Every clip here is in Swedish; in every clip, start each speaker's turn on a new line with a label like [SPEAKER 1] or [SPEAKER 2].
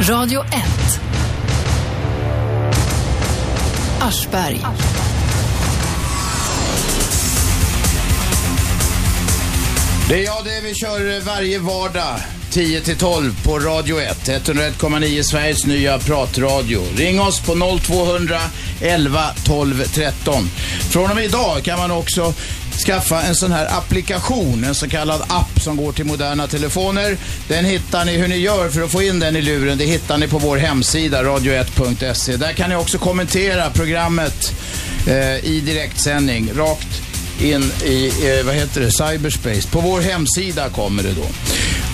[SPEAKER 1] Radio 1. Aschberg.
[SPEAKER 2] Det är jag det vi kör varje vardag 10 till 12 på Radio 1. 101,9 Sveriges nya pratradio. Ring oss på 0200 11 12 13. Från och med idag kan man också skaffa en sån här applikation, en så kallad app som går till moderna telefoner. Den hittar ni hur ni gör för att få in den i luren. Det hittar ni på vår hemsida radio1.se. Där kan ni också kommentera programmet eh, i direktsändning rakt in i, eh, vad heter det, cyberspace. På vår hemsida kommer det då.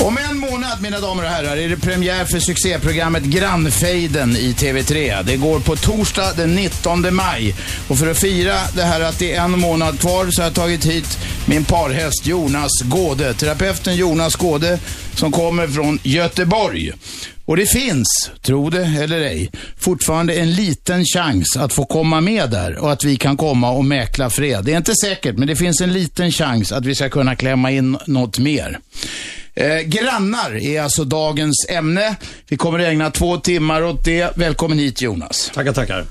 [SPEAKER 2] Om en månad, mina damer och herrar, är det premiär för succéprogrammet Grannfejden i TV3. Det går på torsdag den 19 maj. Och för att fira det här att det är en månad kvar så har jag tagit hit min parhäst Jonas Gåde. Terapeuten Jonas Gåde som kommer från Göteborg. Och det finns, tro det eller ej, fortfarande en liten chans att få komma med där och att vi kan komma och mäkla fred. Det är inte säkert, men det finns en liten chans att vi ska kunna klämma in något mer. Eh, grannar är alltså dagens ämne. Vi kommer att ägna två timmar åt det. Välkommen hit Jonas.
[SPEAKER 3] Tackar, tackar.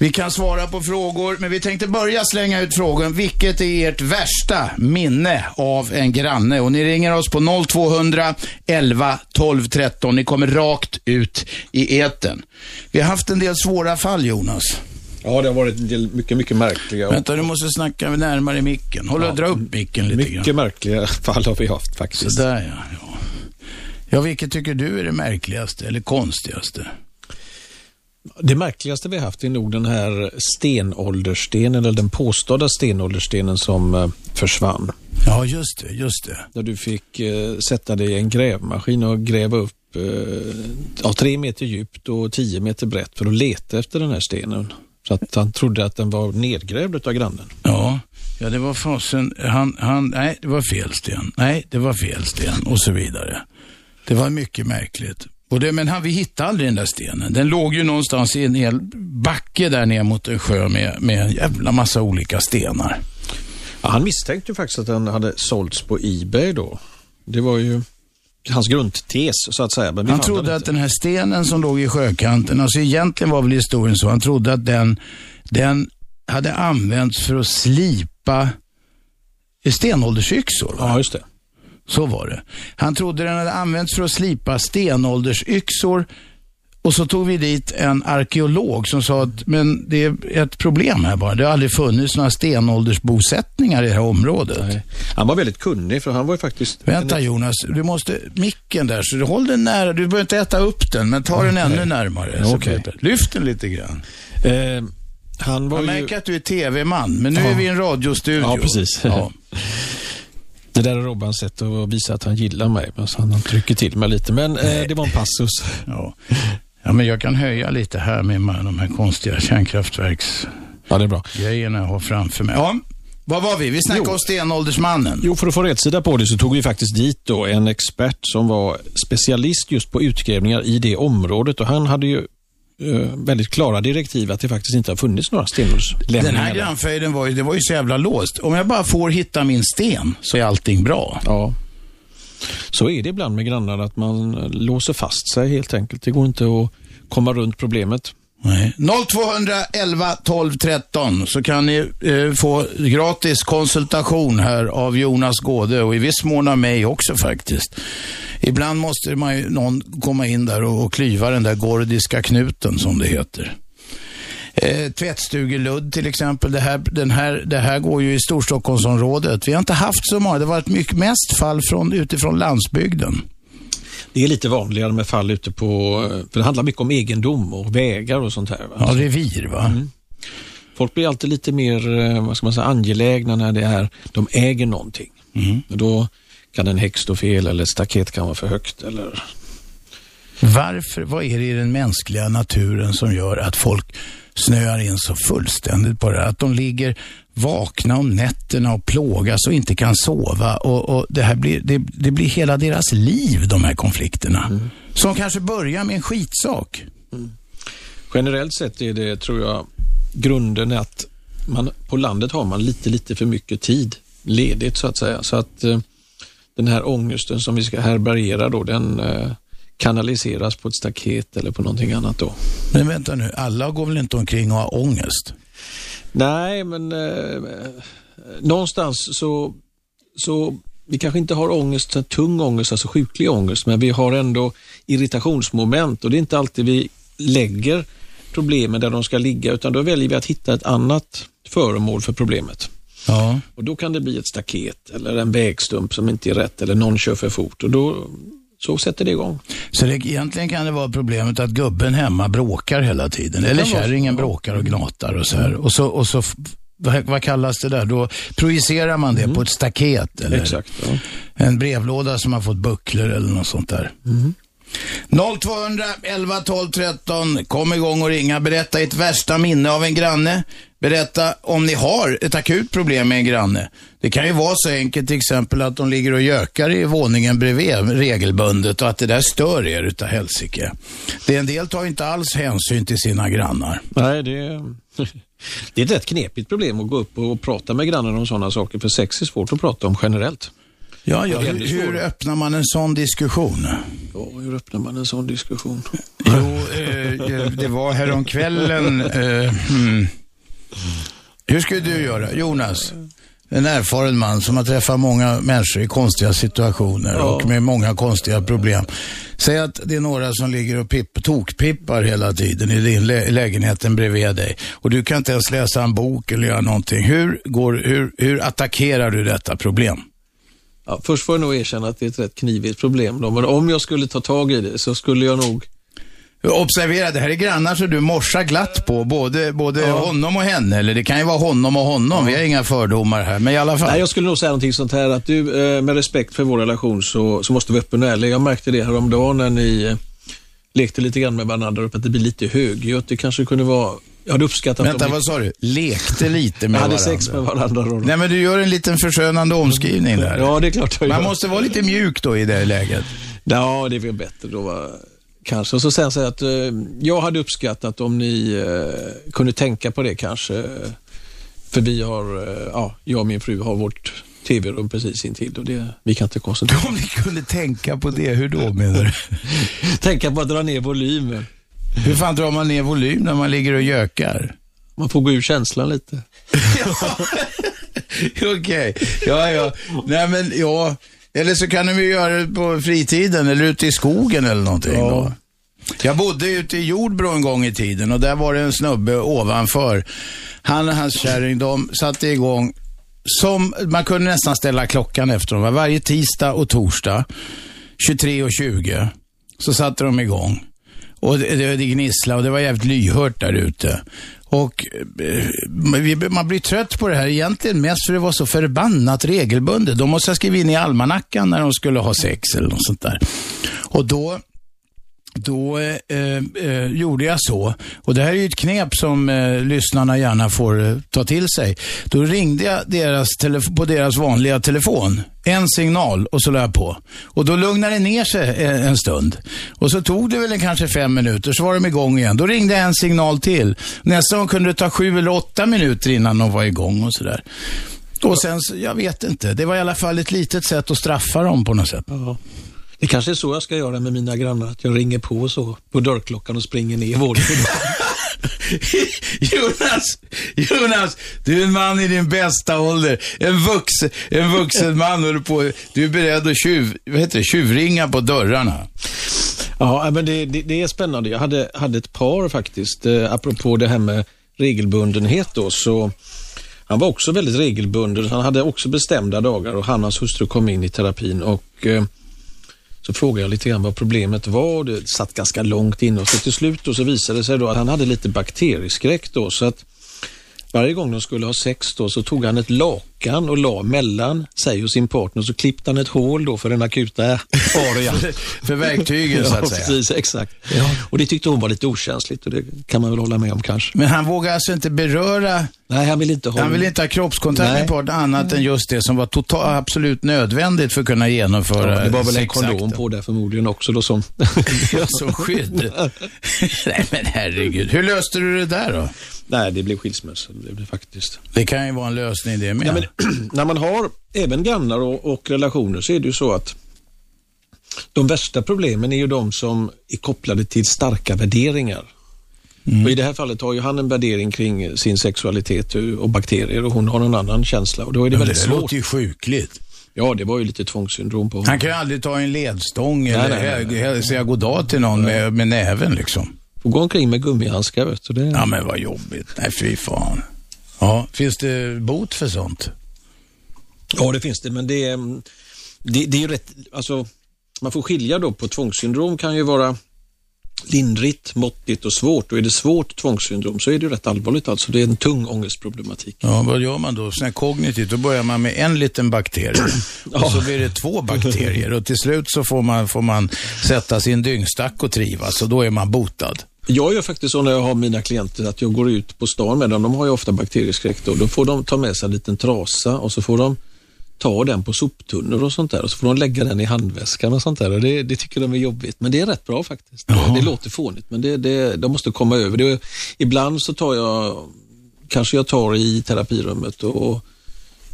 [SPEAKER 2] Vi kan svara på frågor, men vi tänkte börja slänga ut frågan. Vilket är ert värsta minne av en granne? Och ni ringer oss på 0200 11 12 13. Ni kommer rakt ut i eten. Vi har haft en del svåra fall, Jonas.
[SPEAKER 3] Ja, det har varit en del mycket, mycket märkliga.
[SPEAKER 2] Vänta, du måste snacka närmare micken. Håll och dra upp micken lite grann.
[SPEAKER 3] mycket märkliga fall har vi haft faktiskt.
[SPEAKER 2] Sådär ja. ja. Ja, vilket tycker du är det märkligaste eller konstigaste?
[SPEAKER 3] Det märkligaste vi har haft är nog den här stenåldersstenen, eller den påstådda stenåldersstenen som eh, försvann.
[SPEAKER 2] Ja, just det, just det.
[SPEAKER 3] Där du fick eh, sätta dig i en grävmaskin och gräva upp eh, ja, tre meter djupt och tio meter brett för att leta efter den här stenen. Så att han trodde att den var nedgrävd av grannen.
[SPEAKER 2] Ja, ja det var fasen. eh, Han, han, nej, det var fel sten. Nej, det var fel sten och så vidare. Det var mycket märkligt. Och det, men han, vi hittade aldrig den där stenen. Den låg ju någonstans i en hel backe där ner mot en sjö med, med en jävla massa olika stenar.
[SPEAKER 3] Ja, han misstänkte ju faktiskt att den hade sålts på Ebay då. Det var ju hans grundtes så att säga. Men vi
[SPEAKER 2] Han
[SPEAKER 3] fann
[SPEAKER 2] trodde
[SPEAKER 3] den
[SPEAKER 2] att
[SPEAKER 3] inte.
[SPEAKER 2] den här stenen som låg i sjökanten, alltså egentligen var väl historien så, han trodde att den, den hade använts för att slipa stenåldersyxor. va?
[SPEAKER 3] Ja, just det.
[SPEAKER 2] Så var det. Han trodde den hade använts för att slipa stenåldersyxor. Och så tog vi dit en arkeolog som sa att men det är ett problem här bara. Det har aldrig funnits några stenåldersbosättningar i det här området.
[SPEAKER 3] Han var väldigt kunnig för han var ju faktiskt...
[SPEAKER 2] Vänta Jonas, du måste, micken där, så du håll den nära. Du behöver inte äta upp den, men ta den ännu närmare. Så
[SPEAKER 3] Okej.
[SPEAKER 2] blir det. Lyft den lite grann.
[SPEAKER 3] Eh, han var
[SPEAKER 2] Jag
[SPEAKER 3] ju...
[SPEAKER 2] märker att du är tv-man, men nu är vi i en radiostudio.
[SPEAKER 3] Ja, precis.
[SPEAKER 2] Ja.
[SPEAKER 3] Det där är Robban sett och visa att han gillar mig. Men så han han trycker till mig lite. Men eh, det var en passus.
[SPEAKER 2] Ja. ja, men jag kan höja lite här med de här konstiga kärnkraftverks...
[SPEAKER 3] Ja, det är bra.
[SPEAKER 2] grejerna jag har framför mig. Ja, vad var vi? Vi snackade
[SPEAKER 3] Jo.
[SPEAKER 2] om stenåldersmannen.
[SPEAKER 3] Jo, för att få rätsida på det så tog vi faktiskt dit då en expert som var specialist just på utgrävningar i det området och han hade ju eh, väldigt klara direktiv att det faktiskt inte har funnits några
[SPEAKER 2] Den här
[SPEAKER 3] stenålderslämningar. där.
[SPEAKER 2] grannfejden var ju, det var ju så jävla låst. Om jag bara får hitta min sten så är allting bra.
[SPEAKER 3] Ja. Så är det ibland med grannar att man låser fast sig helt enkelt. Det går inte att komma runt problemet.
[SPEAKER 2] Nej. 0211 12 13 så kan ni eh, få gratis konsultation här av Jonas Gåde och i viss mån av mig också faktiskt. Ibland måste man ju någon komma in där och, och klyva den där gordiska knuten som det heter. Eh, Tvättstugeludd till exempel. Det här, den här, det här går ju i Storstockholmsområdet. Vi har inte haft så många. Det har varit mycket, mest fall från, utifrån landsbygden.
[SPEAKER 3] Det är lite vanligare med fall ute på, för det handlar mycket om egendom och vägar och sånt här. Va? Mm.
[SPEAKER 2] Ja, revir va?
[SPEAKER 3] Folk blir alltid lite mer eh, vad ska man säga, angelägna när det är, de äger någonting.
[SPEAKER 2] Mm.
[SPEAKER 3] Och då kan en häck stå fel eller ett staket kan vara för högt. Eller...
[SPEAKER 2] Varför, vad är det i den mänskliga naturen som gör att folk snöar in så fullständigt på det här? Att de ligger vakna om nätterna och plågas och inte kan sova. Och, och det, här blir, det, det blir hela deras liv, de här konflikterna. Som kanske börjar med en skitsak.
[SPEAKER 3] Generellt sett är det, tror jag, grunden är att man, på landet har man lite, lite för mycket tid ledigt så att säga. Så att eh, den här ångesten som vi ska härbärgera då, den eh, kanaliseras på ett staket eller på någonting annat då.
[SPEAKER 4] Men vänta nu, alla går väl inte omkring och har ångest?
[SPEAKER 3] Nej, men eh, någonstans så, så vi kanske inte har ångest, så tung ångest, alltså sjuklig ångest, men vi har ändå irritationsmoment och det är inte alltid vi lägger problemen där de ska ligga, utan då väljer vi att hitta ett annat föremål för problemet.
[SPEAKER 4] Ja.
[SPEAKER 3] Och Då kan det bli ett staket eller en vägstump som inte är rätt eller någon kör för fort och då så sätter det igång.
[SPEAKER 4] Så det, egentligen kan det vara problemet att gubben hemma bråkar hela tiden. Eller
[SPEAKER 3] kan vara så,
[SPEAKER 4] kärringen
[SPEAKER 3] ja.
[SPEAKER 4] bråkar och gnatar och så här. Och så, och så f- vad, vad kallas det där? Då projicerar man det på ett staket eller
[SPEAKER 3] Mm. Exakt. Ja.
[SPEAKER 4] en brevlåda som har fått bucklor eller något sånt där.
[SPEAKER 3] Mm.
[SPEAKER 2] 0200 11 12 13. Kom igång och ringa. Berätta ert värsta minne av en granne. Berätta om ni har ett akut problem med en granne. Det kan ju vara så enkelt till exempel att de ligger och gökar i våningen bredvid regelbundet och att det där stör er utav helsike. Det en del tar ju inte alls hänsyn till sina grannar.
[SPEAKER 3] Nej, det, Ehm, det är ett rätt knepigt problem att gå upp och prata med grannen om sådana saker, för sex är svårt att prata om generellt.
[SPEAKER 4] Ja, ja.
[SPEAKER 3] det är
[SPEAKER 4] Hur,
[SPEAKER 3] ännu
[SPEAKER 4] hur
[SPEAKER 3] svårare.
[SPEAKER 4] öppnar man en sån diskussion?
[SPEAKER 3] Ja, hur öppnar man en sån diskussion?
[SPEAKER 2] Jo, eh, det var häromkvällen. Eh, hmm.
[SPEAKER 4] Hur skulle du göra, Jonas? En erfaren man som har träffat många människor i konstiga situationer och med många konstiga problem. Säg att det är några som ligger och pip, tokpippar hela tiden i din lä- lägenheten bredvid dig och du kan inte ens läsa en bok eller göra någonting. Hur, går, hur, hur attackerar du detta problem?
[SPEAKER 3] Ja, först får jag nog erkänna att det är ett rätt knivigt problem, då, men om jag skulle ta tag i det så skulle jag nog
[SPEAKER 2] Observera, det här är grannar så du morsar glatt på, både, både honom och henne. Eller det kan ju vara honom och honom, vi har inga fördomar här. Men i alla fall.
[SPEAKER 3] Nej, jag skulle nog säga någonting sånt här att du, eh, med respekt för vår relation så, så måste vi vara öppen och ärlig. Jag märkte det häromdagen när ni eh, lekte lite grann med varandra, upp att det blir lite högljutt. Det kanske kunde vara... Jag hade uppskattat
[SPEAKER 2] Vänta,
[SPEAKER 3] om
[SPEAKER 2] vad sa du? Lekte lite
[SPEAKER 3] vi
[SPEAKER 2] med
[SPEAKER 3] hade
[SPEAKER 2] varandra.
[SPEAKER 3] sex med varandra. Då.
[SPEAKER 2] Nej, men du gör en liten förskönande omskrivning där.
[SPEAKER 3] Ja, det är klart jag
[SPEAKER 2] Man
[SPEAKER 3] gör.
[SPEAKER 2] måste vara lite mjuk då i det läget.
[SPEAKER 3] Ja, det är väl bättre då. va? Kanske. Och så sen säga att eh, jag hade uppskattat om ni eh, kunde tänka på det kanske. eh, För vi har, eh, ja, jag och min fru har vårt TV-rum precis intill och det, vi kan inte koncentrera
[SPEAKER 4] Om ni kunde tänka på det, hur då menar du?
[SPEAKER 3] Tänka på att dra ner volymen.
[SPEAKER 4] Hur fan drar man ner volym när man ligger och gökar?
[SPEAKER 3] Man får gå ur känslan lite.
[SPEAKER 2] Okej, ja, ja. Nej, men ja. Eller så kan de ju göra det på fritiden eller ute i skogen eller någonting.
[SPEAKER 4] Ja.
[SPEAKER 2] Då. Jag bodde ute i Jordbro en gång i tiden och där var det en snubbe ovanför. Han och hans kärring, de satte igång som, man kunde nästan ställa klockan efter dem. Varje tisdag och torsdag, 23.20, så satte de igång. Och det, det, det gnisslade och det var jävligt lyhört där ute. Och eh, men vi, man blir trött på det här egentligen mest för det var så förbannat regelbundet. De måste ha skrivit in i almanackan när de skulle ha sex eller något sånt där. Och då då eh, eh, gjorde jag så. Och det här är ju ett knep som eh, lyssnarna gärna får eh, ta till sig. Då ringde jag deras telef- på deras vanliga telefon. En signal och så la jag på. Och då lugnade det ner sig eh, en stund. Och så tog det väl en, kanske fem minuter, så var de igång igen. Då ringde jag en signal till. Nästa gång kunde det ta sju eller åtta minuter innan de var igång och sådär. Och sen, så- jag vet inte. Det var i alla fall ett litet sätt att straffa dem på något sätt.
[SPEAKER 3] Ja. Det kanske är så jag ska göra med mina grannar, att jag ringer på och så på dörrklockan och springer ner i våningen.
[SPEAKER 2] Jonas, Jonas, du är en man i din bästa ålder. En vuxen, en vuxen man håller på. Du är beredd att tjuv, vad heter det, tjuvringa på dörrarna.
[SPEAKER 3] ja, men det, det, det är spännande. Jag hade, hade ett par faktiskt, eh, apropå det här med regelbundenhet då, så han var också väldigt regelbunden. Han hade också bestämda dagar och han och hans hustru kom in i terapin och eh, så frågade jag lite grann vad problemet var och det satt ganska långt inne och så till slut då så visade det sig då att han hade lite bakterieskräck då så att varje gång de skulle ha sex då så tog han ett lakan och la mellan sig och sin partner så klippte han ett hål då för den akuta arean.
[SPEAKER 2] För verktygen så att
[SPEAKER 3] Ja,
[SPEAKER 2] säga.
[SPEAKER 3] precis, exakt. Och det tyckte hon var lite okänsligt och det kan man väl hålla med om kanske.
[SPEAKER 2] Men han vågar alltså inte beröra,
[SPEAKER 3] Nej, han vill inte ha...
[SPEAKER 2] han vill inte ha kroppskontakt
[SPEAKER 3] Nej.
[SPEAKER 2] med partnern annat än just det som var total, absolut nödvändigt för att kunna genomföra
[SPEAKER 3] Ja, det var väl en kondom
[SPEAKER 2] sexakten.
[SPEAKER 3] på där förmodligen också då som...
[SPEAKER 2] Ja, som skydd. Nej men herregud, hur löste du det där då?
[SPEAKER 3] Nej, det blev skilsmässa. Det blev faktiskt.
[SPEAKER 2] Det kan ju vara en lösning det med.
[SPEAKER 3] Ja, men, när man har även grannar och, och relationer så är det ju så att De värsta problemen är ju de som är kopplade till starka värderingar.
[SPEAKER 2] Mm.
[SPEAKER 3] Och I det här fallet har ju han en värdering kring sin sexualitet och bakterier och hon har en annan känsla. Och då är det
[SPEAKER 2] Men
[SPEAKER 3] väldigt
[SPEAKER 2] det
[SPEAKER 3] svårt.
[SPEAKER 2] låter ju sjukligt.
[SPEAKER 3] Ja, det var ju lite tvångssyndrom på honom.
[SPEAKER 2] Han kan ju aldrig ta en ledstång eller
[SPEAKER 3] Mm. nej, nej, nej.
[SPEAKER 2] hä- säga goddag till någon med, med näven liksom.
[SPEAKER 3] Får gå omkring med gummihandskar vet du. Det...
[SPEAKER 2] Ja men vad jobbigt. Nej fy fan. Ja, finns det bot för sånt?
[SPEAKER 3] Ja, det finns det, men det, är- det, det är ju rätt, alltså man får skilja då på tvångssyndrom kan ju vara lindrigt, måttigt och svårt och är det svårt tvångssyndrom så är det ju rätt allvarligt alltså. Det är en tung ångestproblematik.
[SPEAKER 2] Ja, vad gör man då? Sån här kognitivt, då börjar man med en liten bakterie och så blir det två bakterier och till slut så får man, får man sätta sin dyngstack och trivas och då är man botad.
[SPEAKER 3] Jag gör faktiskt så när jag har mina klienter att jag går ut på stan med dem. De har ju ofta bakterieskräck då. Då får de ta med sig en liten trasa och så får de ta den på soptunnor och sånt där och så får de lägga den i handväskan och sånt där. Och det, det tycker de är jobbigt, men det är rätt bra faktiskt. Det låter fånigt, men det, det, de måste komma över det. Ibland så tar jag, kanske jag tar i terapirummet och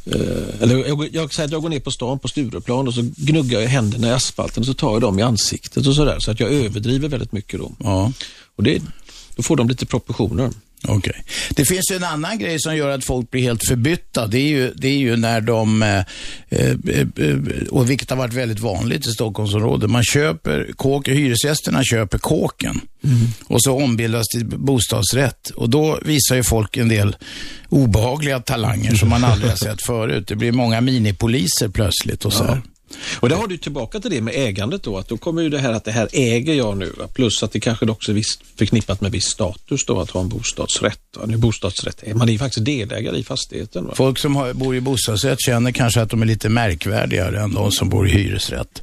[SPEAKER 3] eh, eller jag, jag säger att jag går ner på stan på Stureplan och så gnuggar jag händerna i asfalten och så tar jag dem i ansiktet och sådär. Så att jag överdriver väldigt mycket då.
[SPEAKER 2] Ja,
[SPEAKER 3] Och det, då får de lite proportioner.
[SPEAKER 2] okej. Det finns ju en annan grej som gör att folk blir helt förbytta. Det är ju, det är ju när de, eh, eh, eh, och vilket har varit väldigt vanligt i Stockholmsområdet, man köper kåk, hyresgästerna köper kåken och så ombildas till bostadsrätt. Och då visar ju folk en del obehagliga talanger som man aldrig har sett förut. Det blir många minipoliser plötsligt och så här.
[SPEAKER 3] Och där har du tillbaka till det med ägandet då, att då kommer ju det här att det här äger jag nu, va? plus att det kanske också är visst förknippat med viss status då, att ha en bostadsrätt. Va? Nu bostadsrätt, är- man är ju faktiskt delägare i fastigheten. Va?
[SPEAKER 2] Folk som har, bor i bostadsrätt känner kanske att de är lite märkvärdigare än de som bor i hyresrätt.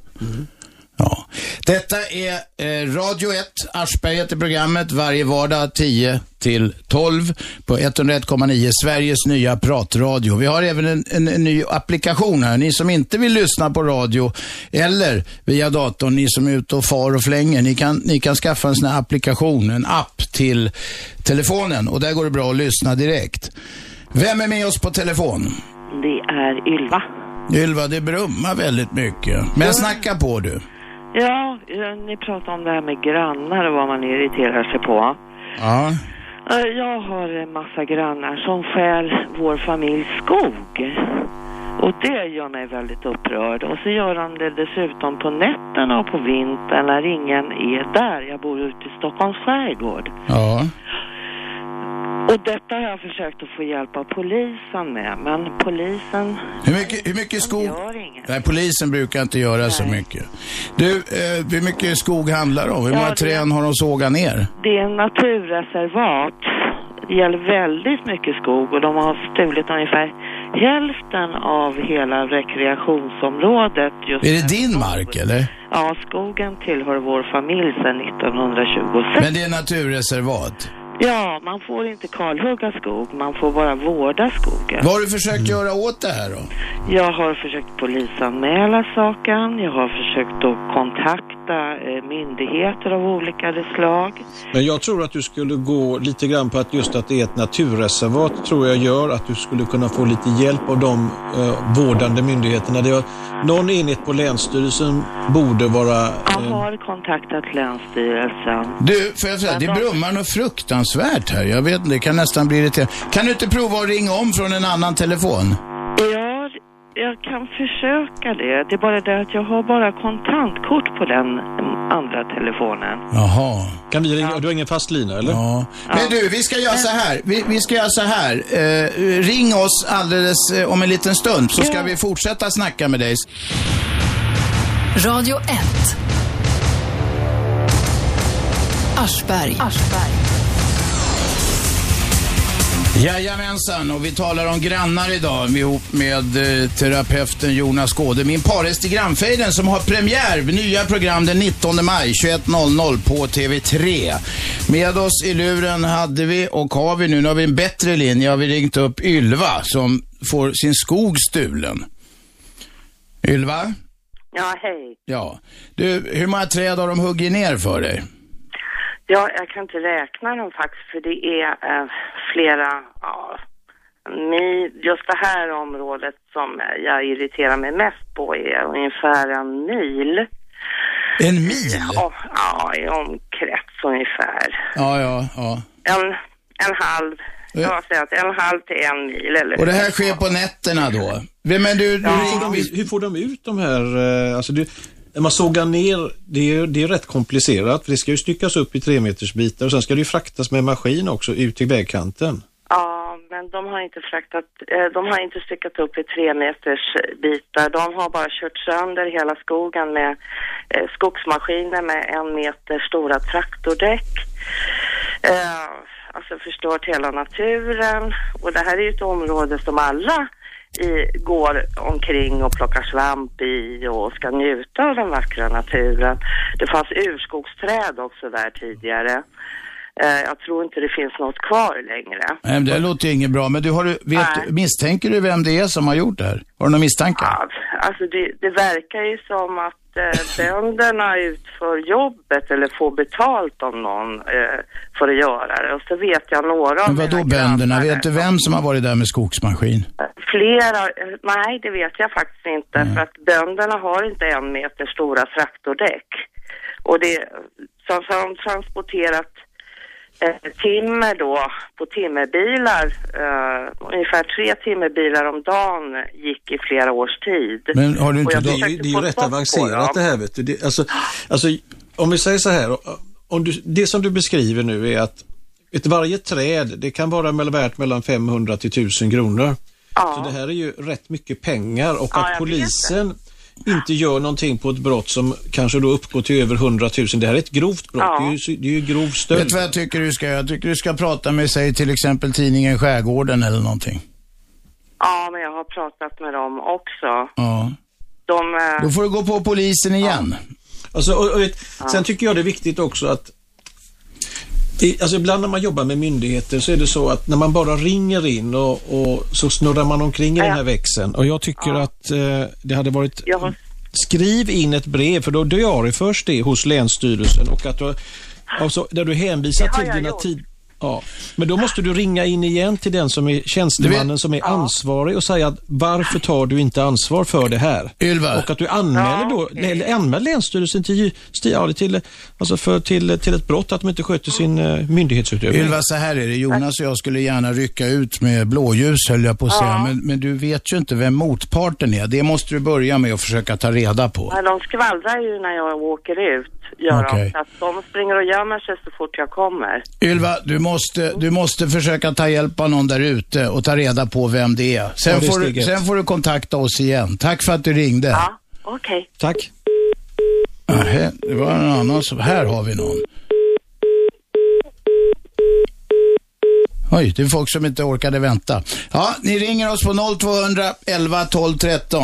[SPEAKER 2] Ja.
[SPEAKER 5] Detta är eh, Radio 1, Aschberg heter programmet, varje vardag 10 till 12 på 101,9, Sveriges nya pratradio. Vi har även en, en, en ny applikation här. Ni som inte vill lyssna på radio eller via datorn, ni som är ute och far och flänger, ni kan, ni kan skaffa en sån här applikation, en app till telefonen och där går det bra att lyssna direkt. Vem är med oss på telefon?
[SPEAKER 6] Det är Ylva.
[SPEAKER 2] Ylva, det brummar väldigt mycket. Men snacka på du.
[SPEAKER 6] Ja, eh, ni pratar om det här med grannar och vad man irriterar sig på.
[SPEAKER 2] Ja.
[SPEAKER 6] Eh, Jag har en massa grannar som stjäl vår familjs skog. Och det gör mig väldigt upprörd. Och så gör de det dessutom på nätterna och på vintern när ingen är där. Jag bor ute i Stockholms skärgård.
[SPEAKER 2] Ja.
[SPEAKER 6] Och detta har jag försökt att få hjälp av polisen med, men polisen
[SPEAKER 2] Hur mycket, hur mycket skog...
[SPEAKER 6] gör inget.
[SPEAKER 2] Nej, polisen brukar inte göra så mycket. Du, eh, hur mycket skog handlar det om? Hur
[SPEAKER 6] Ja,
[SPEAKER 2] många
[SPEAKER 6] det-
[SPEAKER 2] träd har de sågat ner?
[SPEAKER 6] Det är en naturreservat. Det gäller väldigt mycket skog och de har stulit ungefär hälften av hela rekreationsområdet. Just
[SPEAKER 2] Är det din mark, eller?
[SPEAKER 6] Ja, skogen tillhör vår familj sedan 1926.
[SPEAKER 2] Men det är naturreservat.
[SPEAKER 6] Ja, man får inte kalhugga skog, man får bara vårda skogen.
[SPEAKER 2] Vad har du försökt göra åt det här då?
[SPEAKER 6] Jag har försökt polisanmäla saken, jag har försökt att kontakta eh, myndigheter av olika slag.
[SPEAKER 3] Men jag tror att du skulle gå lite grann på att just att det är ett naturreservat tror jag gör att du skulle kunna få lite hjälp av de eh, vårdande myndigheterna. Det är, någon enhet på Länsstyrelsen borde vara...
[SPEAKER 6] Jag
[SPEAKER 3] Eh,
[SPEAKER 6] har kontaktat Länsstyrelsen.
[SPEAKER 2] Du, får jag säga, det brummar något fruktansvärt här. Jag vet inte, det kan nästan bli irriterande. Kan du inte prova att ringa om från en annan telefon?
[SPEAKER 6] Ja, jag kan försöka det. Det är bara det att jag har bara kontantkort på den mm, andra telefonen.
[SPEAKER 2] Jaha.
[SPEAKER 3] kan vi ringa? Du har ingen fast lina eller?
[SPEAKER 2] Ja. Men du, vi ska göra så här. Vi, vi ska göra så här. Eh, ring oss alldeles eh, om en liten stund så ska vi fortsätta snacka med dig.
[SPEAKER 1] Radio 1. Aschberg.
[SPEAKER 2] Jajamensan, och vi talar om grannar idag ihop med eh, terapeuten Jonas Gåde. Min parhäst i grannfejden som har premiär, nya program den 19 maj 21.00 på TV3. Med oss i luren hade vi och har vi nu, nu har vi en bättre linje, har vi ringt upp Ylva som får sin skog stulen. Ylva?
[SPEAKER 7] Ja, hej.
[SPEAKER 2] Ja. Du, hur många träd har de huggit ner för dig?
[SPEAKER 7] Ja, jag kan inte räkna dem faktiskt för det är eh, flera, ja, mi, just det här området som jag irriterar mig mest på är ungefär en mil.
[SPEAKER 8] En mil?
[SPEAKER 6] Ja, ja, i omkrets ungefär.
[SPEAKER 8] Ja, ja, ja.
[SPEAKER 6] En, en halv,
[SPEAKER 8] Ja.
[SPEAKER 6] jag säger att en halv till en mil eller
[SPEAKER 8] Eh. Och det här sker på nätterna då? Men du, du
[SPEAKER 3] Hur får de ut- Hur får de ut de här, eh, alltså det, när man sågar ner, det är, det är rätt komplicerat för det ska ju styckas upp i tre meters bitar och sen ska det ju fraktas med maskin också ut till vägkanten.
[SPEAKER 6] Ja, men de har inte fraktat, eh, de har inte styckat upp i tre meters eh, bitar. De har bara kört sönder hela skogen med eh, skogsmaskiner med en meter stora traktordäck. Eh, alltså förstört hela naturen. Och det här är ju ett område som alla i, går omkring och plockar svamp i och ska njuta av den vackra naturen. Det fanns urskogsträd också där tidigare. Eh, jag tror inte det finns något kvar längre.
[SPEAKER 8] Nej, men det låter ju inget bra. Men du, har du, vet, misstänker du vem det är som har gjort det här? Har du några misstankar?
[SPEAKER 6] Alltså det, det verkar ju som att eh, bönderna utför jobbet eller får betalt av någon eh, för att göra det. Och så vet jag några av
[SPEAKER 8] Men vadå bönderna? Vet du vem som har varit där med skogsmaskin?
[SPEAKER 6] flera, eh, nej det vet jag faktiskt inte
[SPEAKER 3] Mm.
[SPEAKER 6] för att bönderna har inte en meter stora traktordäck. Och det, som, som transporterat eh, timmer då på timmerbilar, eh, ungefär tre timmerbilar om dagen gick i flera års tid.
[SPEAKER 3] Men har du
[SPEAKER 6] Och
[SPEAKER 3] inte...
[SPEAKER 6] jag
[SPEAKER 3] Det är,
[SPEAKER 6] försökte
[SPEAKER 3] ju- det är ju
[SPEAKER 6] få
[SPEAKER 3] rätt
[SPEAKER 6] stopp på
[SPEAKER 3] avancerat
[SPEAKER 6] dem.
[SPEAKER 3] det här vet du. Det, alltså, alltså, om vi säger så här. Om du, det som du beskriver nu är att ett varje träd, det kan vara mell- värt mellan 500 till 1000 kronor. Så det här är ju rätt mycket pengar och att polisen inte gör någonting på ett brott som kanske då uppgår till över 100 000. Det här är ett grovt brott. Det, är ju, så- det är ju grov
[SPEAKER 2] Vet
[SPEAKER 3] stöld.
[SPEAKER 2] du vad jag tycker du ska göra? Jag tycker du ska prata med, säg till exempel tidningen Skärgården eller någonting.
[SPEAKER 6] Ja, men jag har pratat med dem också.
[SPEAKER 2] Ja.
[SPEAKER 6] De, eh,
[SPEAKER 8] Då får du gå på polisen igen.
[SPEAKER 3] Alltså, och, och, vet, Sen tycker jag det är viktigt också att i, alltså ibland när man jobbar med myndigheter så är det så att när man bara ringer in och, och så snurrar man omkring i den här växeln. Och jag tycker att eh, det hade varit...
[SPEAKER 6] jag har
[SPEAKER 3] Skriv in ett brev, för då diarieförs det hos Länsstyrelsen och att du, alltså, där du hänvisar
[SPEAKER 6] Ah. Det har
[SPEAKER 3] till
[SPEAKER 6] jag
[SPEAKER 3] dina
[SPEAKER 6] gjort.
[SPEAKER 3] tid... Ja, men då måste du ringa in igen till den som är tjänstemannen som är ansvarig och säga att varför tar du inte ansvar för det här?
[SPEAKER 8] Ylva.
[SPEAKER 3] Och att du anmäler då, eller anmäl Länsstyrelsen till, ju- sti- ja, till, alltså för, till, till ett brott att de inte sköter sin eh, myndighetsutövning.
[SPEAKER 2] Ylva, så här är det. Jonas och jag skulle gärna rycka ut med blåljus höll jag på att säga. Men, men du vet ju inte vem motparten är. Det måste du börja med att försöka ta reda på.
[SPEAKER 6] Nej, de skvallrar ju när jag åker ut, gör
[SPEAKER 2] Okej.
[SPEAKER 6] de. Så att de springer och gömmer sig så fort jag kommer.
[SPEAKER 2] Ylva, du måste, du måste försöka ta hjälp av någon där ute och ta reda på vem det är. Sen,
[SPEAKER 3] Ja, det är
[SPEAKER 2] får, du,
[SPEAKER 3] steget.
[SPEAKER 2] sen får du kontakta oss igen. Tack för att du ringde.
[SPEAKER 6] Ja, okej.
[SPEAKER 3] Tack.
[SPEAKER 2] Nähä, det var en annan som... Här har vi någon. Oj, det är folk som inte orkade vänta. Ja, ni ringer oss på 0200 11 12 13.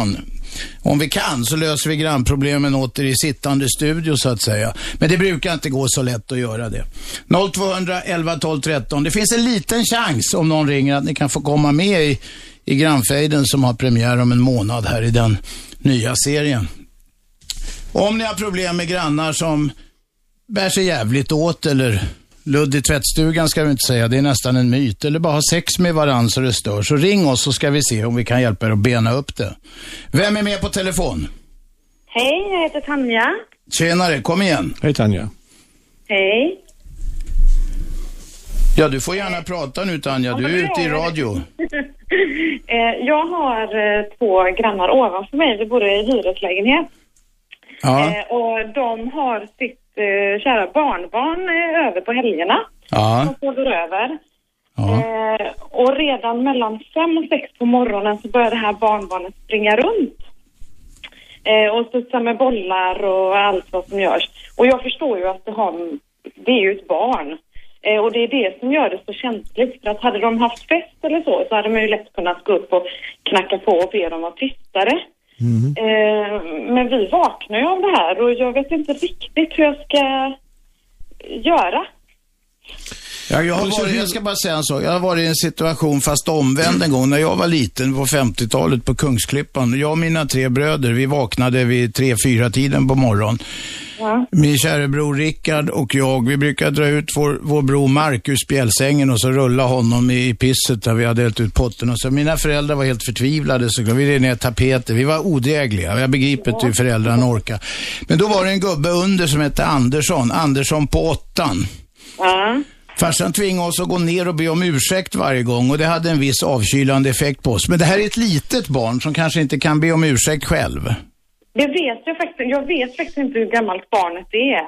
[SPEAKER 2] Om vi kan så löser vi grannproblemen åter i sittande studio så att säga. Men det brukar inte gå så lätt att göra det. 0200 11 12 13. Det finns en liten chans om någon ringer att ni kan få komma med i, i grannfejden som har premiär om en månad här i den nya serien. Om ni har problem med grannar som bär sig jävligt åt eller ludd i tvättstugan ska vi inte säga, det är nästan en myt. Eller bara ha sex med varandra så det stör. Så ring oss så ska vi se om vi kan hjälpa er att bena upp det. Vem är med på telefon?
[SPEAKER 9] Hej, jag heter Tanja.
[SPEAKER 2] Tjenare, kom igen.
[SPEAKER 3] Hej Tanja.
[SPEAKER 9] Hej.
[SPEAKER 2] Ja, du får gärna prata nu Tanja, du är ute i radio.
[SPEAKER 9] Eh, jag har eh, två grannar ovanför mig. Vi bor i hyreslägenhet.
[SPEAKER 2] Ja,
[SPEAKER 9] Eh, och de har sitt eh, kära barnbarn eh, över på helgerna.
[SPEAKER 2] ja,
[SPEAKER 9] De sover över.
[SPEAKER 2] ja.
[SPEAKER 9] Eh, och redan mellan fem och sex på morgonen så börjar det här barnbarnet springa runt. Eh, och studsa med bollar och allt vad som görs. Och jag förstår ju att det, har, det är ju ett barn. Eh, och det är det som gör det så känsligt. För att hade de haft fest eller så, så hade man ju lätt kunnat gå upp och knacka på och be dem vara tystare.
[SPEAKER 2] Mm-hmm.
[SPEAKER 9] Eh, men vi vaknar ju av det här och jag vet inte riktigt hur jag ska göra.
[SPEAKER 2] Ja, jag, har
[SPEAKER 10] Liksom,
[SPEAKER 2] varit,
[SPEAKER 10] hur-
[SPEAKER 2] jag ska bara säga en sak. Jag har varit i en situation fast omvänd en gång. När jag var liten på 50-talet på Kungsklippan. Jag och mina tre bröder, vi vaknade vid tre fyra tiden på morgonen. Min kära bror Rickard och jag, vi brukar dra ut vår, vår bror Mark ur spjälsängen och så rulla honom i, i pisset där vi hade hällt ut potten. Och så mina föräldrar var helt förtvivlade såklart. Vi rev ner tapeter. Vi var odrägliga. Jag begriper inte hur föräldrarna orkar. Men då var det en gubbe under som hette Andersson. Andersson på åttan.
[SPEAKER 9] Ja.
[SPEAKER 2] Farsan tvingade oss att gå ner och be om ursäkt varje gång och det hade en viss avkylande effekt på oss. Men det här är ett litet barn som kanske inte kan be om ursäkt själv.
[SPEAKER 9] Det vet jag faktiskt Jag vet faktiskt inte hur gammalt barnet är.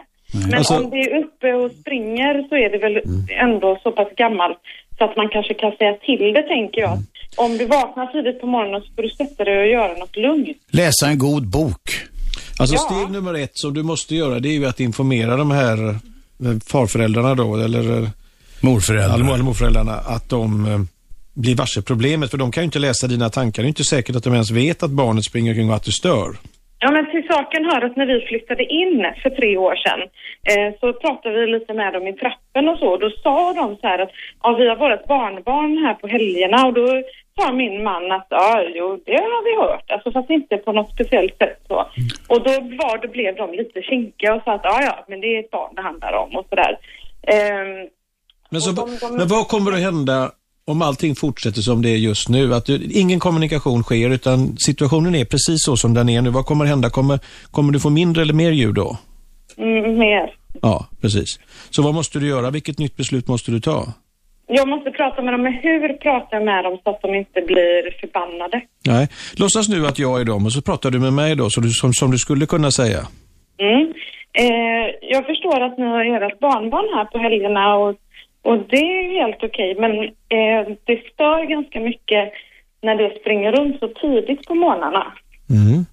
[SPEAKER 9] Men
[SPEAKER 2] Alltså-
[SPEAKER 9] om det är uppe och springer så är det väl ändå så pass gammalt så att man kanske kan säga till det, tänker jag. Om du vaknar tidigt på morgonen så får du sätta dig och göra något lugnt.
[SPEAKER 2] Läsa en god bok.
[SPEAKER 3] Alltså
[SPEAKER 9] Ja.
[SPEAKER 3] steg nummer ett som du måste göra det är ju att informera de här eh, farföräldrarna då eller eh,
[SPEAKER 2] Morföräldrar.
[SPEAKER 3] Allmor- eller morföräldrarna att de eh, blir varse problemet för de kan ju inte läsa dina tankar. Det är ju inte säkert att de ens vet att barnet springer omkring och att du stör.
[SPEAKER 9] Ja, men till saken hör att när vi flyttade in för tre år sedan eh, så pratade vi lite med dem i trappen och så. Då sa de så här att ja, vi har vårt barnbarn här på helgerna och då sa min man att ja, jo, det har vi hört. Alltså fast inte på något speciellt sätt så. Och då, var, då blev de lite kinkiga och sa att ja, ja, men det är ett barn det handlar om och sådär. Ehm,
[SPEAKER 3] Men, så,
[SPEAKER 9] Och de- de-
[SPEAKER 3] men vad kommer att hända om allting fortsätter som det är just nu? Att du, ingen kommunikation sker utan situationen är precis så som den är nu. Vad kommer att hända? Kommer, kommer du få mindre eller mer ljud då?
[SPEAKER 9] mm, mer.
[SPEAKER 3] Ja, precis. Så vad måste du göra? Vilket nytt beslut måste du ta?
[SPEAKER 9] Jag måste prata med dem, men hur pratar jag med dem så att de inte blir förbannade?
[SPEAKER 3] Nej, låtsas nu att jag är dem och så pratar du med mig då så du, som, som du skulle kunna säga.
[SPEAKER 9] Mm. Eh, jag förstår att ni har ert barnbarn här på helgerna och, och det är helt okej. Men eh, det stör ganska mycket när det springer runt så tidigt på morgnarna.
[SPEAKER 3] Mm.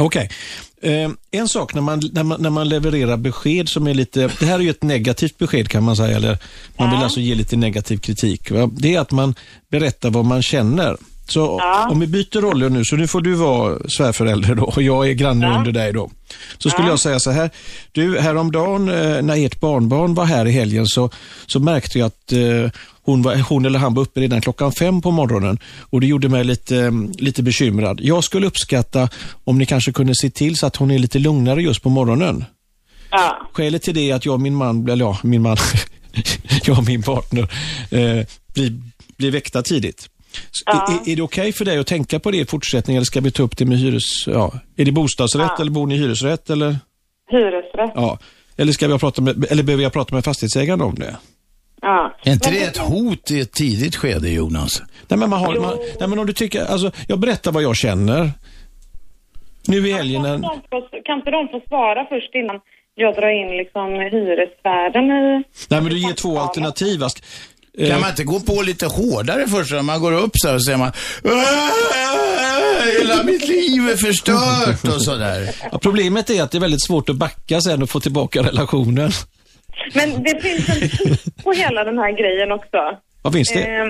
[SPEAKER 3] Okej. Eh, en sak när man, när, man, när man levererar besked som är lite, det här är ju ett negativt besked kan man säga, eller man vill alltså ge lite negativ kritik. Va? Det är att man berättar vad man känner. Så om vi byter roller nu, så nu får du vara svärförälder då och jag är granne under dig då. Så skulle jag säga så här, du häromdagen eh, när ert barnbarn var här i helgen så, så märkte jag att eh, hon, var, hon eller han var uppe redan klockan fem på morgonen och det gjorde mig lite, eh, lite bekymrad. Jag skulle uppskatta om ni kanske kunde se till så att hon är lite lugnare just på morgonen.
[SPEAKER 9] Ja.
[SPEAKER 3] Skälet till det är att jag och min man, eller ja, min man, jag och min partner eh, blir, blir väckta tidigt. S-
[SPEAKER 9] Ja.
[SPEAKER 3] Är, är det okej för dig att tänka på det i fortsättningen eller ska vi ta upp det med hyres... Ja. Är det bostadsrätt eller bor ni i hyresrätt eller?
[SPEAKER 9] Hyresrätt.
[SPEAKER 3] Ja. Eller, ska jag prata med, eller behöver jag prata med fastighetsägaren om det?
[SPEAKER 9] Ja.
[SPEAKER 2] Är inte det ett hot i ett tidigt skede, Jonas?
[SPEAKER 3] Nej men, man har, man, nej, men om du tycker, alltså, jag berättar vad jag känner. Nu i helgen,
[SPEAKER 9] Kan,
[SPEAKER 3] när-
[SPEAKER 9] inte de få, kan inte de få svara först innan jag drar in liksom hyresvärden i...
[SPEAKER 3] nej men du ger två alternativ. va? Sk- eh,
[SPEAKER 2] Kan man inte gå på lite hårdare först när man går upp så här och säger man "Åh, Hela mitt liv är förstört och sådär.
[SPEAKER 3] Ja, problemet är att det är väldigt svårt att backa sen och få tillbaka relationen.
[SPEAKER 9] Men det finns en tid på hela den här grejen också.
[SPEAKER 3] Vad finns det?
[SPEAKER 9] Ehm,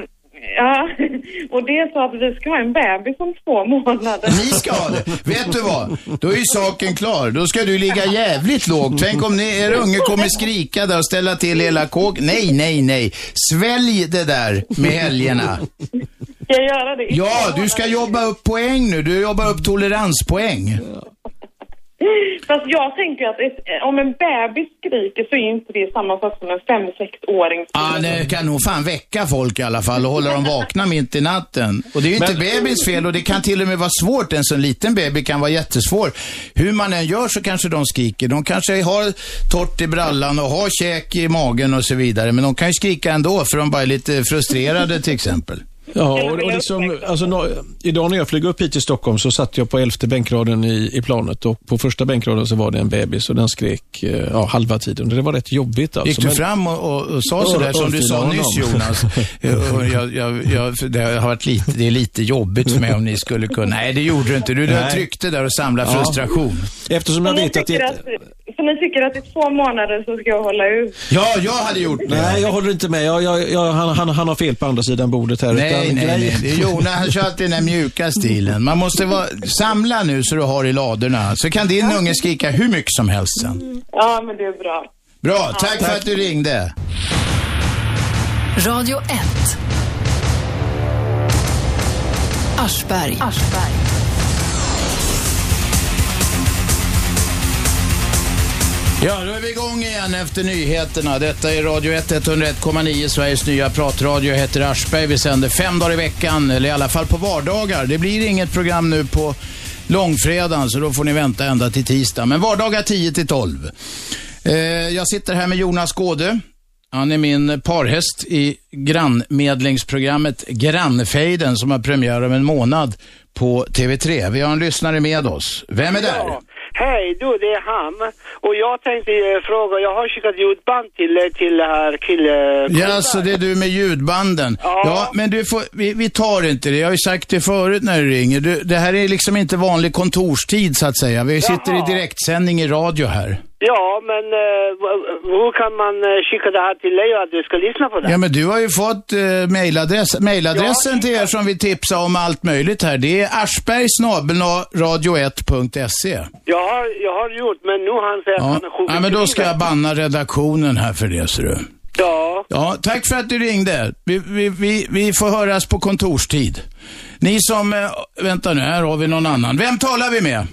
[SPEAKER 9] ja, och det är så att vi ska ha en bebis om två månader.
[SPEAKER 2] Ni ska ha det. Vet du vad? Då är ju saken klar. Då ska du ligga jävligt lågt. Tänk om ni, er unge kommer skrika där och ställa till hela kåk. Nej, nej, nej. Svälj det där med helgerna.
[SPEAKER 9] Ska jag göra det? i
[SPEAKER 2] Ja,
[SPEAKER 9] två
[SPEAKER 2] du ska
[SPEAKER 9] månader?
[SPEAKER 2] jobba upp poäng nu. Du jobbar upp toleranspoäng.
[SPEAKER 9] Fast jag tänker att ett, eh, om en bebis skriker så är inte det samma sak som en fem sexåring
[SPEAKER 2] Ja, det kan nog fan väcka folk i alla fall och hålla dem vakna mitt i natten. Och det är ju inte
[SPEAKER 3] Men-
[SPEAKER 2] bebis fel och det kan till och med vara svårt. En sån liten baby kan vara jättesvår. Hur man än gör så kanske de skriker. De kanske har torrt i brallan och har käk i magen och så vidare. Men de kan ju skrika ändå för de bara är lite frustrerade till exempel.
[SPEAKER 3] Ja, och, och liksom, alltså, nå- idag när jag flög upp hit till Stockholm så satt jag på elfte bänkraden i, i planet och på första bänkraden så var det en bebis och den skrek eh, ja, halva tiden. Det var rätt jobbigt alltså.
[SPEAKER 2] Gick du
[SPEAKER 3] Men-
[SPEAKER 2] fram och, och, och sa sådär
[SPEAKER 3] Ör-
[SPEAKER 2] som du sa
[SPEAKER 3] örfila
[SPEAKER 2] nyss
[SPEAKER 3] honom.
[SPEAKER 2] Jonas? jag, jag, jag, jag, för det, har varit lite, det är lite jobbigt för mig om ni skulle kunna... Nej, det gjorde du inte. Du, du
[SPEAKER 3] Nej.
[SPEAKER 2] tryckte där och samlade
[SPEAKER 3] Ja.
[SPEAKER 2] frustration.
[SPEAKER 3] Eftersom jag
[SPEAKER 9] Så ni,
[SPEAKER 3] vet att det
[SPEAKER 9] tycker att, så ni tycker att i två månader så ska jag hålla ut?
[SPEAKER 2] Ja, jag hade gjort det.
[SPEAKER 3] Nej, jag håller inte med. Jag, jag, jag, han, han, han har fel på andra sidan bordet här.
[SPEAKER 2] Nej,
[SPEAKER 3] utan
[SPEAKER 2] nej,
[SPEAKER 3] grejen-
[SPEAKER 2] nej. Det är Jonas, han kör alltid den där mjuka stilen. Man måste vara, samla nu så du har i ladorna. Så kan din unge skrika hur mycket som helst sen.
[SPEAKER 9] Ja, men det är bra.
[SPEAKER 2] Bra, tack för att du ringde.
[SPEAKER 1] Radio 1. Aschberg.
[SPEAKER 2] Ja, då är vi igång igen efter nyheterna. Detta är Radio 1, 101,9, Sveriges nya pratradio. Jag heter Aschberg. Vi sänder fem dagar i veckan, eller i alla fall på vardagar. Det blir inget program nu på långfredagen, så då får ni vänta ända till tisdag. Men vardagar 10 till 12. Eh, jag sitter här med Jonas Gåde. Han är min parhäst i grannmedlingsprogrammet Grannfejden som har premiär om en månad på TV3. Vi har en lyssnare med oss. Vem är där?
[SPEAKER 11] Ja. Hej, du det är han. Och jag tänkte eh, fråga, jag har skickat ljudband till, eh, till här kille...
[SPEAKER 2] Ja, så det är du med ljudbanden. Ja, men du får, vi, vi tar inte det. Jag har ju sagt det förut när du ringer. Du, det här är liksom inte vanlig kontorstid så att säga. Vi sitter i direktsändning i radio här.
[SPEAKER 11] Ja, men eh, v- v- hur kan man eh, skicka det här till dig och att du ska lyssna på det?
[SPEAKER 2] Ja, men du har ju fått eh, mailadress, mailadressen till er som vi tipsar om allt möjligt här. Det är aschbergsnabelradio1.se.
[SPEAKER 11] Jag har, jag har gjort, men nu han säger att
[SPEAKER 2] Ja.
[SPEAKER 11] han är sjuk.
[SPEAKER 2] ja, men då ska jag banna redaktionen här för det, ser du.
[SPEAKER 11] Ja.
[SPEAKER 2] Ja, tack för att du ringde. Vi, vi, vi, vi får höras på kontorstid. Ni som... Eh, vänta nu, här har vi någon annan. Vem talar vi med?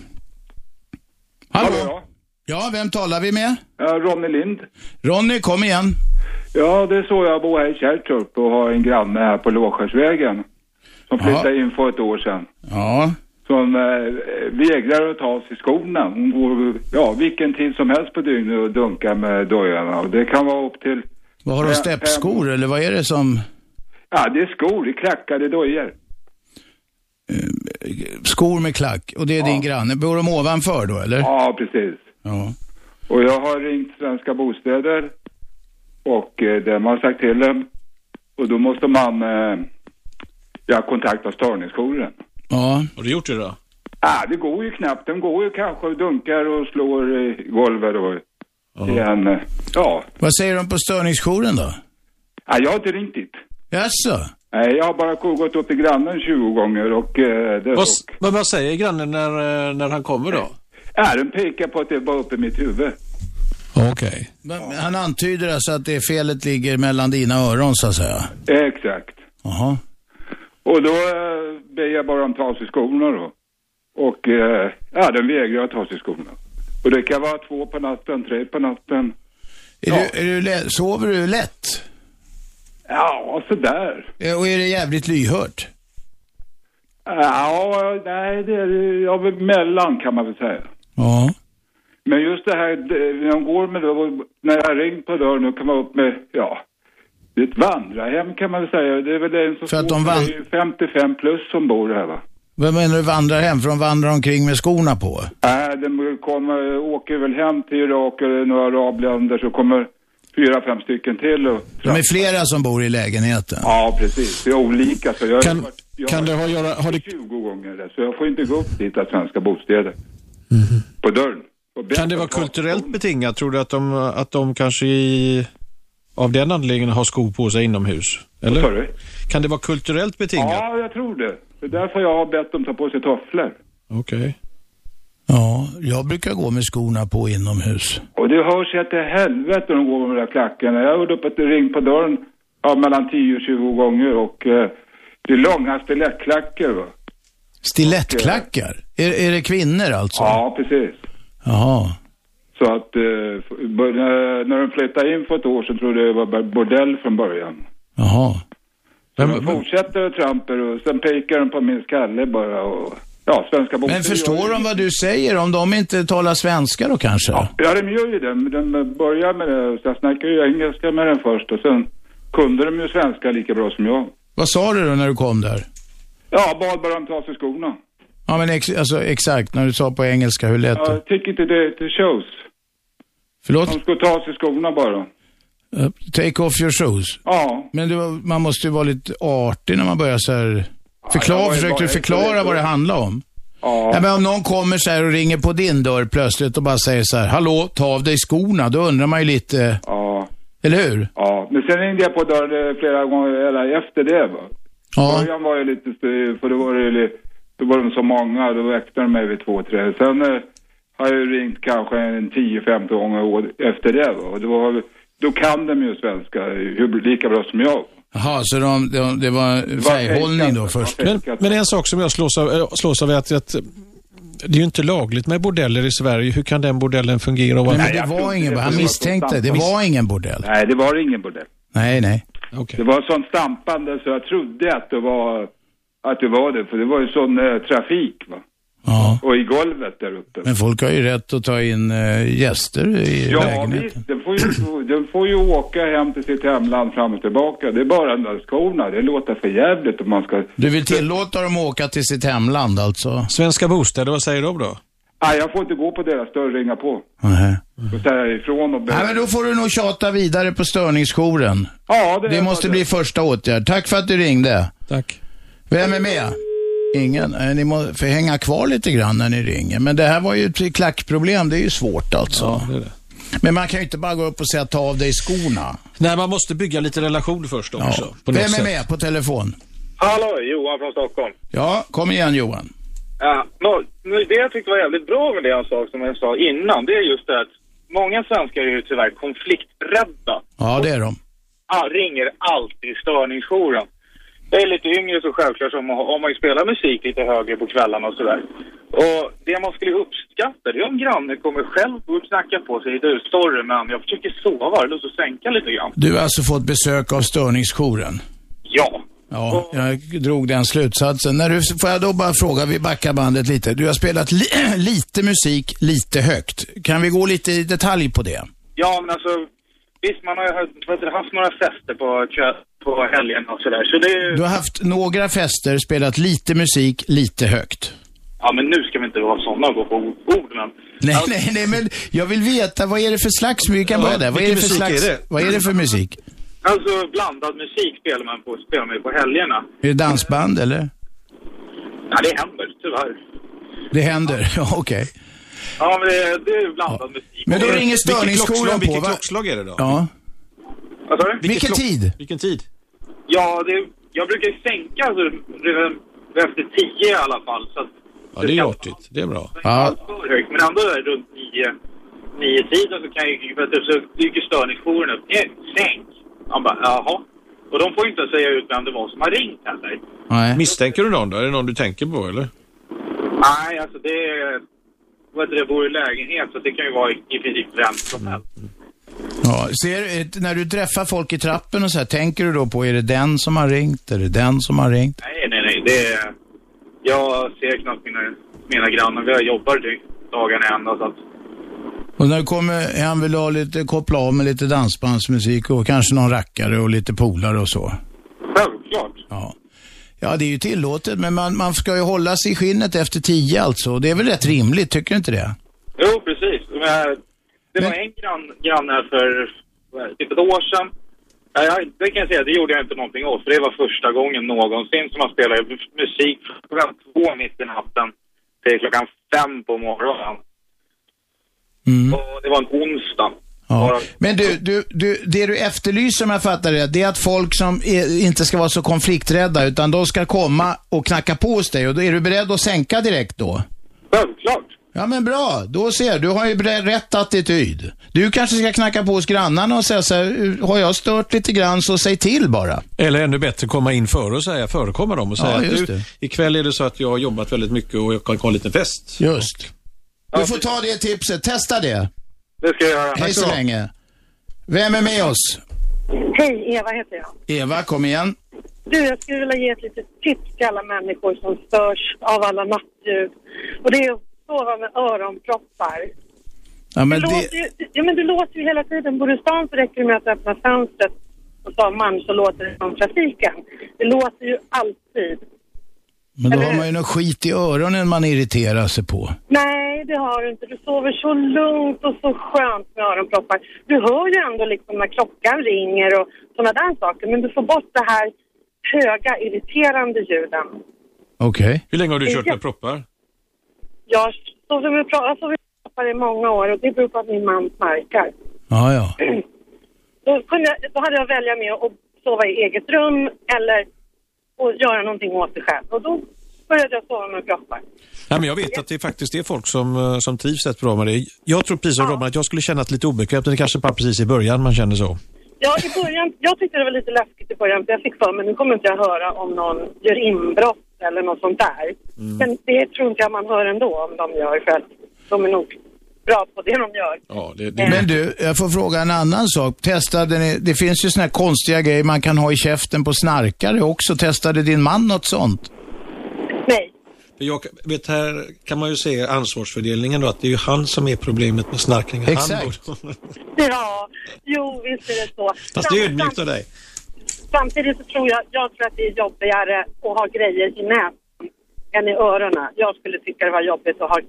[SPEAKER 2] Hallå? Ja, vem talar vi med?
[SPEAKER 12] Ronny Lind.
[SPEAKER 2] Ronny, kom igen.
[SPEAKER 12] Ja, det är så jag bor här i Kärrtorp och har en granne här på Låskärsvägen som flyttade in för ett år sedan.
[SPEAKER 2] Ja.
[SPEAKER 12] Som eh, vägrar att ta av sig skorna. Hon går ja, vilken tid som helst på dygnet och dunkar med dojorna. Och det kan vara upp till...
[SPEAKER 2] Vad har de,
[SPEAKER 12] Eh,
[SPEAKER 2] steppskor eller vad är det som...
[SPEAKER 12] Ja, det är skor, det är klackade dojor.
[SPEAKER 2] Skor med klack och det är din granne. Bor de ovanför då eller?
[SPEAKER 12] Ja, precis.
[SPEAKER 2] Ja.
[SPEAKER 12] Och jag har ringt Svenska Bostäder och eh, de har sagt till dem. Och då måste man eh, ja, kontakta störningsjouren.
[SPEAKER 2] Ja.
[SPEAKER 3] Har du gjort det då?
[SPEAKER 12] Ja, det går ju knappt. Den går ju kanske och dunkar och slår i golvet och i en... eh, Ja.
[SPEAKER 2] Vad säger de på störningsjouren då?
[SPEAKER 12] ja, jag har inte ringt dit.
[SPEAKER 2] Jaså?
[SPEAKER 12] Nej, jag har bara gått upp till grannen 20 gånger och... eh, Det,
[SPEAKER 3] Vad,
[SPEAKER 12] och
[SPEAKER 3] s- vad, vad säger grannen när, eh, när han kommer då?
[SPEAKER 12] ja, den pekar på att det var uppe i mitt huvud.
[SPEAKER 3] Okej.
[SPEAKER 2] Men Han antyder alltså att det felet ligger mellan dina öron så att säga.
[SPEAKER 12] Exakt.
[SPEAKER 2] Jaha.
[SPEAKER 12] Och då eh, ber jag bara om ta av sig skorna då. Och eh, ja, den vägrar att ta av sig skorna. Och det kan vara två på natten, tre på natten.
[SPEAKER 2] Är du, är du lä- sover du lätt?
[SPEAKER 12] Ja, sådär.
[SPEAKER 2] Eh, Och är det jävligt lyhört?
[SPEAKER 12] Ja, nej, det är ja, väl mellan kan man väl säga.
[SPEAKER 2] Ja.
[SPEAKER 12] Men just det här, det- när de går med dörren, när jag har ringt på dörren, då kan man upp med, ja, det är ett vandrarhem kan man väl säga. Det är väl en som
[SPEAKER 2] För att de
[SPEAKER 12] bor-
[SPEAKER 2] van-
[SPEAKER 12] det är ju 55 plus som bor här va.
[SPEAKER 2] Vad menar du vandrar hem? För de vandrar omkring med skorna på?
[SPEAKER 12] Nej, de kommer, åker väl hem till Irak eller några arabländer så kommer fyra, fem stycken till och...
[SPEAKER 2] De är flera som bor i lägenheten.
[SPEAKER 12] Ja, precis. Det är olika. Så jag har
[SPEAKER 3] Kan,
[SPEAKER 12] varit- jag
[SPEAKER 3] kan
[SPEAKER 12] har
[SPEAKER 3] det ha att göra... Har det,
[SPEAKER 12] 20 gånger där, så jag får inte gå upp dit att svenska bostäder. På dörren. Och be-
[SPEAKER 3] kan det vara kulturellt betingat? Tror du att de, att de kanske i, av den anledningen har skor på sig inomhus?
[SPEAKER 12] Vad sa
[SPEAKER 3] Eller?
[SPEAKER 12] du?
[SPEAKER 3] Kan det vara kulturellt betingat?
[SPEAKER 12] Ja, jag tror det. Det är därför jag har bett dem ta på sig tofflor.
[SPEAKER 3] Okej.
[SPEAKER 2] Ja, jag brukar gå med skorna på inomhus.
[SPEAKER 12] Och det hörs ju att det är helvete de går med de där klackarna. Jag hörde upp att det ringde på dörren ja, mellan 10 och 20 gånger och eh, det är långa stilettklackor va.
[SPEAKER 2] Stilettklackar? Är, är det kvinnor alltså?
[SPEAKER 12] Ja, precis.
[SPEAKER 2] Jaha.
[SPEAKER 12] Så att eh, f- bör- när- när de flyttade in för ett år så trodde jag det var bara bordell från början.
[SPEAKER 2] Jaha.
[SPEAKER 12] Men, de fortsätter och trampar och sen pekar de på min skalle bara och ja, svenska bostäder.
[SPEAKER 2] Men förstår de vad du säger? Om de inte talar svenska då kanske?
[SPEAKER 12] Ja, de gör ju det. Men de börjar med det. Sen snackar jag engelska med den först och sen kunde de ju svenska lika bra som jag.
[SPEAKER 2] Vad sa du då när du kom där?
[SPEAKER 12] Ja, bad bara dem ta av sig skorna.
[SPEAKER 2] Ja men ex- alltså, exakt, när du sa på engelska, hur lät det?
[SPEAKER 12] Jag tycker inte det till shows.
[SPEAKER 2] Förlåt?
[SPEAKER 12] De ska ta av sig skorna bara.
[SPEAKER 2] Eh, Take off your shoes.
[SPEAKER 12] Ja.
[SPEAKER 2] Men du, man måste ju vara lite artig när man börjar så här... Förklara,
[SPEAKER 12] jag var ju
[SPEAKER 2] försökte
[SPEAKER 12] bara-
[SPEAKER 2] du förklara vad det handlar om? Ja. men om någon kommer så här och ringer på din dörr plötsligt och bara säger så här, hallå, ta av dig skorna, då undrar man ju lite,
[SPEAKER 12] Ja.
[SPEAKER 2] eller hur?
[SPEAKER 12] Ja. Men sen ringde jag på dörren eh, flera gånger eller efter det. Va?
[SPEAKER 2] Ja.
[SPEAKER 12] Början var ju lite styr, för då var det ju- då var de så många. Då väckte de mig vid två, tre. Sen eh, har jag ju ringt kanske en 10-15 gånger å- efter det. Va? Och det var då kan de ju svenska hur, lika bra som jag.
[SPEAKER 2] Jaha, så de, de, det var färghållning då först?
[SPEAKER 3] Men, men en sak som jag slås av, eh, slås av är att, att det är ju inte lagligt med bordeller i Sverige. Hur kan den bordellen fungera? och
[SPEAKER 2] Nej,
[SPEAKER 3] varför-
[SPEAKER 2] men det var ingen, han misstänkte, det var ingen bordell.
[SPEAKER 12] Nej, det var ingen bordell.
[SPEAKER 2] Nej, nej.
[SPEAKER 12] Det var sånt stampande så jag trodde att det var, att det, var det för det var ju sån eh, trafik va.
[SPEAKER 2] Ja.
[SPEAKER 12] Och i golvet där uppe.
[SPEAKER 2] Men folk har ju rätt att ta in eh, gäster i
[SPEAKER 12] Ja,
[SPEAKER 2] lägenheten.
[SPEAKER 12] visst. Den får, ju, den får ju åka hem till sitt hemland fram och tillbaka. Det är bara den där skorna. Det låter för jävligt om man ska...
[SPEAKER 2] Du vill tillåta dem att åka till sitt hemland alltså?
[SPEAKER 3] Svenska bostäder, vad säger de då?
[SPEAKER 12] Nej, jag får inte gå på deras dörr och ringa på. Och säga ifrån och be.
[SPEAKER 2] Nej, men då får du nog tjata vidare på störningsjouren.
[SPEAKER 12] Ja,
[SPEAKER 2] det måste bli första åtgärd. Tack för att du ringde.
[SPEAKER 3] Tack.
[SPEAKER 2] Vem är med? Ingen? Nej, Ni må- får hänga kvar lite grann när ni ringer. Men det här var ju ett klackproblem. Det är ju svårt alltså. Men man kan ju inte bara gå upp och säga ta av dig skorna.
[SPEAKER 3] Nej, man måste bygga lite relation först också.
[SPEAKER 2] Ja.
[SPEAKER 3] På något
[SPEAKER 2] Vem är
[SPEAKER 3] sätt.
[SPEAKER 2] med på telefon?
[SPEAKER 13] Hallå, Johan från Stockholm.
[SPEAKER 2] Ja, kom igen Johan.
[SPEAKER 13] Ja, nå, nu, det jag tyckte var jävligt bra med det han sa, som jag sa innan, det är just det att många svenskar är ju tyvärr konflikträdda.
[SPEAKER 2] Ja, det är de.
[SPEAKER 13] Ah, ringer alltid störningsjouren. Jag är lite yngre så självklart som om man ju spelar musik lite högre på kvällarna och sådär. Och det man skulle uppskatta det är om grannen kommer själv och knackar på sig. Du, sorry men jag försöker sova, har du lust att sänka lite grann?
[SPEAKER 2] Du har alltså fått besök av störningsjouren.
[SPEAKER 13] Ja.
[SPEAKER 2] Ja, jag drog den slutsatsen. När du, får jag då bara fråga, vi backar bandet lite. Du har spelat li, lite musik, lite högt. Kan vi gå lite i detalj på det?
[SPEAKER 13] Ja, men alltså visst man har ju haft- vad heter det, haft några fester på, kö- på helgen och sådär. Så det är ju...
[SPEAKER 2] Du har haft några fester, spelat lite musik, lite högt.
[SPEAKER 13] Ja, men nu ska vi inte vara sådana och gå på ord, men... Alltså,
[SPEAKER 2] Nej, nej, nej, men jag vill veta, vad är det för slags musik? Vi kan
[SPEAKER 13] Ja,
[SPEAKER 2] börja där. Vad är det
[SPEAKER 13] vilken
[SPEAKER 2] för
[SPEAKER 13] musik
[SPEAKER 2] slags,
[SPEAKER 13] är det?
[SPEAKER 2] vad är det för musik?
[SPEAKER 13] Alltså blandad musik spelar man på, spelar man ju på helgerna.
[SPEAKER 2] Är det dansband eller?
[SPEAKER 13] Ja, det händer tyvärr.
[SPEAKER 2] Det händer, Ja, okej.
[SPEAKER 13] Ja, men det, det är ju blandad musik.
[SPEAKER 2] Men då ringer störningsskolan på, va?
[SPEAKER 13] är det då?
[SPEAKER 2] Ja.
[SPEAKER 13] Vad sa du?
[SPEAKER 2] Vilken Vilken klock- tid?
[SPEAKER 13] Vilken tid? Ja, det, jag brukar ju sänka alltså, re- efter tio i alla fall. Så att
[SPEAKER 3] Ja, det är artigt. Det är bra.
[SPEAKER 2] Ja.
[SPEAKER 13] för högt. Men ändå är det runt nio, nio tiden så kan jag ju, för att det- så dyker störningsjouren upp. Nej, sänk! Han bara, jaha. Och de får ju inte säga ut vem det var som har ringt heller.
[SPEAKER 3] Misstänker du någon då? Är det någon du tänker på eller?
[SPEAKER 13] Nej, alltså det är... Vad heter det? Bor i lägenhet, så det kan ju vara i, i princip vem som helst.
[SPEAKER 2] Ja, ser, eh, när du träffar folk i trappen och så här, tänker du då på, är det den som har ringt? Är det den som har ringt?
[SPEAKER 13] Nej, nej, nej. Det är, jag ser knappt mina, mina grannar. Jag jobbar dy- dagarna i ända, så att...
[SPEAKER 2] Och när du kommer hem vill du ha lite, koppla av med lite dansbandsmusik och kanske någon rackare och lite polare och så.
[SPEAKER 13] Självklart.
[SPEAKER 2] Ja. Ja, det är ju tillåtet, men man, man ska ju hålla sig i skinnet efter tio alltså. Det är väl rätt rimligt, tycker du inte det?
[SPEAKER 13] Jo, precis. Men, det var en grann, granne för vad, typ ett år sedan. Ja, jag, det kan jag säga, det gjorde jag inte någonting åt. För det var första gången någonsin som man spelade musik från klockan två mitt i natten till klockan fem på morgonen. Och det var en onsdag.
[SPEAKER 2] Ja. Men du, du, du, det du efterlyser om jag fattar det, det är att folk som är, inte ska vara så konflikträdda, utan de ska komma och knacka på hos dig. Och då är du beredd att sänka direkt då?
[SPEAKER 13] Självklart.
[SPEAKER 2] Ja men bra, då ser du. har ju bre- rätt attityd. Du kanske ska knacka på hos grannarna och säga så här, har jag stört lite grann så säg till bara.
[SPEAKER 3] Eller ännu bättre, komma in före och säga, förekomma dem och säga
[SPEAKER 2] Ja,
[SPEAKER 3] att
[SPEAKER 2] just
[SPEAKER 3] du,
[SPEAKER 2] det.
[SPEAKER 3] ikväll är det så att jag har jobbat väldigt mycket och jag kan ha en liten fest.
[SPEAKER 2] Just. Du får ta det tipset, testa det.
[SPEAKER 13] Det ska jag göra.
[SPEAKER 2] Hej så länge. Vem är med oss?
[SPEAKER 14] Hej, Eva heter jag.
[SPEAKER 2] Eva, kom igen.
[SPEAKER 14] Du, jag skulle vilja ge ett litet tips till alla människor som störs av alla nattljud. Och det är att sova med öronproppar.
[SPEAKER 2] Ja,
[SPEAKER 14] Men
[SPEAKER 2] men
[SPEAKER 14] det...
[SPEAKER 2] det,
[SPEAKER 14] Låter ju, ja, men det låter ju hela tiden. Bor du i stan så räcker det med att öppna fönstret och ta man så låter det som trafiken. Det låter ju alltid.
[SPEAKER 2] men då har man ju något skit i öronen man irriterar sig på.
[SPEAKER 14] Nej, det har du inte. Du sover så lugnt och så skönt med öronproppar. Du hör ju ändå liksom när klockan ringer och sådana där saker. Men du får bort det här höga, irriterande ljuden.
[SPEAKER 2] Okej.
[SPEAKER 3] Hur länge har du
[SPEAKER 14] Det är
[SPEAKER 3] kört med proppar?
[SPEAKER 14] Jag har sovit med pro- jag har sovit med proppar i många år och det beror på att min man snarkar.
[SPEAKER 2] Ja, ja.
[SPEAKER 14] Då, kunde jag, då hade jag att välja med att sova i eget rum eller att göra någonting åt det själv. Och då började jag sova med proppar.
[SPEAKER 3] Nej, men jag vet att det faktiskt är folk som, eh, som trivs rätt bra med det. Jag tror precis som Robin att jag skulle känna att lite obekvämt, men det kanske bara precis i början man känner så.
[SPEAKER 14] Ja, i början, jag tyckte det var lite läskigt i början för jag fick för mig nu kommer inte jag höra om någon gör inbrott eller något sånt där.
[SPEAKER 2] Mm.
[SPEAKER 14] Men det tror inte jag man hör ändå om de gör för att de är nog bra på det de gör. Eh,
[SPEAKER 2] Men du, jag får fråga en annan sak. Testade ni, det finns ju såna här konstiga grejer man kan ha i käften på snarkare också. Testade din man något sånt?
[SPEAKER 3] För Jag vet, här kan man ju se ansvarsfördelningen då, att det är ju han som är problemet med snarkningen.
[SPEAKER 2] Exakt.
[SPEAKER 3] Han,
[SPEAKER 14] Ja, jo visst är det så.
[SPEAKER 3] fast det är ödmjukt av dig.
[SPEAKER 14] Samtidigt så tror jag, jag tror att det är jobbigare att ha grejer i näsan än i öronen. Jag skulle tycka det var jobbigt att ha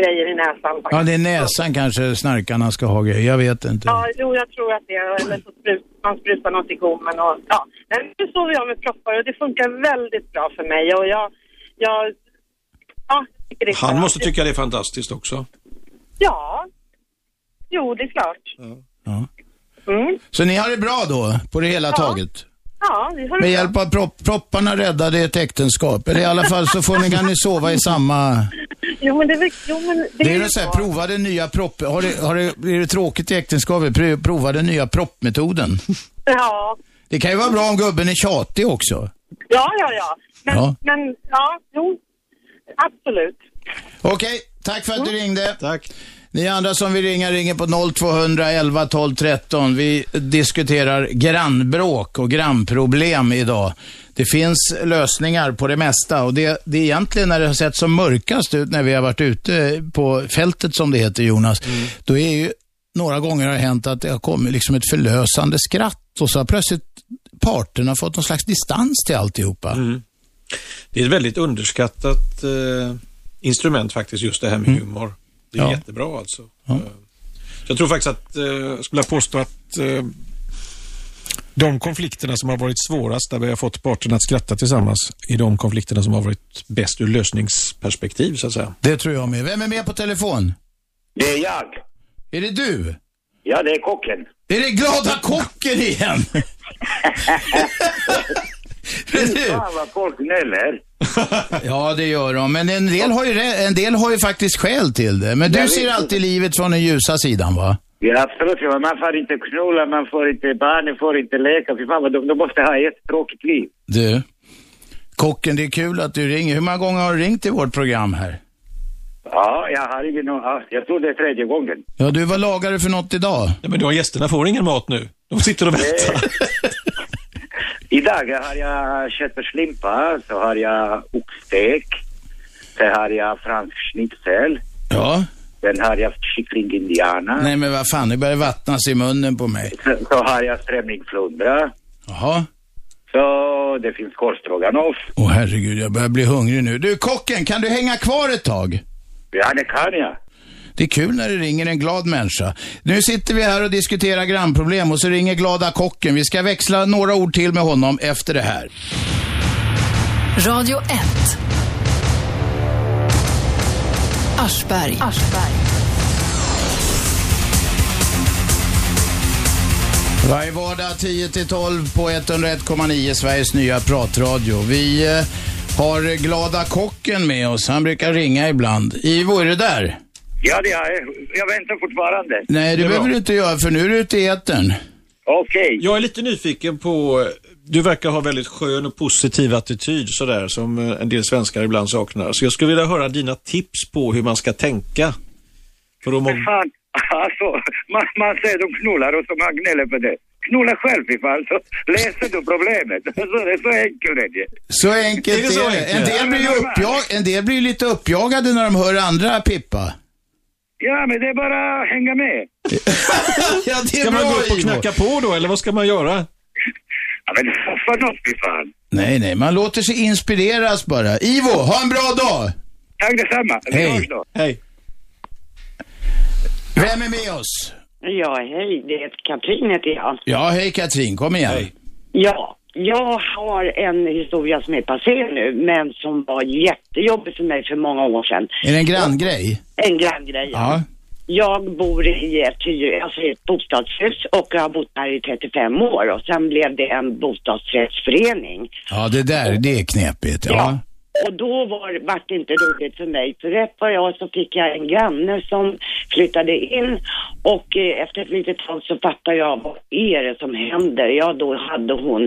[SPEAKER 14] grejer i näsan faktiskt.
[SPEAKER 2] Ja, det är näsan kanske snarkarna ska ha grejer. Jag vet
[SPEAKER 3] eh,
[SPEAKER 2] inte.
[SPEAKER 14] Ja, jo, jag tror att det är, eller så sprut, man sprutar något i gommen och ja. Nej, Nu sover jag med proppar och det funkar väldigt bra för mig och jag, jag, ja, jag tycker det är
[SPEAKER 3] Han
[SPEAKER 14] skönt.
[SPEAKER 3] måste tycka det är fantastiskt också.
[SPEAKER 14] Ja. Jo, det är klart. Mm.
[SPEAKER 2] Så ni har det bra då, på det hela taget?
[SPEAKER 14] Ja, vi har
[SPEAKER 2] Med hjälp av propp, propparna räddade ett äktenskap. Eller i alla fall så får ni, kan ni sova i samma...
[SPEAKER 14] Jo, men det är väl- jo, men det,
[SPEAKER 2] Det är
[SPEAKER 14] ju
[SPEAKER 2] ju så här,
[SPEAKER 14] så.
[SPEAKER 2] prova den nya propp... Har det, har det, blir det tråkigt i äktenskapet, Pro- prova den nya proppmetoden.
[SPEAKER 14] Ja.
[SPEAKER 2] Det kan ju vara bra om gubben är tjatig också.
[SPEAKER 14] Ja, ja, ja. Men,
[SPEAKER 2] Ja.
[SPEAKER 14] men ja, jo. Absolut.
[SPEAKER 2] Okej, tack för att du ringde. Tack. Ni andra som vill ringa ringer på 0211 12 13. Vi diskuterar grannbråk och grannproblem idag. Det finns lösningar på det mesta och det, det är egentligen när det har sett som mörkast ut när vi har varit ute på fältet som det heter Jonas. Då är ju några gånger har det hänt att det har kommit liksom ett förlösande skratt och så har plötsligt parterna fått någon slags distans till alltihopa.
[SPEAKER 3] Mm. Det är ett väldigt underskattat eh, instrument faktiskt, just det här med humor. Det är
[SPEAKER 2] Ja.
[SPEAKER 3] jättebra alltså.
[SPEAKER 2] Ja.
[SPEAKER 3] Jag tror faktiskt att, eh, jag skulle vilja påstå att eh, de konflikterna som har varit svårast, där vi har fått parterna att skratta tillsammans, är de konflikterna som har varit bäst ur lösningsperspektiv så att säga.
[SPEAKER 2] Det tror jag med. Vem är med på telefon?
[SPEAKER 7] Det är jag.
[SPEAKER 2] Är det du?
[SPEAKER 7] Ja, det är kocken.
[SPEAKER 2] Är det glada kocken igen?
[SPEAKER 7] Fy fan vad folk gnäller.
[SPEAKER 2] ja, det gör de. Men en del har ju, rä- en del har ju faktiskt skäl till det. Men du
[SPEAKER 7] Jag
[SPEAKER 2] ser
[SPEAKER 7] vet.
[SPEAKER 2] alltid livet från den ljusa sidan, va?
[SPEAKER 7] Ja, absolut. ja, Man får inte knulla, man får inte, barnen får inte leka. Fy fan vad de, de måste ha ett tråkigt liv.
[SPEAKER 2] Du, kocken, det är kul att du ringer. Hur många gånger har du ringt i vårt program här?
[SPEAKER 7] Ja, jag har ingen ja, Jag tror det är tredje gången.
[SPEAKER 2] Ja, du, vad lagar du för något idag?
[SPEAKER 3] Ja, men de gästerna får ingen mat nu. De sitter och väntar.
[SPEAKER 7] Idag har jag köttfärslimpa, så har jag oxstek, sen har jag fransk schnitzel,
[SPEAKER 2] Ja.
[SPEAKER 7] sen har jag kyckling indiana,
[SPEAKER 2] Nej, men vad fan, det börjar vattnas i munnen på mig.
[SPEAKER 7] sen så har jag strömmingflundra,
[SPEAKER 2] Jaha.
[SPEAKER 7] så det finns korvstroganoff.
[SPEAKER 2] Åh, herregud, jag börjar bli hungrig nu. Du, kocken, kan du hänga kvar ett tag?
[SPEAKER 7] Ja, det kan jag.
[SPEAKER 2] Det är kul när det ringer en glad människa. Nu sitter vi här och diskuterar grannproblem och så ringer glada kocken. Vi ska växla några ord till med honom efter det här.
[SPEAKER 1] Radio 1. Aschberg.
[SPEAKER 15] Varje
[SPEAKER 2] vardag 10-12 på 101,9 Sveriges nya pratradio. Vi eh, har glada kocken med oss. Han brukar ringa ibland. Ivo, är du där?
[SPEAKER 7] Ja, det har jag. Jag väntar fortfarande.
[SPEAKER 2] Nej, det, behöver du inte göra för nu är du ute i etern.
[SPEAKER 7] Okej.
[SPEAKER 3] Jag är lite nyfiken på, du verkar ha väldigt skön och positiv attityd sådär som eh, en del svenskar ibland saknar. Så jag skulle vilja höra dina tips på hur man ska tänka. För att må...
[SPEAKER 7] Men fan, alltså, man, man säger de knullar och så man gnäller på det. Knulla själv i fall, så löser du problemet. Så det är så enkelt det är.
[SPEAKER 2] Så enkelt
[SPEAKER 7] Är
[SPEAKER 2] är
[SPEAKER 7] det så
[SPEAKER 2] det.
[SPEAKER 7] enkelt?
[SPEAKER 2] En, del blir ju uppjag... en del blir ju lite uppjagade när de hör andra pippa.
[SPEAKER 7] Ja, men det är bara att hänga med.
[SPEAKER 2] ja, det är
[SPEAKER 3] ska man
[SPEAKER 2] bra,
[SPEAKER 3] gå upp och
[SPEAKER 2] Ivo.
[SPEAKER 3] knacka på då eller vad ska man göra?
[SPEAKER 7] Ja, men för något i fan.
[SPEAKER 2] Nej, nej, man låter sig inspireras bara. Ivo, ha en bra dag!
[SPEAKER 7] Tack detsamma. Vi
[SPEAKER 2] Hej.
[SPEAKER 7] hörs då.
[SPEAKER 3] Hej.
[SPEAKER 2] Vem är med oss?
[SPEAKER 16] Ja, hej. Det är Katrin heter jag.
[SPEAKER 2] Ja, hej Katrin, kom igen.
[SPEAKER 16] Ja, jag har en historia som är passé nu, men som var jättejobbig för mig för många år sedan.
[SPEAKER 2] Är det en granngrej?
[SPEAKER 16] En granngrej.
[SPEAKER 2] Ja.
[SPEAKER 16] Jag bor i ett, hyr- alltså i ett bostadshus och jag har bott här i 35 år och sen blev det en bostadsrättsförening.
[SPEAKER 2] Ja, det där, det är knepigt. Ja.
[SPEAKER 16] Och då var, det- vart det inte roligt för mig. För rätt vad jag så fick jag en granne som flyttade in och eh, efter ett litet tag så fattade jag vad är det som händer? Ja, då hade hon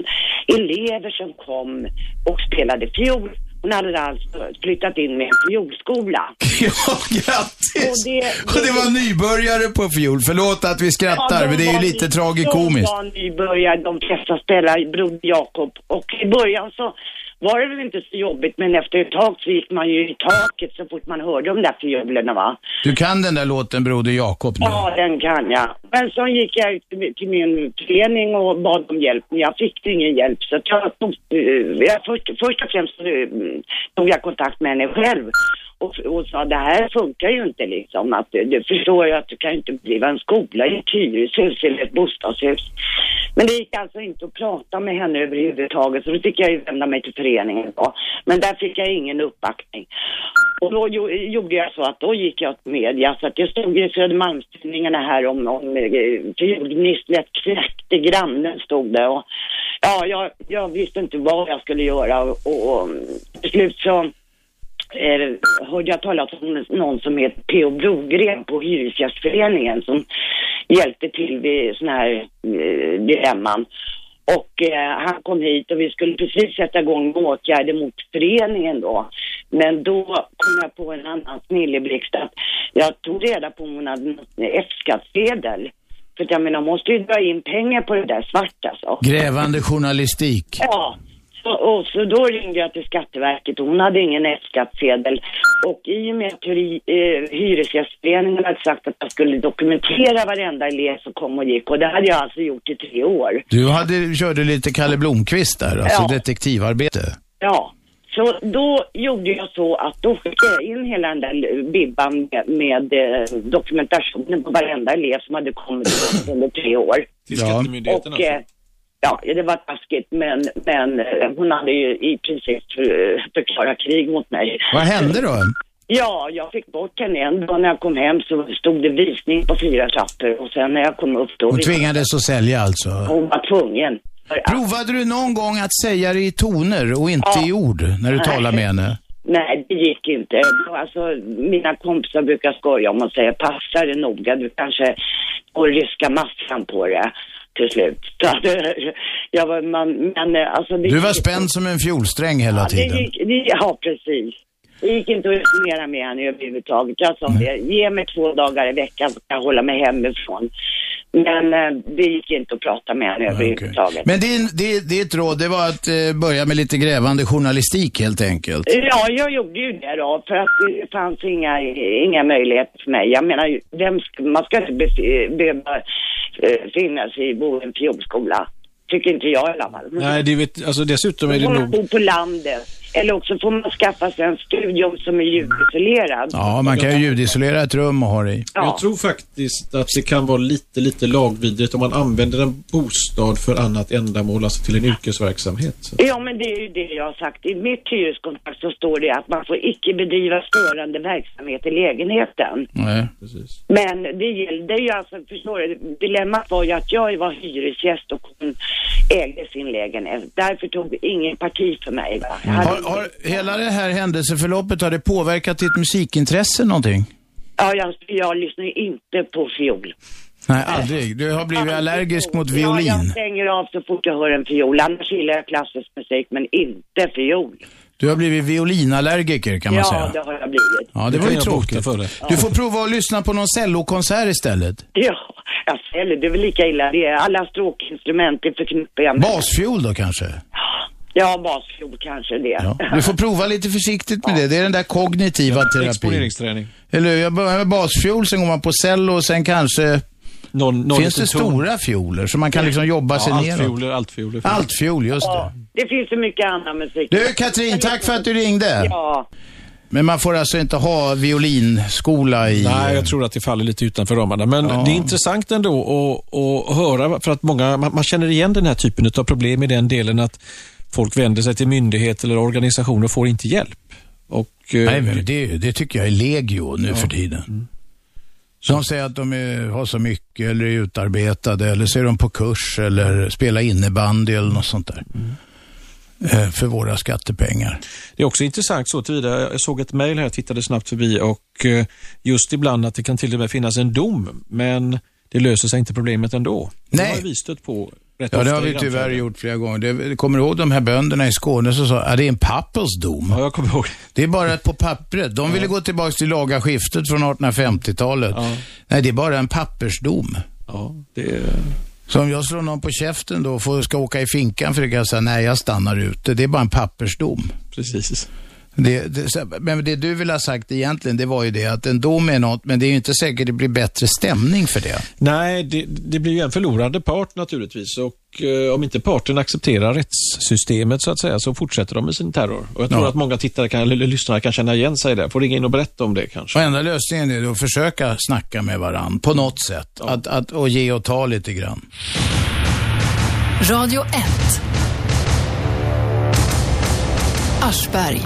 [SPEAKER 16] elever som kom och spelade fiol. Hon hade alltså flyttat in med en fiolskola.
[SPEAKER 2] Ja, grattis! Och det, var nybörjare på fiol. Förlåt att vi skrattar, men det är ju lite tragikomiskt.
[SPEAKER 16] De var nybörjare, de flesta spelare, Broder Jakob. Och i början så var det väl inte så jobbigt, men efter ett tag så gick man ju i taket så fort man hörde de där fiolerna va.
[SPEAKER 2] Du kan den där låten Broder Jakob nu?
[SPEAKER 16] Ja, den kan jag. Men så gick jag ut till min- till min förening och bad om hjälp, men jag fick ingen hjälp. Så att jag tog, eh, jag först, först och främst eh, tog jag kontakt med henne själv och, och sa det här funkar ju inte liksom. Att, eh, du förstår ju att du kan ju inte driva en skola i ett hyreshus eller ett bostadshus. Men det gick alltså inte att prata med henne överhuvudtaget så då fick jag ju vända mig till föreningen då. Men där fick jag ingen uppbackning. Och då jo, gjorde jag så att då gick jag till media så att det stod i Södermalmstidningarna här om, om eh, fjordgnisslet knäckte grannen stod det och ja, jag, jag visste inte vad jag skulle göra och, och, och till slut så eh, hörde jag talas om någon som heter P.O. Brogren på Hyresgästföreningen som hjälpte till vid sån här eh, dilemman. Och eh, han kom hit och vi skulle precis sätta igång med åtgärder mot föreningen då. Men då kom jag på en annan snilleblixt att jag tog reda på om hon hade någon F-skattsedel. För att jag menar, hon måste ju dra in pengar på det där svart alltså.
[SPEAKER 2] Grävande journalistik.
[SPEAKER 16] Ja, så, och så då ringde jag till Skatteverket och hon hade ingen F-skattsedel. Och i och med att hyri- eh, Hyresgästföreningen hade sagt att jag skulle dokumentera varenda elev som kom och gick och det hade jag alltså gjort i tre år.
[SPEAKER 2] Du hade, körde lite Kalle Blomkvist där, alltså
[SPEAKER 16] Ja.
[SPEAKER 2] detektivarbete.
[SPEAKER 16] Ja, så då gjorde jag så att då skickade jag in hela den där bibban med, med eh, dokumentationen på varenda elev som hade kommit under tre år.
[SPEAKER 3] Till Skattemyndigheten
[SPEAKER 16] Och, eh, Ja, det var taskigt men, men eh, hon hade ju i princip eh, förklarat krig mot mig.
[SPEAKER 2] Vad hände då?
[SPEAKER 16] Ja, jag fick bort henne en dag när jag kom hem så stod det visning på fyra trappor och sen när jag kom upp då...
[SPEAKER 2] Hon tvingades att sälja alltså?
[SPEAKER 16] Hon var tvungen.
[SPEAKER 2] Provade du någon gång att säga det i toner och inte i ord när du
[SPEAKER 16] Nej.
[SPEAKER 2] talar med henne?
[SPEAKER 16] Nej, det gick inte. Alltså, mina kompisar brukar skoja om och säga passa dig noga, du kanske får ryska massan på det till slut. Så att, eh, jag var, man, men eh, alltså... Det
[SPEAKER 2] Du var
[SPEAKER 16] gick-
[SPEAKER 2] spänd som en fjolsträng hela
[SPEAKER 16] Ja,
[SPEAKER 2] tiden.
[SPEAKER 16] Det gick, det, ja, precis. Det gick inte att resonera med henne överhuvudtaget. Jag sa det, ge mig två dagar i veckan så kan jag hålla mig hemifrån. Men eh, det gick inte att prata med
[SPEAKER 2] Ah,
[SPEAKER 16] henne överhuvudtaget.
[SPEAKER 2] Men din, di- ditt råd, det var att eh, börja med lite grävande journalistik helt enkelt.
[SPEAKER 16] Ja, jag gjorde ju det då, för att det fanns inga, inga möjligheter för mig. Jag menar, ju, vem, sk- man ska inte be- behöva eh, finna sig i bo i en fjolskola. Tycker inte jag i alla fall.
[SPEAKER 3] Nej, det vet, alltså dessutom är det
[SPEAKER 16] får man
[SPEAKER 3] nog...
[SPEAKER 16] bo på landet, eller också får man skaffa sig en studion som är ljudisolerad.
[SPEAKER 2] Ja, man kan ju ljudisolera ett rum och ha det i.
[SPEAKER 3] Jag tror faktiskt att det kan vara lite, lite lagvidrigt om man använder en bostad för annat ändamål, alltså till en yrkesverksamhet.
[SPEAKER 16] Ja, men det är ju det jag har sagt. I mitt hyreskontrakt så står det att man får icke bedriva störande verksamhet i lägenheten.
[SPEAKER 2] Nej.
[SPEAKER 16] Men det gällde ju alltså, förstår du, dilemmat var ju att jag var hyresgäst och hon ägde sin lägenhet. Därför tog ingen parti för mig. Va? Jag hade-
[SPEAKER 2] Har, har hela det här händelseförloppet, har det påverkat ditt musikintresse någonting?
[SPEAKER 16] Ja, jag, jag lyssnar ju inte på fiol.
[SPEAKER 2] Nej, aldrig. Du har blivit allergisk mot violin.
[SPEAKER 16] Ja, jag stänger av så fort jag hör en fiol. Annars gillar jag klassisk musik, men inte fiol.
[SPEAKER 2] Du har blivit violinallergiker kan man
[SPEAKER 16] ja,
[SPEAKER 2] säga.
[SPEAKER 16] det har jag blivit.
[SPEAKER 2] Ja, det var ju tråkigt. Du får prova att lyssna på någon cellokonsert istället.
[SPEAKER 16] Ja, alltså, eller det är väl lika illa det. är. Alla stråkinstrument, det förknippar jag med.
[SPEAKER 2] Basfiol då kanske?
[SPEAKER 16] Ja, basfiol kanske det. Ja.
[SPEAKER 2] Du får prova lite försiktigt med det. Det är den där kognitiva terapin.
[SPEAKER 3] Exponeringsträning.
[SPEAKER 2] Eller hur? Jag börjar med basfiol, sen går man på cello och sen kanske...
[SPEAKER 3] någon
[SPEAKER 2] Finns det
[SPEAKER 3] liten ton.
[SPEAKER 2] stora fioler så man kan liksom jobba sig
[SPEAKER 3] ja,
[SPEAKER 2] neråt?
[SPEAKER 3] Altfioler, altfioler.
[SPEAKER 2] Altfiol, just det.
[SPEAKER 16] Det finns så mycket annan musik.
[SPEAKER 2] Du Katrin, tack för att du ringde.
[SPEAKER 16] Ja.
[SPEAKER 2] Men man får alltså inte ha violinskola i...
[SPEAKER 3] Nej, jag tror att det faller lite utanför ramarna. Men det är intressant ändå att, att höra, för att många, man, man känner igen den här typen av problem i den delen att folk vänder sig till myndigheter eller organisationer och får inte hjälp. Och, eh, Mm.
[SPEAKER 2] Nej, men det, det tycker jag är legio nu för tiden. De säger att de är, har så mycket eller är
[SPEAKER 3] Mm.
[SPEAKER 2] utarbetade eller så är de på kurs eller spelar innebandy eller något sånt där. eh, för våra skattepengar.
[SPEAKER 3] Det är också intressant så tillvida, jag såg ett mejl här, jag tittade snabbt förbi och eh, just ibland att det kan till och med finnas en dom, men det löser sig inte problemet ändå. Det har vi stött på rätt
[SPEAKER 2] Ja,
[SPEAKER 3] ofta
[SPEAKER 2] det har
[SPEAKER 3] i
[SPEAKER 2] vi
[SPEAKER 3] grannfällan.
[SPEAKER 2] tyvärr gjort flera gånger. Det, kommer du ihåg de här bönderna i Skåne som sa att det är en pappers dom? Ja,
[SPEAKER 3] jag kommer ihåg.
[SPEAKER 2] Det är bara på pappret. De ville gå tillbaka till laga skiftet från 1850-talet. Nej, det är bara en pappersdom.
[SPEAKER 3] Ja, det...
[SPEAKER 2] Så om jag slår någon på käften då och får- ska åka i finkan för det kan jag säga nej, jag stannar ute. Det är bara en pappersdom.
[SPEAKER 3] Precis.
[SPEAKER 2] Det, det, så- men det du ville ha sagt egentligen, det var ju det att en dom är något, men det är ju inte säkert det blir bättre stämning för det.
[SPEAKER 3] Nej, det, det blir ju en förlorande part naturligtvis och eh, om inte parten accepterar rättssystemet så att säga så fortsätter de med sin terror. Och jag tror
[SPEAKER 2] Ja.
[SPEAKER 3] att många tittare kan, eller lyssnare kan känna igen sig där. Får ringa in och berätta om det kanske.
[SPEAKER 2] Och enda lösningen är då att försöka snacka med varandra på något sätt. Att, att, och ge och ta lite grann.
[SPEAKER 1] Radio 1. Aschberg.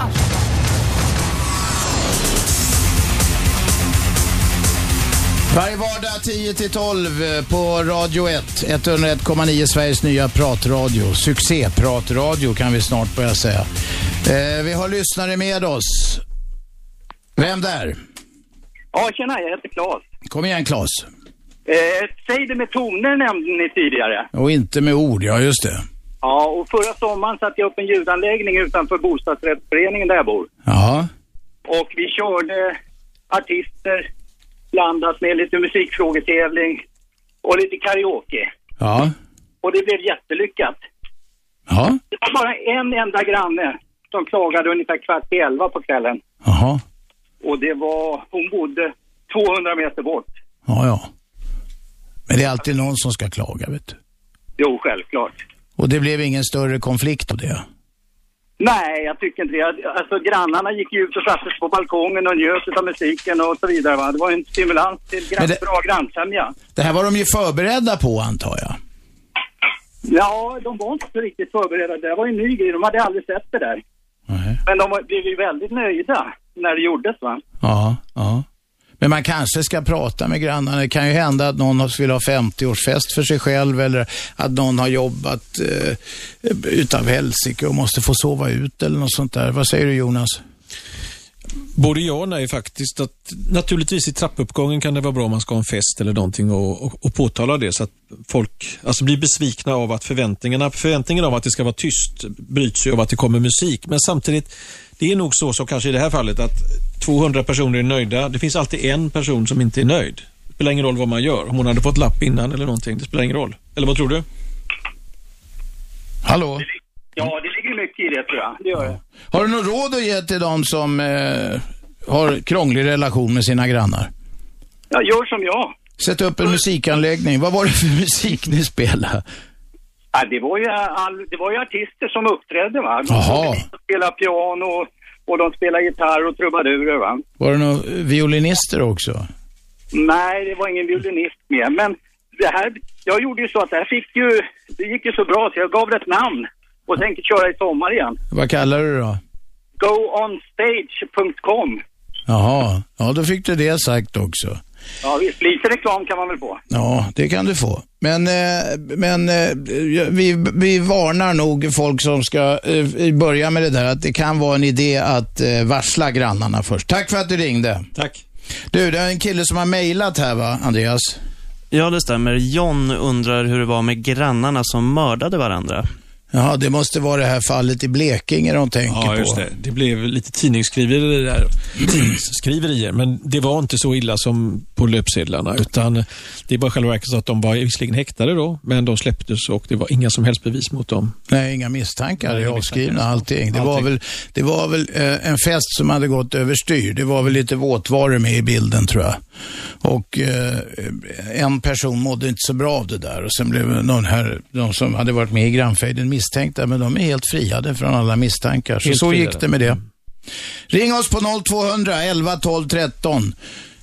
[SPEAKER 17] Varje vardag
[SPEAKER 2] 10-12 eh, på Radio 1, 101,9 Sveriges nya pratradio. Succépratradio kan vi snart börja säga. Eh, vi har lyssnare med oss. Vem där?
[SPEAKER 18] Ja, tjena, jag heter Claes.
[SPEAKER 2] Kom igen Claes.
[SPEAKER 18] Eh, säg det med toner nämnde ni tidigare.
[SPEAKER 2] Och inte med ord, ja just det.
[SPEAKER 18] Ja, och förra sommaren satte jag upp en ljudanläggning utanför bostadsrättsföreningen där jag bor.
[SPEAKER 2] Jaha.
[SPEAKER 18] Och vi körde artister blandat med lite musikfrågetävling och lite karaoke.
[SPEAKER 2] Ja.
[SPEAKER 18] Och det blev jättelyckat.
[SPEAKER 2] Ja.
[SPEAKER 18] Det var bara en enda granne som klagade ungefär kvart i elva på kvällen.
[SPEAKER 2] Jaha.
[SPEAKER 18] Och det var, hon bodde 200 meter bort.
[SPEAKER 2] Ja, ja. Men det är alltid någon som ska klaga, vet du.
[SPEAKER 18] Jo, självklart.
[SPEAKER 2] Och det blev ingen större konflikt på det.
[SPEAKER 18] Nej, jag tycker inte det. Jag- Alltså grannarna gick ju ut och satte sig på balkongen och njöt utav musiken och så vidare. Va? Det var ju en stimulans till gran-
[SPEAKER 2] Men det-
[SPEAKER 18] bra grannsämja.
[SPEAKER 2] Det här var de ju förberedda på, antar jag.
[SPEAKER 18] Ja, de var inte så riktigt förberedda. Det var ju en ny grej. De hade aldrig sett det där. Men de var- blev ju väldigt nöjda när det gjordes va.
[SPEAKER 2] Ja, ja. Men man kanske ska prata med grannarna. Det kan ju hända att någon vill ha 50-årsfest för sig själv eller att någon har jobbat eh, utav helsike och måste få sova ut eller något sånt där. Vad säger du Jonas?
[SPEAKER 3] Både ja och nej faktiskt. Att, naturligtvis i trappuppgången kan det vara bra om man ska ha en fest eller någonting och, och, och påtala det så att folk alltså, blir besvikna av att förväntningarna, förväntningen av att det ska vara tyst bryts ju av att det kommer musik. Men samtidigt, det är nog så som kanske i det här fallet att 200 personer är nöjda. Det finns alltid en person som inte är nöjd. Det spelar ingen roll vad man gör. Om hon hade fått lapp innan eller någonting, det spelar ingen roll. Eller vad tror du?
[SPEAKER 2] Hallå?
[SPEAKER 18] Ja, det ligger mycket i det tror jag. Mm. Det gör det.
[SPEAKER 2] Har du något råd att ge till de som eh, har krånglig relation med sina grannar?
[SPEAKER 18] Jag gör som jag.
[SPEAKER 2] Sätt upp en musikanläggning. Vad var det för musik ni spelade?
[SPEAKER 18] Ja, det, var ju all, det var ju artister som uppträdde va. De
[SPEAKER 2] Jaha.
[SPEAKER 18] spelade piano och de spelade gitarr och trubadurer va.
[SPEAKER 2] Var det några violinister också?
[SPEAKER 18] Nej, det var ingen violinist med. Men det här, jag gjorde ju så att det här fick ju, det gick ju så bra så jag gav det ett namn och tänker köra i sommar igen.
[SPEAKER 2] Vad kallar du det då?
[SPEAKER 18] Goonstage.com.
[SPEAKER 2] Jaha, ja då fick du det sagt också.
[SPEAKER 18] Ja visst, lite reklam kan man väl få.
[SPEAKER 2] Ja, det kan du få. Men, eh, men eh, vi, vi varnar nog folk som ska eh, börja med det där att det kan vara en idé att eh, varsla grannarna först. Tack för att du ringde.
[SPEAKER 3] Tack.
[SPEAKER 2] Du, det är en kille som har mejlat här va, Andreas?
[SPEAKER 19] Ja, det stämmer. John undrar hur det var med grannarna som mördade varandra.
[SPEAKER 2] Jaha, det måste vara det här fallet i Blekinge de tänker
[SPEAKER 3] Ja, just
[SPEAKER 2] på.
[SPEAKER 3] det. Det blev lite tidningsskriverier där. Tidningsskriverier, men det var inte så illa som på löpsedlarna. Utan det var själva verket så att de var visserligen häktade då, men de släpptes och det var inga som helst bevis mot dem.
[SPEAKER 2] Nej, inga misstankar
[SPEAKER 3] Nej,
[SPEAKER 2] är
[SPEAKER 3] inga
[SPEAKER 2] avskrivna,
[SPEAKER 3] misstankar.
[SPEAKER 2] allting. Det var
[SPEAKER 3] Allting.
[SPEAKER 2] väl, det var väl eh, en fest som hade gått överstyr. Det var väl lite våtvaror med i bilden tror jag. Och eh, en person mådde inte så bra av det där. Och sen blev någon här, de som hade varit med i grannfejden misstänkta, men de är helt friade från alla misstankar. Så,
[SPEAKER 17] Helt
[SPEAKER 2] så
[SPEAKER 17] friade.
[SPEAKER 2] gick det med det. Ring oss på 0200 11 12 13.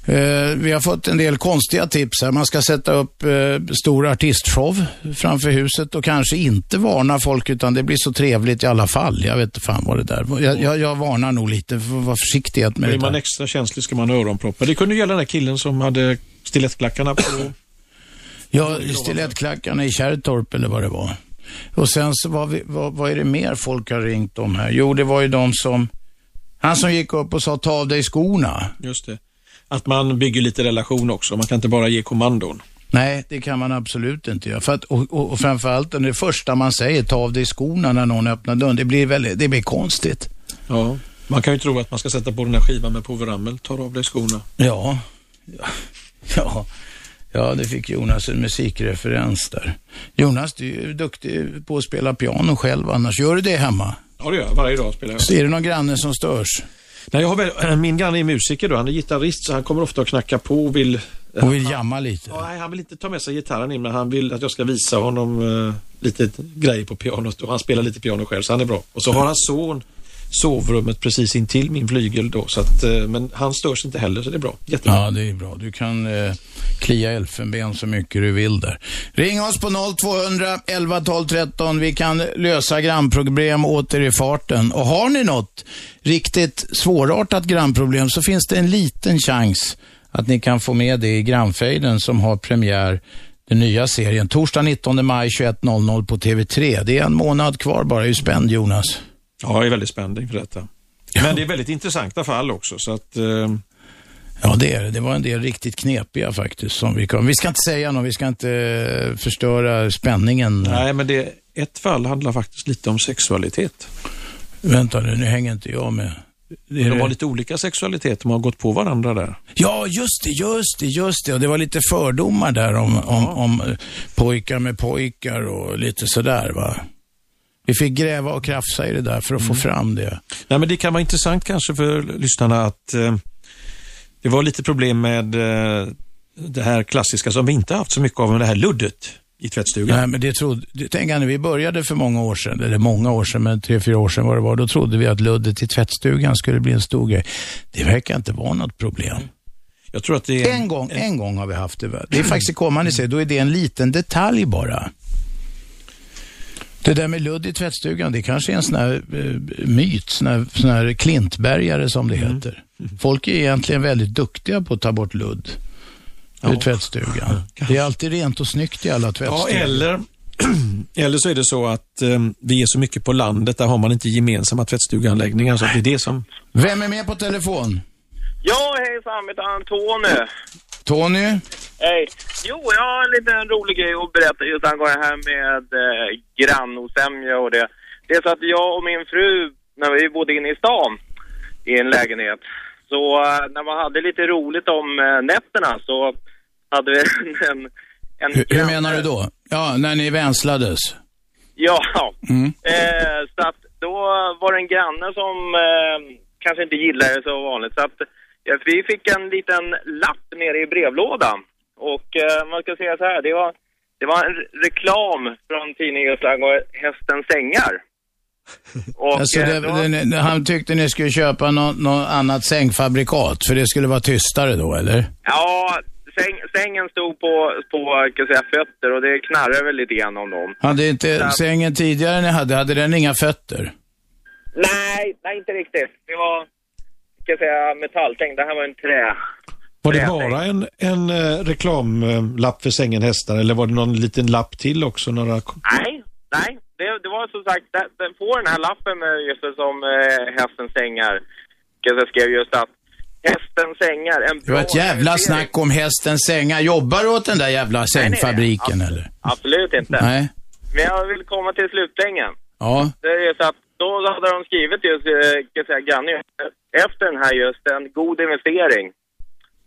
[SPEAKER 2] Eh, vi har fått en del konstiga tips här. Man ska sätta upp eh, stor artistshow framför huset och kanske inte varna folk utan det blir så trevligt i alla fall. Jag vet inte fan vad det där var. jag, jag, jag varnar nog lite för att vara försiktig med det
[SPEAKER 3] Blir
[SPEAKER 2] där.
[SPEAKER 3] man extra känslig ska man ha öronproppar. Det kunde gälla den där killen som hade stilettklackarna på.
[SPEAKER 2] Ja, stilettklackarna i Kärrtorp eller vad det var. Och sen så, vad, vi, vad, vad är det mer folk har ringt om här? Jo, det var ju de som, han som gick upp och sa ta av dig skorna.
[SPEAKER 3] Just det. Att man bygger lite relation också. Man kan inte bara ge kommandon.
[SPEAKER 2] Nej, det kan man absolut inte göra. För att, och, och, och framförallt det första man säger, ta av dig skorna när någon öppnar dörren. Det blir, väldigt, det blir konstigt.
[SPEAKER 3] Ja, man kan ju tro att man ska sätta på den här skivan med Povel Ramel, tar av dig skorna.
[SPEAKER 2] Ja. ja, ja, det fick Jonas en musikreferens där. Jonas, du är ju duktig på att spela piano själv annars. Gör du det hemma?
[SPEAKER 3] Ja, det gör jag. Varje dag spelar jag.
[SPEAKER 2] Så är det någon granne som störs?
[SPEAKER 3] Nej, jag har väl, eh, min granne är musiker då. Han är gitarrist så han kommer ofta och knacka på och vill... eh,
[SPEAKER 2] Och vill jamma lite?
[SPEAKER 3] Ja, nej, han vill inte ta med sig gitarren in men han vill att jag ska visa honom eh, lite grejer på pianot och han spelar lite piano själv så han är bra. Och så har hans son sovrummet precis intill min flygel då så att, eh, men han störs inte heller så det är bra. Jättebra.
[SPEAKER 2] Ja, det är bra. Du kan eh, klia elfenben så mycket du vill där. Ring oss på 0200 11 12 13. Vi kan lösa grannproblem åter i farten. Och har ni något riktigt svårartat grannproblem så finns det en liten chans att ni kan få med det i Grannfejden som har premiär den nya serien torsdag 19 maj 21.00 på TV3. Det är en månad kvar bara. Är du spänd Jonas?
[SPEAKER 3] Ja, jag är väldigt spänd inför detta. Men det är väldigt intressanta fall också så att eh,
[SPEAKER 2] Ja, det är det. Det var en del riktigt knepiga faktiskt. Som vi, kom. vi ska inte säga något, vi ska inte eh, förstöra spänningen.
[SPEAKER 3] nej men det, ett fall handlar faktiskt lite om sexualitet.
[SPEAKER 2] Vänta nu, nu hänger inte jag med. Det är
[SPEAKER 3] De
[SPEAKER 2] det-
[SPEAKER 3] har lite olika sexualitet, de har gått på varandra där.
[SPEAKER 2] Ja, just det, just det, just det. Och det var lite fördomar där om, om, om eh, pojkar med pojkar och lite sådär va. Vi fick gräva och krafsa i det där för att
[SPEAKER 3] Mm.
[SPEAKER 2] få fram det.
[SPEAKER 3] Nej, men det kan vara intressant kanske för lyssnarna att eh, det var lite problem med eh, det här klassiska som vi inte haft så mycket av, men det här luddet i tvättstugan.
[SPEAKER 2] Nej, men det trodde, det- tänk när vi började för många år sedan, eller många år sedan, men tre, fyra år sedan var det var, då trodde vi att luddet i tvättstugan skulle bli en stor grej. Det verkar inte vara något problem.
[SPEAKER 3] Jag tror att det är...
[SPEAKER 2] En gång, en gång har vi haft det. Det är faktiskt kommande sig, då är det en liten detalj bara. Det där med ludd i tvättstugan, det kanske är en sån här eh, myt, sån här, sån här klintbergare som det heter. Folk är egentligen väldigt duktiga på att ta bort ludd ur tvättstugan. Det är alltid rent och snyggt i alla
[SPEAKER 3] Ja,
[SPEAKER 2] tvättstugor.
[SPEAKER 3] eller, eller så är det så att eh, vi är så mycket på landet, där har man inte gemensamma tvättstugeanläggningar, så att det är det som...
[SPEAKER 2] Vem är med på telefon?
[SPEAKER 20] Ja, hejsan, mitt namn är Tony.
[SPEAKER 2] Tony?
[SPEAKER 20] Hej. Jo, jag har en liten rolig grej att berätta just angående det här med eh, grannosämja och det. Det är så att jag och min fru, när vi bodde inne i stan i en lägenhet, så eh, när man hade lite roligt om eh, nätterna så hade vi en... en, en
[SPEAKER 2] Hur, hur menar du då? Ja, när ni vänslades.
[SPEAKER 20] Ja,
[SPEAKER 2] Mm.
[SPEAKER 20] eh, så att då var det en granne som eh, kanske inte gillade det så vanligt. Så att eh, vi fick en liten lapp nere i brevlådan. Och eh, man ska säga så här, det var, det var en re- reklam från tidningen just angående Hästens sängar. Och,
[SPEAKER 2] Alltså, det,
[SPEAKER 20] eh, då-
[SPEAKER 2] det, han tyckte ni skulle köpa något något annat sängfabrikat, för det skulle vara tystare då, eller?
[SPEAKER 20] Ja, säng, sängen stod på, på kan jag säga, fötter och det knarrade väl lite grann om dem.
[SPEAKER 2] Hade inte
[SPEAKER 20] Ja.
[SPEAKER 2] sängen tidigare ni hade, hade den inga fötter?
[SPEAKER 20] Nej, nej inte riktigt. Det var, kan jag säga, metallsäng. Det här var en trä.
[SPEAKER 3] Var det bara en, en eh, reklamlapp för sängen hästar eller var det någon liten lapp till också? Några...
[SPEAKER 20] Nej, nej. Det, det var som sagt, det, det, på den här lappen eh, just det som eh, hästens sängar, kan jag skrev just att hästens sängar, en
[SPEAKER 2] Det var ett jävla snack om hästens sängar. Jobbar du åt den där jävla sängfabriken eller?
[SPEAKER 20] Absolut inte.
[SPEAKER 2] Nej.
[SPEAKER 20] Men jag vill komma till slutängen.
[SPEAKER 2] Ja.
[SPEAKER 20] Det är så att då hade de skrivit just, eh, kan jag säga, Granny, eh, efter den här just, en god investering.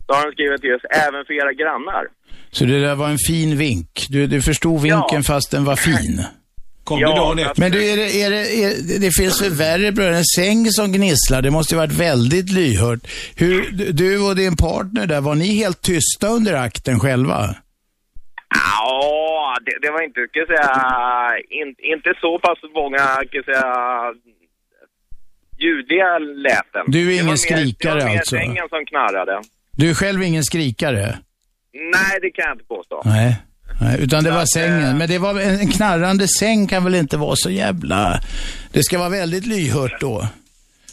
[SPEAKER 20] Då har de skrivit just, även för era grannar.
[SPEAKER 2] Så det där var en fin vink. Du, du förstod vinken fast den var fin.
[SPEAKER 3] Kom
[SPEAKER 20] Ja, dagen efter?
[SPEAKER 2] Men du, är det, är det, är det, det finns ju värre bröder. En säng som gnisslar, det måste ju varit väldigt lyhört. Hur, du- du och din partner där, var ni helt tysta under akten själva?
[SPEAKER 20] Ja, det, det var inte, kan jag säga, in, inte så pass många, kan jag säga, ljudliga läten.
[SPEAKER 2] Du är ingen
[SPEAKER 20] Det var mer-
[SPEAKER 2] skrikare
[SPEAKER 20] det var mer
[SPEAKER 2] alltså?
[SPEAKER 20] sängen som knarrade.
[SPEAKER 2] Du är själv ingen skrikare?
[SPEAKER 20] Nej, det kan jag inte påstå.
[SPEAKER 2] Nej. Nej, utan det var sängen. Men det var en en knarrande säng kan väl inte vara så jävla... Det ska vara väldigt lyhört då.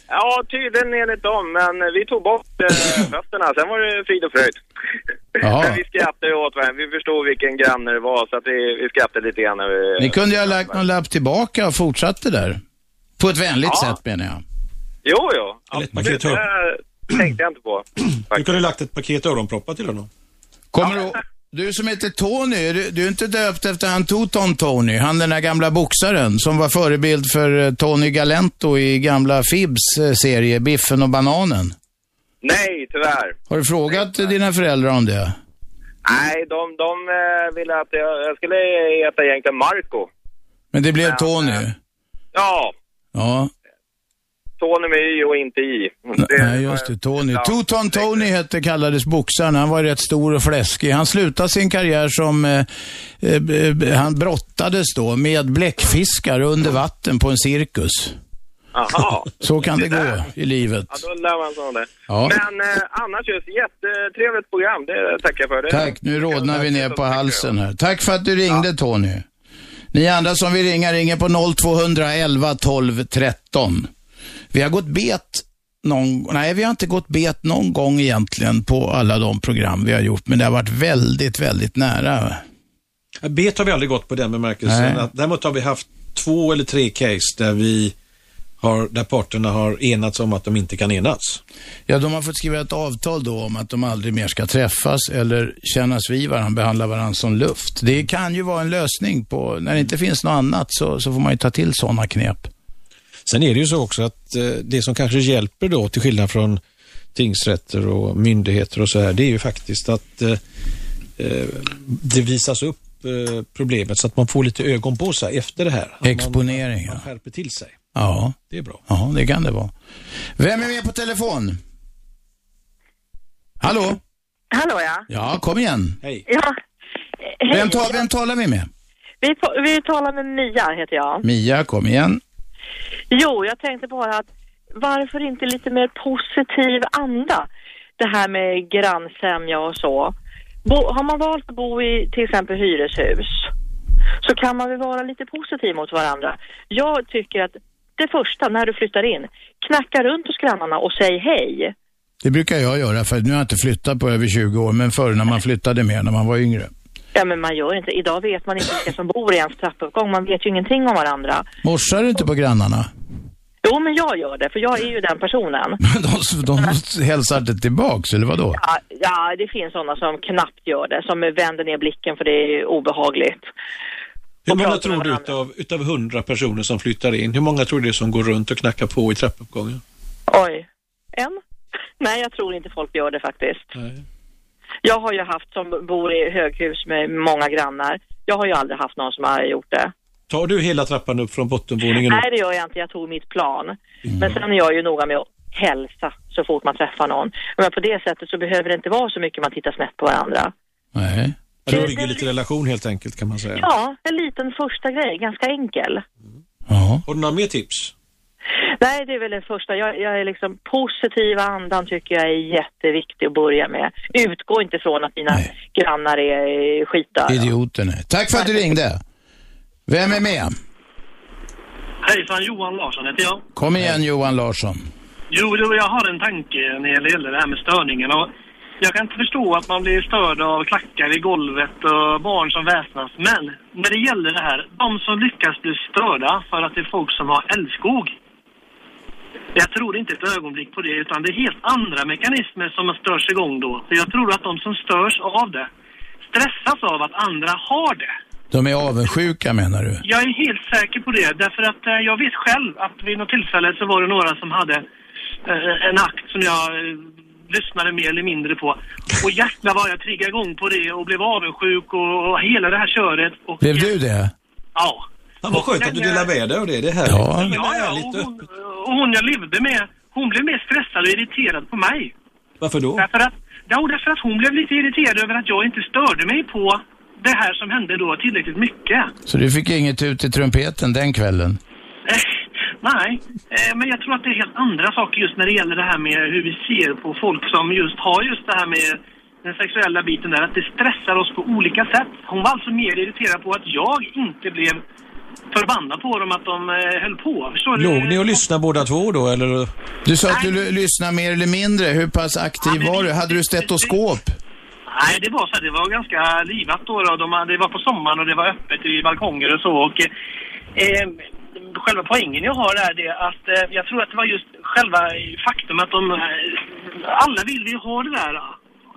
[SPEAKER 20] Ja, tydligen enligt dem, men eh, vi tog bort eh, fötterna. Sen var det frid och fröjd.
[SPEAKER 2] Jaha.
[SPEAKER 20] Men vi skrattade åt varandra. Vi förstod vilken granne det var, så att vi, vi skrattade lite grann. När vi,
[SPEAKER 2] Ni kunde ju ha lagt någon lapp tillbaka och fortsatt det där. På ett vänligt
[SPEAKER 20] Ja.
[SPEAKER 2] sätt menar jag.
[SPEAKER 20] Jo, jo.
[SPEAKER 3] man kan ju
[SPEAKER 20] Absolut.
[SPEAKER 3] ta upp-
[SPEAKER 20] Det tänkte jag inte på.
[SPEAKER 3] Du kunde lagt ett paket öronproppar till honom.
[SPEAKER 2] Kommer du Du som heter Tony, är du, du är inte döpt efter han Toton Tony, han den där gamla boxaren som var förebild för eh, Tony Galento i gamla Fibs eh, serie Biffen och bananen.
[SPEAKER 20] Nej, tyvärr.
[SPEAKER 2] Har du frågat eh, dina föräldrar om det?
[SPEAKER 20] Nej, de, de eh, ville att jag, jag skulle heta egentligen Marco.
[SPEAKER 2] Men det blev Tony.
[SPEAKER 20] Ja,
[SPEAKER 2] Ja,
[SPEAKER 20] Tony med Y och inte I.
[SPEAKER 2] nej just det, Tony. Toton Tony hette, kallades boxaren. Han var rätt stor och fläskig. Han slutade sin karriär som, eh, eh, b- han brottades då med bläckfiskar under vatten på en cirkus.
[SPEAKER 20] Aha.
[SPEAKER 2] Så kan det gå
[SPEAKER 20] där.
[SPEAKER 2] i livet.
[SPEAKER 20] Ja, då lär man sig om det.
[SPEAKER 2] Ja.
[SPEAKER 20] Men eh, annars just jättetrevligt program. Det tackar jag för. Det.
[SPEAKER 2] Tack, nu rodnar vi ner på halsen här. Tack för att du ringde Tony. Ni andra som vill ringa, ringer på 0211 12 13. Vi har gått bet någon, nej vi har inte gått bet någon gång egentligen på alla de program vi har gjort, men det har varit väldigt, väldigt nära.
[SPEAKER 3] Bet har vi aldrig gått på den bemärkelsen.
[SPEAKER 2] Nej.
[SPEAKER 3] Att, däremot har vi haft två eller tre case där vi har, där parterna har enats om att de inte kan enas.
[SPEAKER 2] Ja, de har fått skriva ett avtal då om att de aldrig mer ska träffas eller kännas vid varandra, behandla varandra som luft. Det kan ju vara en lösning på, när det inte finns något annat så, så får man ju ta till sådana knep.
[SPEAKER 3] Sen är det ju så också att eh, det som kanske hjälper då, till skillnad från tingsrätter och myndigheter och så här, det är ju faktiskt att eh, eh, det visas upp eh, problemet så att man får lite ögon på sig efter det här. Att
[SPEAKER 2] Exponering,
[SPEAKER 3] Man, man skärper till sig.
[SPEAKER 2] Ja.
[SPEAKER 3] Det är bra.
[SPEAKER 2] Ja, det kan det vara. Vem är med på telefon? Hallå?
[SPEAKER 21] Hallå ja.
[SPEAKER 2] Ja, kom igen.
[SPEAKER 3] Hej.
[SPEAKER 21] ja. Hej.
[SPEAKER 2] Vem, tar, vem talar vi med?
[SPEAKER 21] Vi, ta- vi talar med Mia heter jag.
[SPEAKER 2] Mia, kom igen.
[SPEAKER 21] Jo, jag tänkte bara att varför inte lite mer positiv anda? Det här med grannsämja och så. Bo, har man valt att bo i till exempel hyreshus så kan man väl vara lite positiv mot varandra. Jag tycker att det första när du flyttar in, knacka runt hos grannarna och säg hej.
[SPEAKER 2] Det brukar jag göra, för nu har jag inte flyttat på över 20 år, men förr när man flyttade mer, när man var yngre.
[SPEAKER 21] Ja men man gör inte, idag vet man inte vilka som bor i ens trappuppgång, man vet ju ingenting om varandra.
[SPEAKER 2] Morsar du inte på grannarna?
[SPEAKER 21] Jo, men jag gör det, för jag är ju den personen.
[SPEAKER 2] De, de hälsar inte tillbaks, eller vadå?
[SPEAKER 21] Ja, ja, det finns sådana som knappt gör det, som vänder ner blicken för det är obehagligt.
[SPEAKER 3] Hur många tror du utav, utav 100 personer som flyttar in, hur många tror du det är som går runt och knackar på i trappuppgången?
[SPEAKER 21] Oj, en? Nej, jag tror inte folk gör det faktiskt. Jag har ju haft, som bor i höghus med många grannar, jag har ju aldrig haft någon som har gjort det.
[SPEAKER 3] Tar du hela trappan upp från bottenvåningen?
[SPEAKER 21] Nej, det gör jag inte. Jag tog mitt plan. Men sen är jag ju noga med att hälsa så fort man träffar någon. Men på det sättet så behöver det inte vara så mycket man tittar snett på varandra.
[SPEAKER 2] Nej.
[SPEAKER 3] Det ligger lite relation helt enkelt kan man säga.
[SPEAKER 21] Ja, en liten första grej, ganska enkel.
[SPEAKER 3] Har du några mer tips?
[SPEAKER 21] Nej, det är väl det första. Jag, jag är liksom positiva andan tycker jag är jätteviktig att börja med. Utgå inte från att dina grannar är eh, skitar.
[SPEAKER 2] Idioter, nej. Tack för att du ringde. Vem är med?
[SPEAKER 22] Hejsan, Johan Larsson heter jag.
[SPEAKER 2] Kom igen Johan Larsson.
[SPEAKER 22] Jo, jo, jag har en tanke när det gäller det här med störningen. Och jag kan inte förstå att man blir störd av klackar i golvet och barn som väsnas. Men när det gäller det här, de som lyckas bli störda för att det är folk som har älskog. Jag tror inte ett ögonblick på det, utan det är helt andra mekanismer som störs igång då. För jag tror att de som störs av det stressas av att andra har det.
[SPEAKER 2] De är avundsjuka menar du?
[SPEAKER 22] Jag är helt säker på det, därför att eh, jag vet själv att vid något tillfälle så var det några som hade eh, en akt som jag eh, lyssnade mer eller mindre på. Och jäklar vad jag triggade igång på det och blev avundsjuk och, och hela det här köret. Och,
[SPEAKER 2] Blev du det?
[SPEAKER 22] ja. eh,
[SPEAKER 3] Ja, vad skönt att du delar med dig av det. Det är härligt.
[SPEAKER 2] Ja.
[SPEAKER 22] Ja, ja, och hon, och hon jag levde med, hon blev mer stressad och irriterad på mig.
[SPEAKER 3] Varför då?
[SPEAKER 22] Därför att, ja, därför att hon blev lite irriterad över att jag inte störde mig på det här som hände då tillräckligt mycket.
[SPEAKER 2] Så du fick inget ut i trumpeten den kvällen?
[SPEAKER 22] Eh, Nej, eh, men jag tror att det är helt andra saker just när det gäller det här med hur vi ser på folk som just har just det här med den sexuella biten där, att det stressar oss på olika sätt. Hon var alltså mer irriterad på att jag inte blev förbannad på dem att de eh, höll på. Förstår du?
[SPEAKER 3] Låg ni och lyssnade båda två då, eller?
[SPEAKER 2] Du sa att du l- lyssnade mer eller mindre. Hur pass aktiv var du? Hade du stetoskop?
[SPEAKER 22] Nej, det var så här, det var ganska livat då. då. De, hade- det var på sommaren och det var öppet i balkonger och så. Och, eh, eh, själva poängen jag har är det att eh, jag tror att det var just själva faktum att de... Eh, alla vill ju ha det där.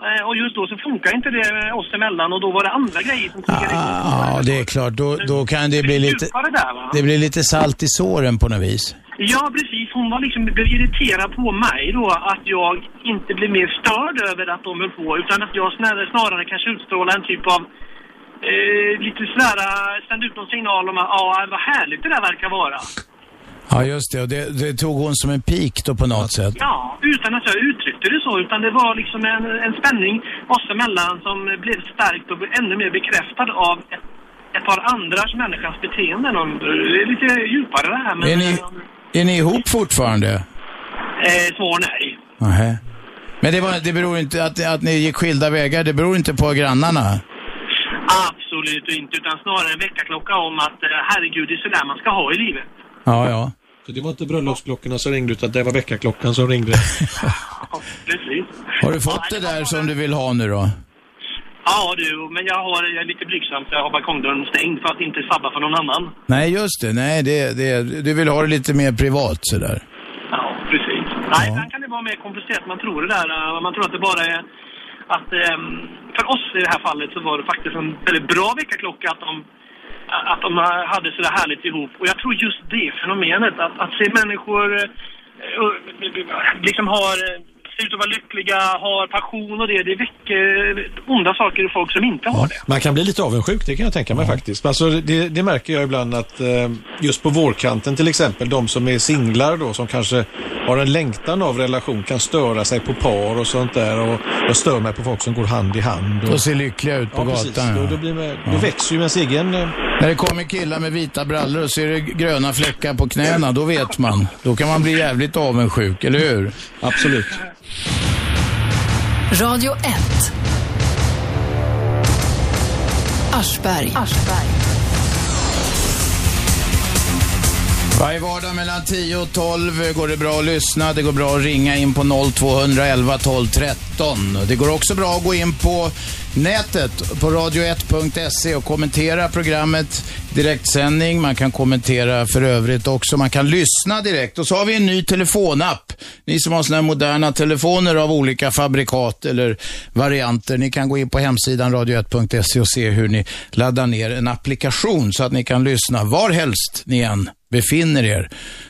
[SPEAKER 22] Eh, och just då så funkar inte det eh, oss emellan och då var det andra grejer som funkade.
[SPEAKER 2] Ja, det är klart. Då, då kan det bli lite...
[SPEAKER 22] djupare där, va?
[SPEAKER 2] Det blir lite salt i såren på något vis.
[SPEAKER 22] Ja, precis. Hon var liksom, blev irriterad på mig då att jag inte blev mer störd över att de höll på utan att jag snarare, snarare kanske utstrålade en typ av eh, lite sådär, eh, sände ut någon signal om att ja, vad härligt det där verkar vara.
[SPEAKER 2] Ja, just det. Och det, det tog hon som en pik då på något sätt.
[SPEAKER 22] Ja, utan att jag uttryckte det så, utan det var liksom en, en spänning oss emellan som blev starkt och blev ännu mer bekräftad av ett, ett par andras människans beteenden. Och Det är lite djupare det här, men
[SPEAKER 2] Är ni, är ni ihop fortfarande?
[SPEAKER 22] eh, svar nej.
[SPEAKER 2] Nej. Men det, var, det beror inte att, att ni gick skilda vägar, det beror inte på grannarna.
[SPEAKER 22] Absolut inte, utan snarare en väckarklocka om att eh, herregud, det är sådär man ska ha i livet.
[SPEAKER 2] Ja, ja.
[SPEAKER 3] Så det var inte bröllopsklockorna som ringde, utan det var väckarklockan som ringde.
[SPEAKER 22] Precis.
[SPEAKER 2] Har du fått det där som du vill ha nu då?
[SPEAKER 22] Ja du, men jag, har, jag är lite blygsam så jag har balkongdörren stängd för att inte sabba för någon annan.
[SPEAKER 2] Nej, just det. Nej, det, det, du vill ha det lite mer privat sådär.
[SPEAKER 22] Ja, precis. Nej, ibland kan det vara mer komplicerat än man tror det där. eh, Man tror att det bara är att ehm, för oss i det här fallet så var det faktiskt en väldigt bra väckarklocka att de eh, att de hade så där härligt ihop. Och jag tror just det fenomenet, att, att se människor eh, och, liksom har, eh, ser ut att vara lyckliga, har passion och det, det väcker onda saker i folk som inte har det.
[SPEAKER 3] Man kan bli lite avundsjuk, det kan jag tänka mig faktiskt. Alltså, det, det märker jag ibland att eh, just på vårkanten till exempel, de som är singlar då, som kanske har en längtan av relation, kan störa sig på par och sånt där. Och jag stör mig på folk som går hand i hand.
[SPEAKER 2] Och ser lyckliga ut på
[SPEAKER 3] ja,
[SPEAKER 2] gatan.
[SPEAKER 3] Precis. Då, då, blir man, då växer ju ens egen... eh,
[SPEAKER 2] När det kommer killar med vita brallor och så är det gröna fläckar på knäna, då vet man. Då kan man bli jävligt avundsjuk, eller hur?
[SPEAKER 3] Absolut.
[SPEAKER 1] Radio 1. Aschberg.
[SPEAKER 2] Varje vardag mellan 10 och 12 går det bra att lyssna. Det går bra att ringa in på 0211 12 13. Det går också bra att gå in på nätet på radio1.se och kommentera programmet direktsändning. Man kan kommentera för övrigt också. Man kan lyssna direkt. Och så har vi en ny telefonapp. Ni som har såna här moderna telefoner av olika fabrikat eller varianter, ni kan gå in på hemsidan radio1.se och se hur ni laddar ner en applikation så att ni kan lyssna varhelst ni än befinner er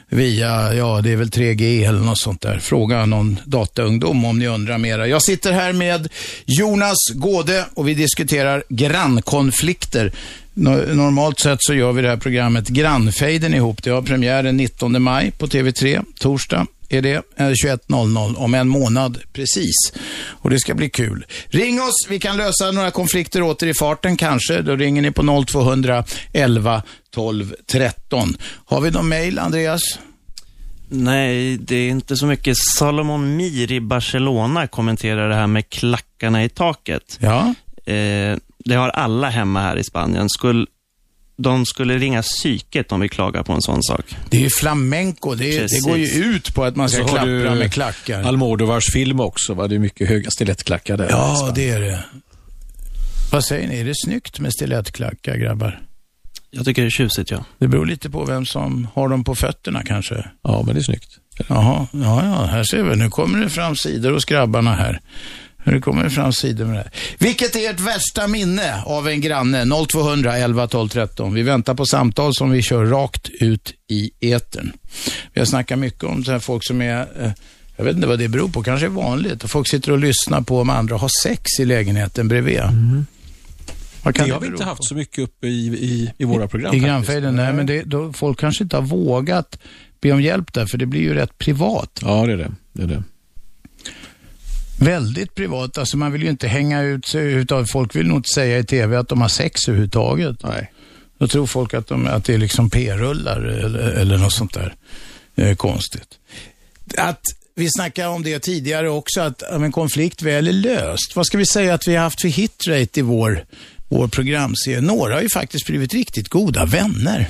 [SPEAKER 2] via, ja det är väl 3G eller något sånt där. Fråga någon dataungdom om ni undrar mera. Jag sitter här med Jonas Gåde och vi diskuterar grannkonflikter. No- Normalt sett så gör vi det här programmet Grannfejden ihop. Det har premiär den 19 maj på TV3, torsdag är det, eh, 21.00 om en månad precis. Och det ska bli kul. Ring oss, vi kan lösa några konflikter åter i farten kanske. Då ringer ni på 0200 11 12 13. Har vi någon mail, Andreas?
[SPEAKER 23] Nej, det är inte så mycket. Salomon Mir i Barcelona kommenterar det här med klackarna i taket.
[SPEAKER 2] Ja.
[SPEAKER 23] Eh, det har alla hemma här i Spanien. Skull, de skulle ringa psyket om vi klagar på en sån sak.
[SPEAKER 2] Det är ju flamenco, det, är, det
[SPEAKER 23] Precis.
[SPEAKER 2] går ju ut på att man ska
[SPEAKER 3] Och så har
[SPEAKER 2] klappra
[SPEAKER 3] du
[SPEAKER 2] med klackar.
[SPEAKER 3] Almodovars film också, va? det är mycket höga stilettklackar där.
[SPEAKER 2] Ja, det är det. Vad säger ni, är det snyggt med stilettklackar, grabbar?
[SPEAKER 23] Jag tycker det är tjusigt, ja.
[SPEAKER 2] Det beror lite på vem som har dem på fötterna kanske.
[SPEAKER 3] Ja, men det är snyggt.
[SPEAKER 2] Jaha, ja, ja, här ser vi. Nu kommer det fram sidor hos grabbarna här. Nu kommer det fram sidor med det här. Vilket är ert värsta minne av en granne? 0200 11 12 13. Vi väntar på samtal som vi kör rakt ut i etern. Vi har snackat mycket om så här folk som är, eh, jag vet inte vad det beror på, kanske är vanligt. Folk sitter och lyssnar på om andra har sex i lägenheten bredvid. Vad kan
[SPEAKER 3] det
[SPEAKER 2] det
[SPEAKER 3] har vi
[SPEAKER 2] bero
[SPEAKER 3] inte
[SPEAKER 2] på?
[SPEAKER 3] haft så mycket uppe i, i, i våra program.
[SPEAKER 2] I
[SPEAKER 3] faktiskt.
[SPEAKER 2] grannfejden, nej men det, då, folk kanske inte har vågat be om hjälp där, för det blir ju rätt privat.
[SPEAKER 3] Ja, det är det. det, är det.
[SPEAKER 2] Väldigt privat, alltså man vill ju inte hänga ut sig överhuvudtaget. Folk vill nog inte säga i tv att de har sex överhuvudtaget.
[SPEAKER 3] Nej.
[SPEAKER 2] Då tror folk att, de, att det är liksom p-rullar eller, eller något sånt där eh, konstigt. Att vi snackade om det tidigare också, att om en konflikt väl är löst. Vad ska vi säga att vi har haft för hitrate i vår, vår programserie? Några har ju faktiskt blivit riktigt goda vänner.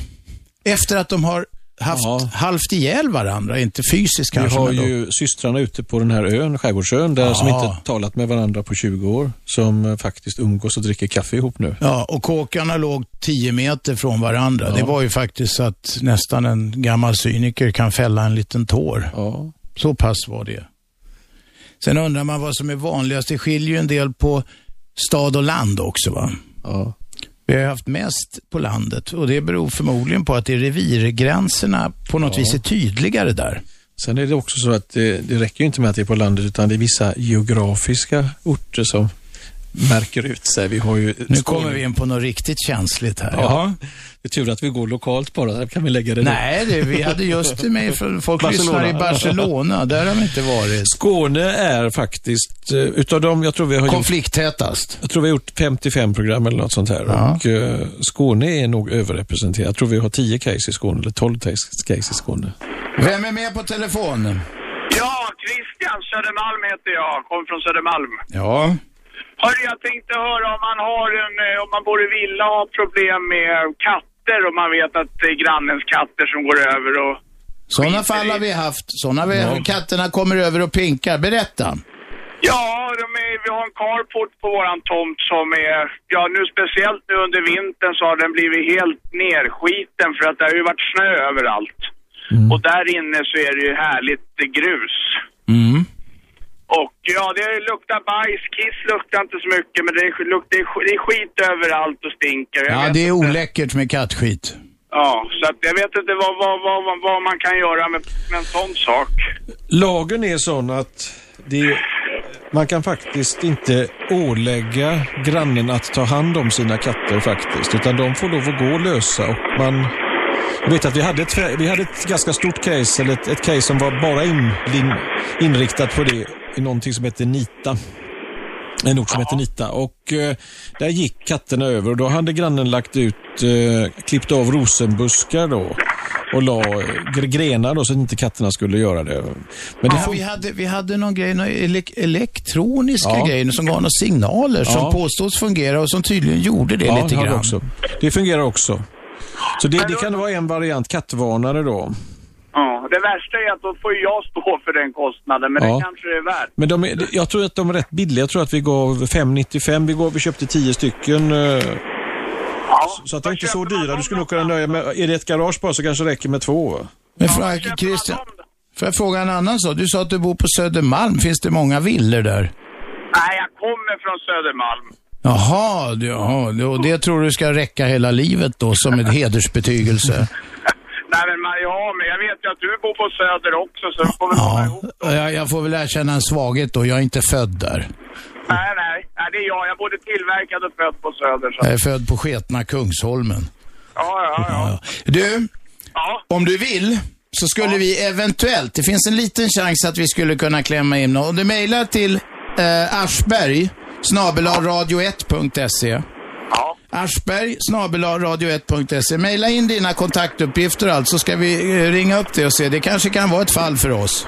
[SPEAKER 2] Efter att de har haft halvt ihjäl varandra, inte fysiskt
[SPEAKER 3] Vi
[SPEAKER 2] kanske.
[SPEAKER 3] har
[SPEAKER 2] men då-
[SPEAKER 3] ju systrarna ute på den här ön, skärgårdsön, där som
[SPEAKER 2] Ja.
[SPEAKER 3] inte talat med varandra på 20 år, som eh, faktiskt umgås och dricker kaffe ihop nu.
[SPEAKER 2] Ja, och kåkarna låg 10 meter från varandra. Det var ju faktiskt så att nästan en gammal cyniker kan fälla en liten tår. Så pass var det. Sen undrar man vad som är vanligast. Det skiljer ju en del på stad och land också va?
[SPEAKER 3] Ja.
[SPEAKER 2] Vi har ju haft mest på landet och det beror förmodligen på att det är revirgränserna på något
[SPEAKER 3] Ja.
[SPEAKER 2] vis är tydligare där.
[SPEAKER 3] Sen är det också så att det, det räcker ju inte med att det är på landet, utan det är vissa geografiska orter som märker ut sig. Vi har ju
[SPEAKER 2] Nu kommer vi in på något riktigt känsligt här.
[SPEAKER 3] Ja. Det är tur att vi går lokalt bara, där kan vi lägga det nu.
[SPEAKER 2] Nej, det, vi hade just med, för folk lyssnar i Barcelona. Där har vi inte varit.
[SPEAKER 3] Skåne är faktiskt, eh, utav dem jag tror vi har
[SPEAKER 2] Konflikttätast.
[SPEAKER 3] Jag tror vi har gjort 55 program eller något sånt här. Och eh, Skåne är nog överrepresenterat. Jag tror vi har 10 case i Skåne, eller 12 case case i Skåne.
[SPEAKER 2] Vem är med på telefon?
[SPEAKER 17] Ja, Christian Södermalm heter jag, kommer från Södermalm.
[SPEAKER 2] Ja.
[SPEAKER 17] Hörru, jag tänkte höra om man har en, eh, om man bor i villa och har problem med katter och man vet att det är grannens katter som går över och...
[SPEAKER 2] Sådana fall har vi haft. Sådana vi, Katterna kommer över och pinkar. Berätta.
[SPEAKER 17] Ja, de är, vi har en carport på våran tomt som är, ja nu speciellt nu under vintern så har den blivit helt nerskiten för att det har ju varit snö överallt. Och där inne så är det ju härligt eh, grus.
[SPEAKER 2] Mm.
[SPEAKER 17] Och ja, det luktar bajs, kiss luktar inte så mycket men det, är- luktar, det är skit överallt och stinker. Jag
[SPEAKER 2] Ja,
[SPEAKER 17] vet
[SPEAKER 2] det är
[SPEAKER 17] inte.
[SPEAKER 2] oläckert med kattskit.
[SPEAKER 17] Ja, så att jag vet inte vad, vad, vad, vad- vad man kan göra med, med en sån sak.
[SPEAKER 3] Lagen är sån att det, man kan faktiskt inte ålägga grannen att ta hand om sina katter faktiskt, utan de får lov att gå lösa och man jag vet att vi hade ett, vi hade ett ganska stort case, eller ett, ett case som var bara in, in, inriktat på det, i någonting som heter Nita. En ort som heter Nita. Och eh, där gick katterna över och då hade grannen lagt ut, eh, klippt av rosenbuskar då och la eh, gre- grenar då så att inte katterna skulle göra det. Men det
[SPEAKER 2] ja, vi, hade, vi hade någon grej, någon elek- elektroniska
[SPEAKER 3] Ja.
[SPEAKER 2] grejer som gav några signaler som
[SPEAKER 3] Ja.
[SPEAKER 2] påstås fungera och som tydligen gjorde det
[SPEAKER 3] ja,
[SPEAKER 2] lite
[SPEAKER 3] hade
[SPEAKER 2] grann.
[SPEAKER 3] Också. Det fungerar också. Så det, det kan vara en variant, kattvarnare då.
[SPEAKER 17] Ja, det värsta är att då får ju jag stå för den kostnaden, men
[SPEAKER 3] Ja.
[SPEAKER 17] det kanske det är värt.
[SPEAKER 3] Men de är, jag tror att de är rätt billiga. Jag tror att vi gav 595. Vi, gav, vi köpte 10 stycken. eh, så- så att de är inte så dyra. Du skulle nog kunna nöja med... Är det ett garage bara så kanske det räcker med två. va?
[SPEAKER 2] Men Frank, Christian, får jag fråga en annan sak? Du sa att du bor på Södermalm. Finns det många villor där?
[SPEAKER 17] Nej, jag kommer från Södermalm.
[SPEAKER 2] Jaha, det- jaha, det- och det tror du ska räcka hela livet då som en hedersbetygelse?
[SPEAKER 17] Nej, men man, ja, men jag vet ju att du bor på Söder också, så du får väl...
[SPEAKER 2] Ja, jag, jag får väl erkänna en svaghet då. Jag är inte född där.
[SPEAKER 17] Nej, nej, nej, det är jag. Jag är både tillverkad och född på Söder. Så.
[SPEAKER 2] Jag är född på sketna Kungsholmen.
[SPEAKER 17] Ja, ja, ja.
[SPEAKER 2] Du, om du vill så skulle vi eventuellt, det finns en liten chans att vi skulle kunna klämma in någon. Om du mejlar till eh, aschberg radio 1se Aschberg radio 1se Mejla in dina kontaktuppgifter och allt så ska vi eh, ringa upp det och se. Det kanske kan vara ett fall för oss.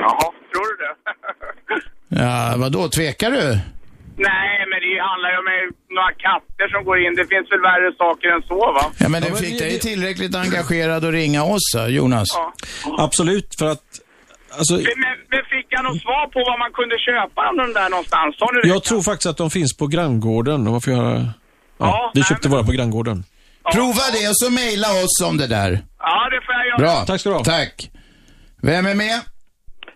[SPEAKER 17] Jaha, tror du det?
[SPEAKER 2] Ja, vadå, tvekar du?
[SPEAKER 17] Nej, men det handlar ju om eh, några katter som går in. Det finns väl värre saker än så, va?
[SPEAKER 2] Ja, men du fick dig tillräckligt engagerad att ringa oss, eh, Jonas.
[SPEAKER 3] Absolut, för att... Alltså,
[SPEAKER 17] Men, men fick jag något svar på vad man kunde köpa den där någonstans? Sa du det?
[SPEAKER 3] jag tror faktiskt att de finns på granngården. Varför göra... Ja, vi köpte våra på granngården.
[SPEAKER 2] Prova det och så mejla oss om det där.
[SPEAKER 17] Ja, det får jag göra.
[SPEAKER 2] Bra. Tack ska du ha. Tack. Vem är med?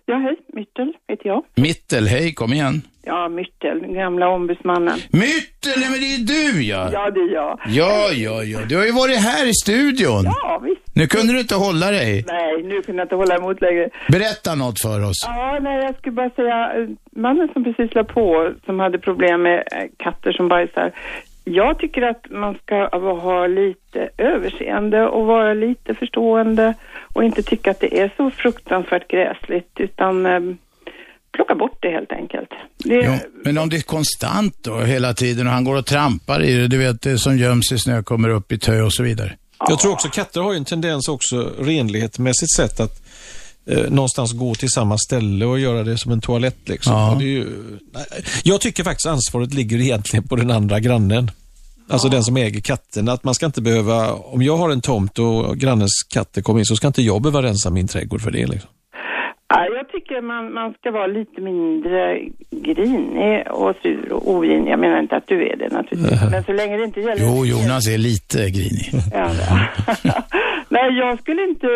[SPEAKER 24] Ja, hej. Myttel heter jag.
[SPEAKER 2] Mittel, hej, kom igen.
[SPEAKER 24] Ja, Myttel, den gamla ombudsmannen.
[SPEAKER 2] Myttel, nej, men det är du ja.
[SPEAKER 24] Ja, det är jag.
[SPEAKER 2] Ja, ja, ja. Du har ju varit här i studion.
[SPEAKER 24] Ja, visst.
[SPEAKER 2] Nu kunde du inte hålla dig.
[SPEAKER 24] Nej, nu kunde jag inte hålla emot längre.
[SPEAKER 2] Berätta något för oss.
[SPEAKER 24] Ja, nej, jag skulle bara säga, eh, mannen som precis la på, som hade problem med eh, katter som bajsar. Jag tycker att man ska ha lite överseende och vara lite förstående och inte tycka att det är så fruktansvärt gräsligt utan eh, plocka bort det helt enkelt. Det,
[SPEAKER 2] Jo, men om det är konstant då hela tiden och han går och trampar i det, du vet det som göms i snö kommer upp i tö och så vidare.
[SPEAKER 3] Jag tror också katter har ju en tendens också renlighetsmässigt sett att eh, någonstans gå till samma ställe och göra det som en toalett. Liksom.
[SPEAKER 2] Ja.
[SPEAKER 3] Och det är ju, nej, jag tycker faktiskt ansvaret ligger egentligen på den andra grannen. Alltså den som äger katterna, att man ska inte behöva, om jag har en tomt och grannens katter kommer in så ska inte jag behöva rensa min trädgård för det. Liksom.
[SPEAKER 24] Ja, jag tycker man, man ska vara lite mindre grinig och sur och ogin. Jag menar inte att du är det naturligtvis, men så länge det inte gäller...
[SPEAKER 4] Jo, Jonas är lite grinig.
[SPEAKER 24] Ja, ja. Nej, jag skulle inte...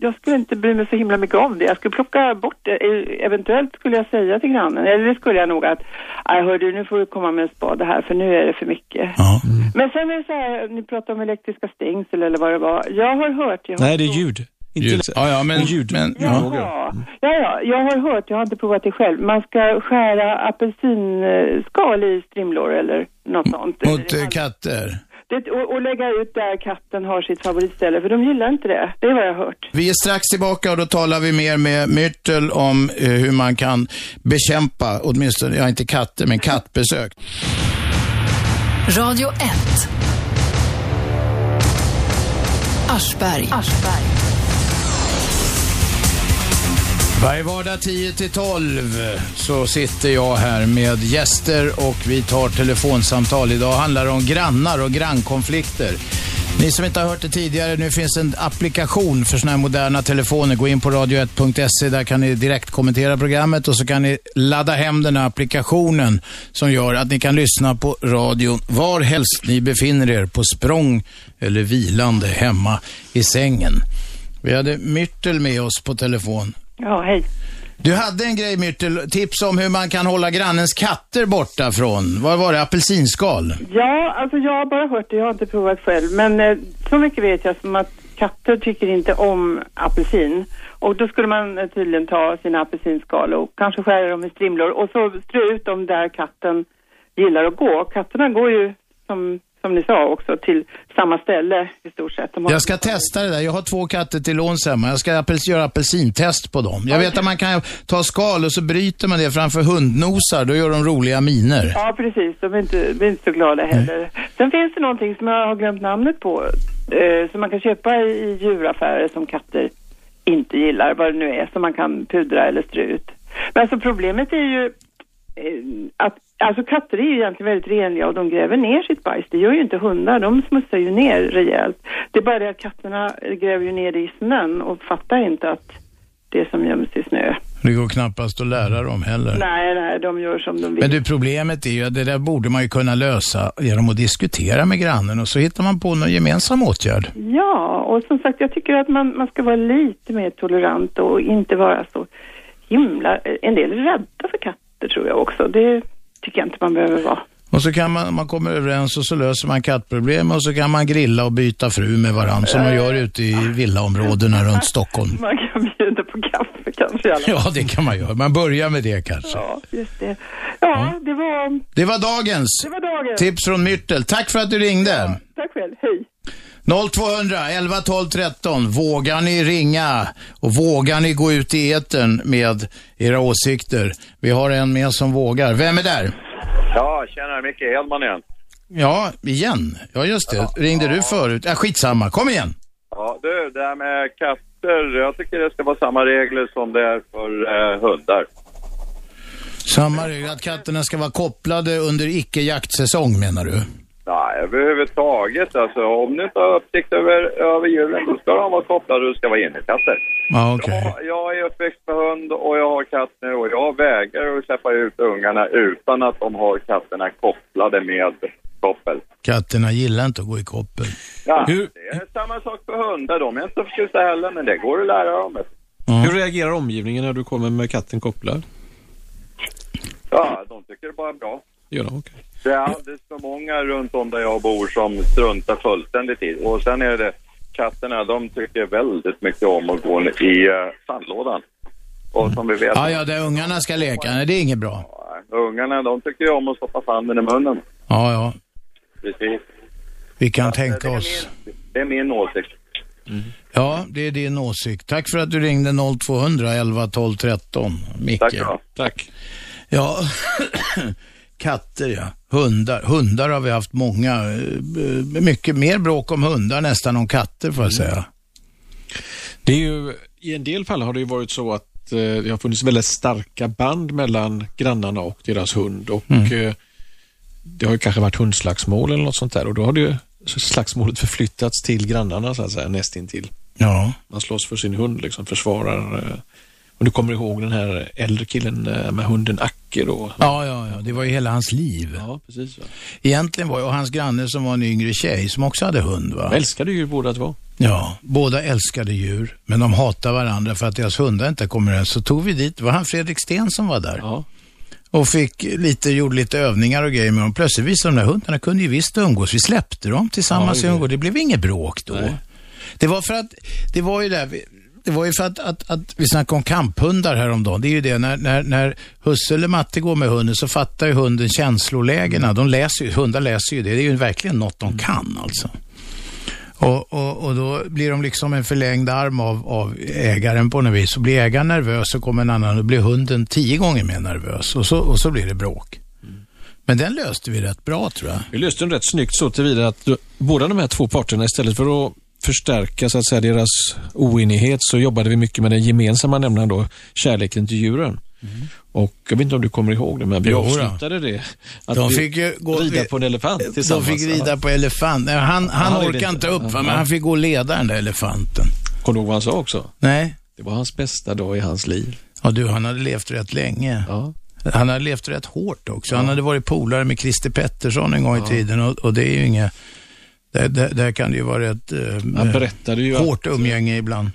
[SPEAKER 24] Jag skulle inte bry mig så himla mycket om det. Jag skulle plocka bort det. E- Eventuellt skulle jag säga till grannen, eller det skulle jag nog att, nej hördu, nu får du komma med en spade här för nu är det för mycket. Men sen är det så här, ni pratar om elektriska stängsel eller vad det var. Jag har hört, jag har
[SPEAKER 3] Nej, det är ljud. Inte ljud.
[SPEAKER 2] Ja, ja, men...
[SPEAKER 3] ljud.
[SPEAKER 2] Men,
[SPEAKER 24] Ja, ja, ja, jag har hört, jag har inte provat det själv. Man ska skära apelsinskal i strimlor eller något sånt.
[SPEAKER 4] Mot eh, katter.
[SPEAKER 24] Det, och, och lägga ut där katten har sitt favoritställe, för de gillar inte det. Det är vad jag har hört.
[SPEAKER 2] Vi är strax tillbaka och då talar vi mer med Myrtle om eh, hur man kan bekämpa, åtminstone, ja inte katter, men kattbesök.
[SPEAKER 1] Radio 1. Aschberg. Aschberg.
[SPEAKER 2] Varje vardag 10 till 12 så sitter jag här med gäster och vi tar telefonsamtal. Idag handlar det om grannar och grannkonflikter. Ni som inte har hört det tidigare, nu finns en applikation för sådana här moderna telefoner. Gå in på radio1.se, där kan ni direkt kommentera programmet och så kan ni ladda hem den här applikationen som gör att ni kan lyssna på radion varhelst ni befinner er, på språng eller vilande hemma i sängen. Vi hade Myrtel med oss på telefon.
[SPEAKER 24] Ja, hej.
[SPEAKER 2] Du hade en grej Myrtle, tips om hur man kan hålla grannens katter borta från, vad var det, apelsinskal?
[SPEAKER 24] Ja, alltså jag har bara hört det, jag har inte provat själv. Men eh, så mycket vet jag som att katter tycker inte om apelsin. Och då skulle man eh, tydligen ta sina apelsinskal och kanske skära dem i strimlor och så strö ut dem där katten gillar att gå. Katterna går ju, som, som ni sa också, till samma ställe i stort sett. De har-
[SPEAKER 2] Jag ska testa det där. Jag har två katter till låns hemma. Jag ska apels- göra apelsintest på dem. Jag vet att man kan ta skal och så bryter man det framför hundnosar. Då gör de roliga miner.
[SPEAKER 24] Ja, precis. De är inte, de är inte så glada heller. Sen finns det någonting som jag har glömt namnet på, eh, som man kan köpa i, i djuraffärer som katter inte gillar, vad det nu är, som man kan pudra eller strö ut. Men alltså problemet är ju eh, att alltså katter är ju egentligen väldigt renliga och de gräver ner sitt bajs. Det gör ju inte hundar, de smutsar ju ner rejält. Det är bara det att katterna gräver ju ner det i snön och fattar inte att det som göms i snö.
[SPEAKER 2] Det går knappast att lära dem heller.
[SPEAKER 24] Nej, nej, de gör som de vill.
[SPEAKER 2] Men du, problemet är ju att det där borde man ju kunna lösa genom att diskutera med grannen och så hittar man på någon gemensam åtgärd.
[SPEAKER 24] Ja, och som sagt, jag tycker att man, man ska vara lite mer tolerant och inte vara så himla... En del är rädda för katter tror jag också. Det tycker jag inte man behöver vara.
[SPEAKER 2] Och så kan man, man kommer överens och så löser man kattproblem och så kan man grilla och byta fru med varandra som man gör ute i villaområdena runt Stockholm.
[SPEAKER 24] Eh. Man kan bjuda på kaffe kanske i alla fall.
[SPEAKER 2] Ja, det kan man göra. Man börjar med det kanske.
[SPEAKER 24] Just det. Ja, det var...
[SPEAKER 2] Det var dagens.
[SPEAKER 24] Det var dagen.
[SPEAKER 2] Tips från Myrtel. Tack för att du ringde.
[SPEAKER 24] Tack själv. Hej.
[SPEAKER 2] 0200 11 12 13. Vågar ni ringa och vågar ni gå ut i etern med era åsikter? Vi har en med som vågar. Vem är där?
[SPEAKER 25] Ja, tjena Micke Hedman igen.
[SPEAKER 2] Ja, igen. Ja, just det. Ringde du förut? Ja, skitsamma. Kom igen.
[SPEAKER 25] Ja, du, det här med katter. Jag tycker det ska vara samma regler som det är för eh, hundar.
[SPEAKER 2] Samma regel att katterna ska vara kopplade under icke-jaktsäsong menar du?
[SPEAKER 25] Nej, överhuvudtaget alltså. Om du inte har uppsikt över, över djuren, då ska de vara kopplade och du ska vara innekatter.
[SPEAKER 2] Ja, okej.
[SPEAKER 25] Jag- Jag är uppväxt med hund och jag har katt nu och jag vägrar att släppa ut ungarna utan att de har katterna kopplade med koppel.
[SPEAKER 2] Katterna gillar inte att gå i koppel.
[SPEAKER 25] Ja,
[SPEAKER 2] Hur-
[SPEAKER 25] det är samma sak för hundar. De är inte så förtjusta heller, men det går att lära dem.
[SPEAKER 3] Hur reagerar omgivningen när du kommer med katten kopplad?
[SPEAKER 25] Ja, de tycker det bara är bra.
[SPEAKER 3] Gör de, okej.
[SPEAKER 25] Det är alldeles för många runt om där jag bor som struntar fullständigt i det. Och sen är det katterna, de tycker väldigt mycket om att gå i eh, sandlådan. Och som vi vet,
[SPEAKER 2] Ja, ja, där ungarna ska leka. Nej, det är inget bra.
[SPEAKER 25] ungarna de tycker ju om att stoppa sanden i munnen.
[SPEAKER 2] Ja, ja.
[SPEAKER 25] Precis.
[SPEAKER 2] Vi kan tänka oss.
[SPEAKER 25] Det är min åsikt.
[SPEAKER 2] Ja, det är din åsikt. Tack för att du ringde 0200 11 12 13, Micke.
[SPEAKER 25] Tack då.
[SPEAKER 3] Tack.
[SPEAKER 2] Ja, katter ja. Hundar. Hundar har vi haft många. eh, Mycket mer bråk om hundar nästan om katter får jag säga.
[SPEAKER 3] Det är ju, I en del fall har det ju varit så att eh, det har
[SPEAKER 2] Mm.
[SPEAKER 3] funnits väldigt starka band mellan grannarna och deras hund. Och eh, det har ju kanske varit hundslagsmål eller något sånt där och då har det ju slagsmålet förflyttats till grannarna så att säga, nästintill.
[SPEAKER 2] Ja.
[SPEAKER 3] Man slåss för sin hund, liksom försvarar. eh, Och du kommer ihåg den här äldre killen eh, med hunden Acke då?
[SPEAKER 2] Ja, ja, ja. Det var ju hela hans liv.
[SPEAKER 3] Ja, precis. Va?
[SPEAKER 2] Egentligen var ju och hans granne som var en yngre tjej som också hade hund va?
[SPEAKER 3] De älskade ju båda två.
[SPEAKER 2] Ja, båda älskade djur, men de hatade varandra för att deras hundar inte kom överens. Så tog vi dit, det var han Fredrik Sten som var där. Och fick lite, gjorde lite övningar och grejer med dem. Plötsligt visade de där hundarna kunde ju visst umgås. Vi släppte dem tillsammans
[SPEAKER 26] Ja,
[SPEAKER 2] och
[SPEAKER 26] det-
[SPEAKER 2] umgås. Det blev inget bråk då. Det var för att, det var ju där, vi- det var ju för att, att, att vi snackade om kamphundar häromdagen. Det är ju det, när, när, när husse eller matte går med hunden så fattar ju hunden känslolägena. De läser ju, hundar läser ju det. Det är ju verkligen något
[SPEAKER 3] Mm.
[SPEAKER 2] de kan alltså. Och, och, och då blir de liksom en förlängd arm av, av ägaren på något vis. Så blir ägaren nervös så kommer en annan och blir hunden tio gånger mer nervös. Och så, och så blir det bråk.
[SPEAKER 3] Mm.
[SPEAKER 2] Men den löste vi rätt bra tror jag.
[SPEAKER 3] Vi löste den rätt snyggt så tillvida att du, båda de här två parterna istället för att förstärka så att säga, deras oenighet så jobbade vi mycket med den gemensamma nämnaren då, kärleken till djuren. Och jag vet inte om du Mm. kommer ihåg det, men vi
[SPEAKER 2] Mm. Jo då.
[SPEAKER 3] avslutade det. Att
[SPEAKER 2] De
[SPEAKER 3] vi
[SPEAKER 2] fick ju gå-
[SPEAKER 3] rida på en elefant
[SPEAKER 2] De
[SPEAKER 3] tillsammans.
[SPEAKER 2] fick rida på elefant. Nej, han han
[SPEAKER 3] han
[SPEAKER 2] orkade
[SPEAKER 3] gjorde
[SPEAKER 2] inte
[SPEAKER 3] inte.
[SPEAKER 2] upp, va? men
[SPEAKER 3] Ja.
[SPEAKER 2] han fick gå och leda den där elefanten.
[SPEAKER 3] Kommer du ihåg vad han sa också?
[SPEAKER 2] Nej.
[SPEAKER 3] Det var hans bästa dag i hans liv.
[SPEAKER 2] Ja, du, han hade levt rätt länge. Han hade levt rätt hårt också. Han hade varit polare med Christer Pettersson en gång i tiden och, och det är ju inget... Där, där, där kan det ju vara rätt eh,
[SPEAKER 3] Han berättade ju
[SPEAKER 2] hårt
[SPEAKER 3] att-
[SPEAKER 2] umgänge ibland.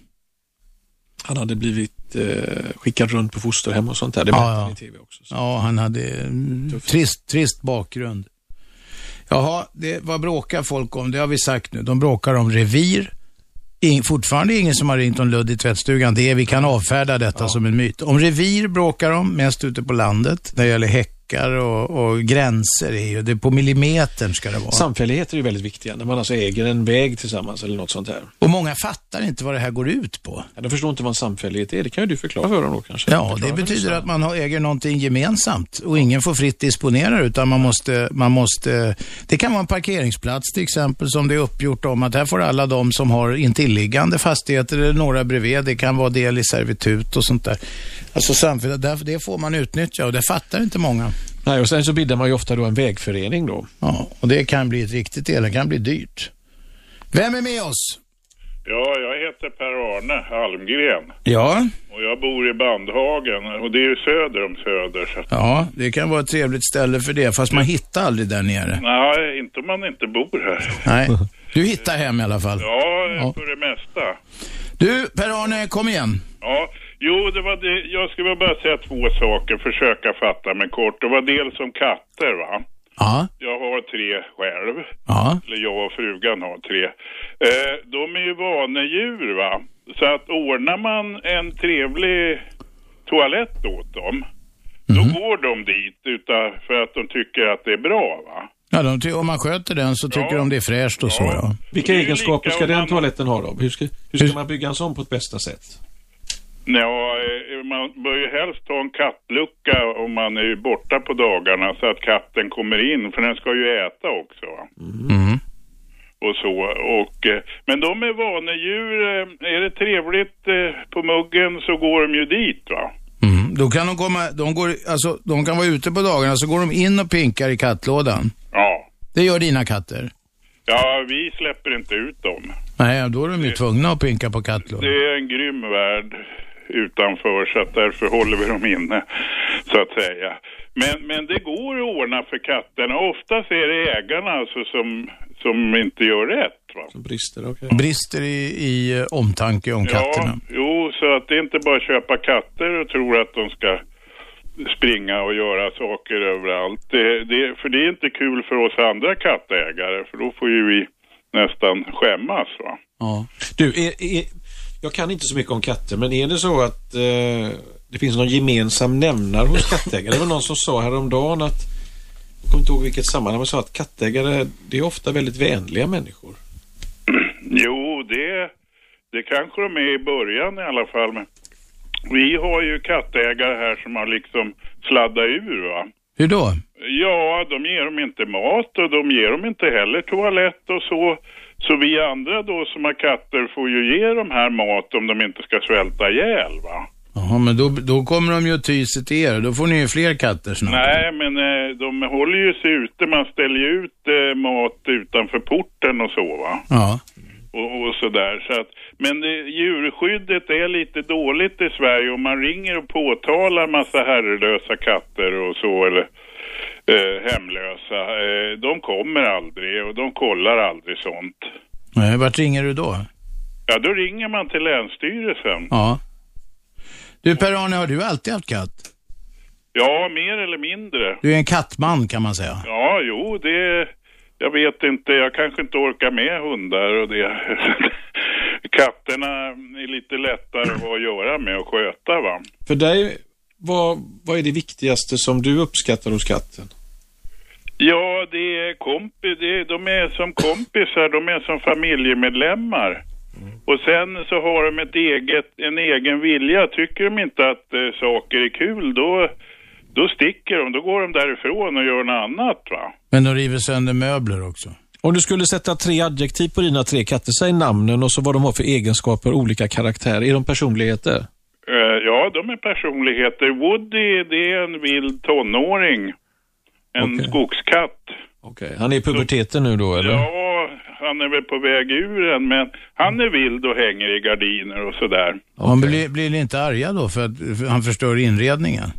[SPEAKER 3] Han hade blivit eh, skickad runt på fosterhem och sånt där. Det
[SPEAKER 2] Ja,
[SPEAKER 3] berättade
[SPEAKER 2] ja.
[SPEAKER 3] han i TV också.
[SPEAKER 2] Ja, han hade mm, trist, trist bakgrund. Jaha, det, vad bråkar folk om? Det har vi sagt nu. De bråkar om revir. In, fortfarande ingen som har ringt om ludd i tvättstugan. Det är, vi kan avfärda detta som en myt. Om revir bråkar de, mest ute på landet, när det gäller häckar och, och gränser. Är ju, det är på millimetern ska det vara.
[SPEAKER 3] Samfälligheter är ju väldigt viktiga, när man alltså äger en väg tillsammans eller något sånt där.
[SPEAKER 2] Och många fattar inte vad det här går ut på.
[SPEAKER 3] Ja, de förstår inte vad en samfällighet är, det kan ju du förklara för dem då kanske.
[SPEAKER 2] Ja, det betyder att man har- äger någonting gemensamt och ingen får fritt disponera det, utan man måste, man måste... Det kan vara en parkeringsplats till exempel som det är uppgjort om att här får alla de som har intilliggande fastigheter eller några bredvid, det kan vara del i servitut och sånt där. Alltså samfällighet, där- det får man utnyttja och det fattar inte många.
[SPEAKER 3] Nej, och sen så bildar man ju ofta då en vägförening då.
[SPEAKER 2] Ja, och det kan bli ett riktigt el, det kan bli dyrt. Vem är med oss?
[SPEAKER 27] Ja, jag heter Per-Arne Almgren
[SPEAKER 2] Ja.
[SPEAKER 27] och jag bor i Bandhagen och det är ju söder om Söder. Så att,
[SPEAKER 2] Ja, det kan vara ett trevligt ställe för det, fast man hittar aldrig där nere.
[SPEAKER 27] Nej, inte om man inte bor här.
[SPEAKER 2] Nej. Du hittar hem i alla fall.
[SPEAKER 27] Ja,
[SPEAKER 2] Alltså. Ja.
[SPEAKER 27] för det mesta.
[SPEAKER 2] Du, Per-Arne, kom igen.
[SPEAKER 27] Ja, jo, det var det. jag skulle bara säga två saker, försöka fatta mig kort. Det var dels om katter, va?
[SPEAKER 2] Ja.
[SPEAKER 27] Jag har tre själv.
[SPEAKER 2] Ja.
[SPEAKER 27] Eller jag och frugan har tre. Eh, de är ju vanedjur, va? Så att ordnar man en trevlig toalett åt dem, då går de dit utan, för att de tycker att det är bra, va?
[SPEAKER 2] Ja, de ty- om man sköter den så tycker de det är fräscht och så ja.
[SPEAKER 3] Vilka egenskaper ska den toaletten ha då? Hur ska, hur ska man bygga en sån på ett bästa sätt?
[SPEAKER 27] Ja, eh, man bör ju helst ha en kattlucka om man är ju borta på dagarna så att katten kommer in, för den ska ju äta också. Va? Och så. Och, eh, men de är vanedjur. eh, Är det trevligt eh, på muggen så går de ju dit. va?
[SPEAKER 2] Mm. Då kan de komma, de går, alltså de kan vara ute på dagarna så går de in och pinkar i kattlådan.
[SPEAKER 27] Ja.
[SPEAKER 2] Det gör dina katter.
[SPEAKER 27] Ja, vi släpper inte ut dem.
[SPEAKER 2] Nej, då är de ju tvungna att pinka på kattlådan.
[SPEAKER 27] Det är en grym värld utanför så att därför håller vi dem inne så att säga. Men, men det går att ordna för katterna. Oftast är det ägarna alltså som, som inte gör rätt. Va?
[SPEAKER 3] Som brister, okej.
[SPEAKER 2] Brister i, i eh, omtanke om katterna.
[SPEAKER 27] Ja, jo, så att det är inte bara att köpa katter och tro att de ska springa och göra saker överallt. Det, det, för det är inte kul för oss andra kattägare för då får ju vi nästan skämmas. Va?
[SPEAKER 3] Ja. Du, är, är, jag kan inte så mycket om katter, men är det så att eh, det finns någon gemensam nämnare hos kattägare? Det var någon som sa häromdagen att, jag kommer inte ihåg vilket sammanhang, men sa att kattägare, det är ofta väldigt vänliga människor.
[SPEAKER 27] Jo, det, det kanske de är i början i alla fall. Men vi har ju kattägare här som har liksom sladdat ur va.
[SPEAKER 2] Hur då?
[SPEAKER 27] Ja, de ger dem inte mat och de ger dem inte heller toalett och så. Så vi andra då som har katter får ju ge dem här mat om de inte ska svälta ihjäl va.
[SPEAKER 2] Jaha, men då, då kommer de ju att ty sig till er. Då får ni ju fler katter snart.
[SPEAKER 27] Nej, men eh, de håller ju sig ute. Man ställer ju ut eh, mat utanför porten och så va.
[SPEAKER 2] Ja.
[SPEAKER 27] och, och sådär. Så att, men eh, djurskyddet är lite dåligt i Sverige och man ringer och påtalar massa herrelösa katter och så eller eh, hemlösa. Eh, de kommer aldrig och de kollar aldrig sånt.
[SPEAKER 2] Nej, vart ringer du då?
[SPEAKER 27] Ja, då ringer man till Länsstyrelsen.
[SPEAKER 2] Ja. Du Per-Arne, har du alltid haft katt?
[SPEAKER 27] Ja, mer eller mindre.
[SPEAKER 2] Du är en kattman kan man säga.
[SPEAKER 27] Ja, jo, det... Jag vet inte, jag kanske inte orkar med hundar och det. Katterna är lite lättare att göra med och sköta va.
[SPEAKER 3] För dig, vad, vad är det viktigaste som du uppskattar hos katten?
[SPEAKER 27] Ja, det är kompi- det är, de är som kompisar, de är som familjemedlemmar. Och sen så har de ett eget, en egen vilja. Tycker de inte att eh, saker är kul, då, då sticker de. Då går de därifrån och gör något annat va.
[SPEAKER 2] Men de river sönder möbler också.
[SPEAKER 3] Om du skulle sätta tre adjektiv på dina tre katter, säg namnen och så vad de har för egenskaper, olika karaktär. Är de personligheter?
[SPEAKER 27] Eh, ja, de är personligheter. Woody, det är en vild tonåring. En skogskatt.
[SPEAKER 3] Okej, han är i puberteten nu då eller?
[SPEAKER 27] Ja, han är väl på väg ur den, men han är vild och hänger i gardiner och sådär.
[SPEAKER 2] Han blir, blir inte arga då för att för han förstör inredningen?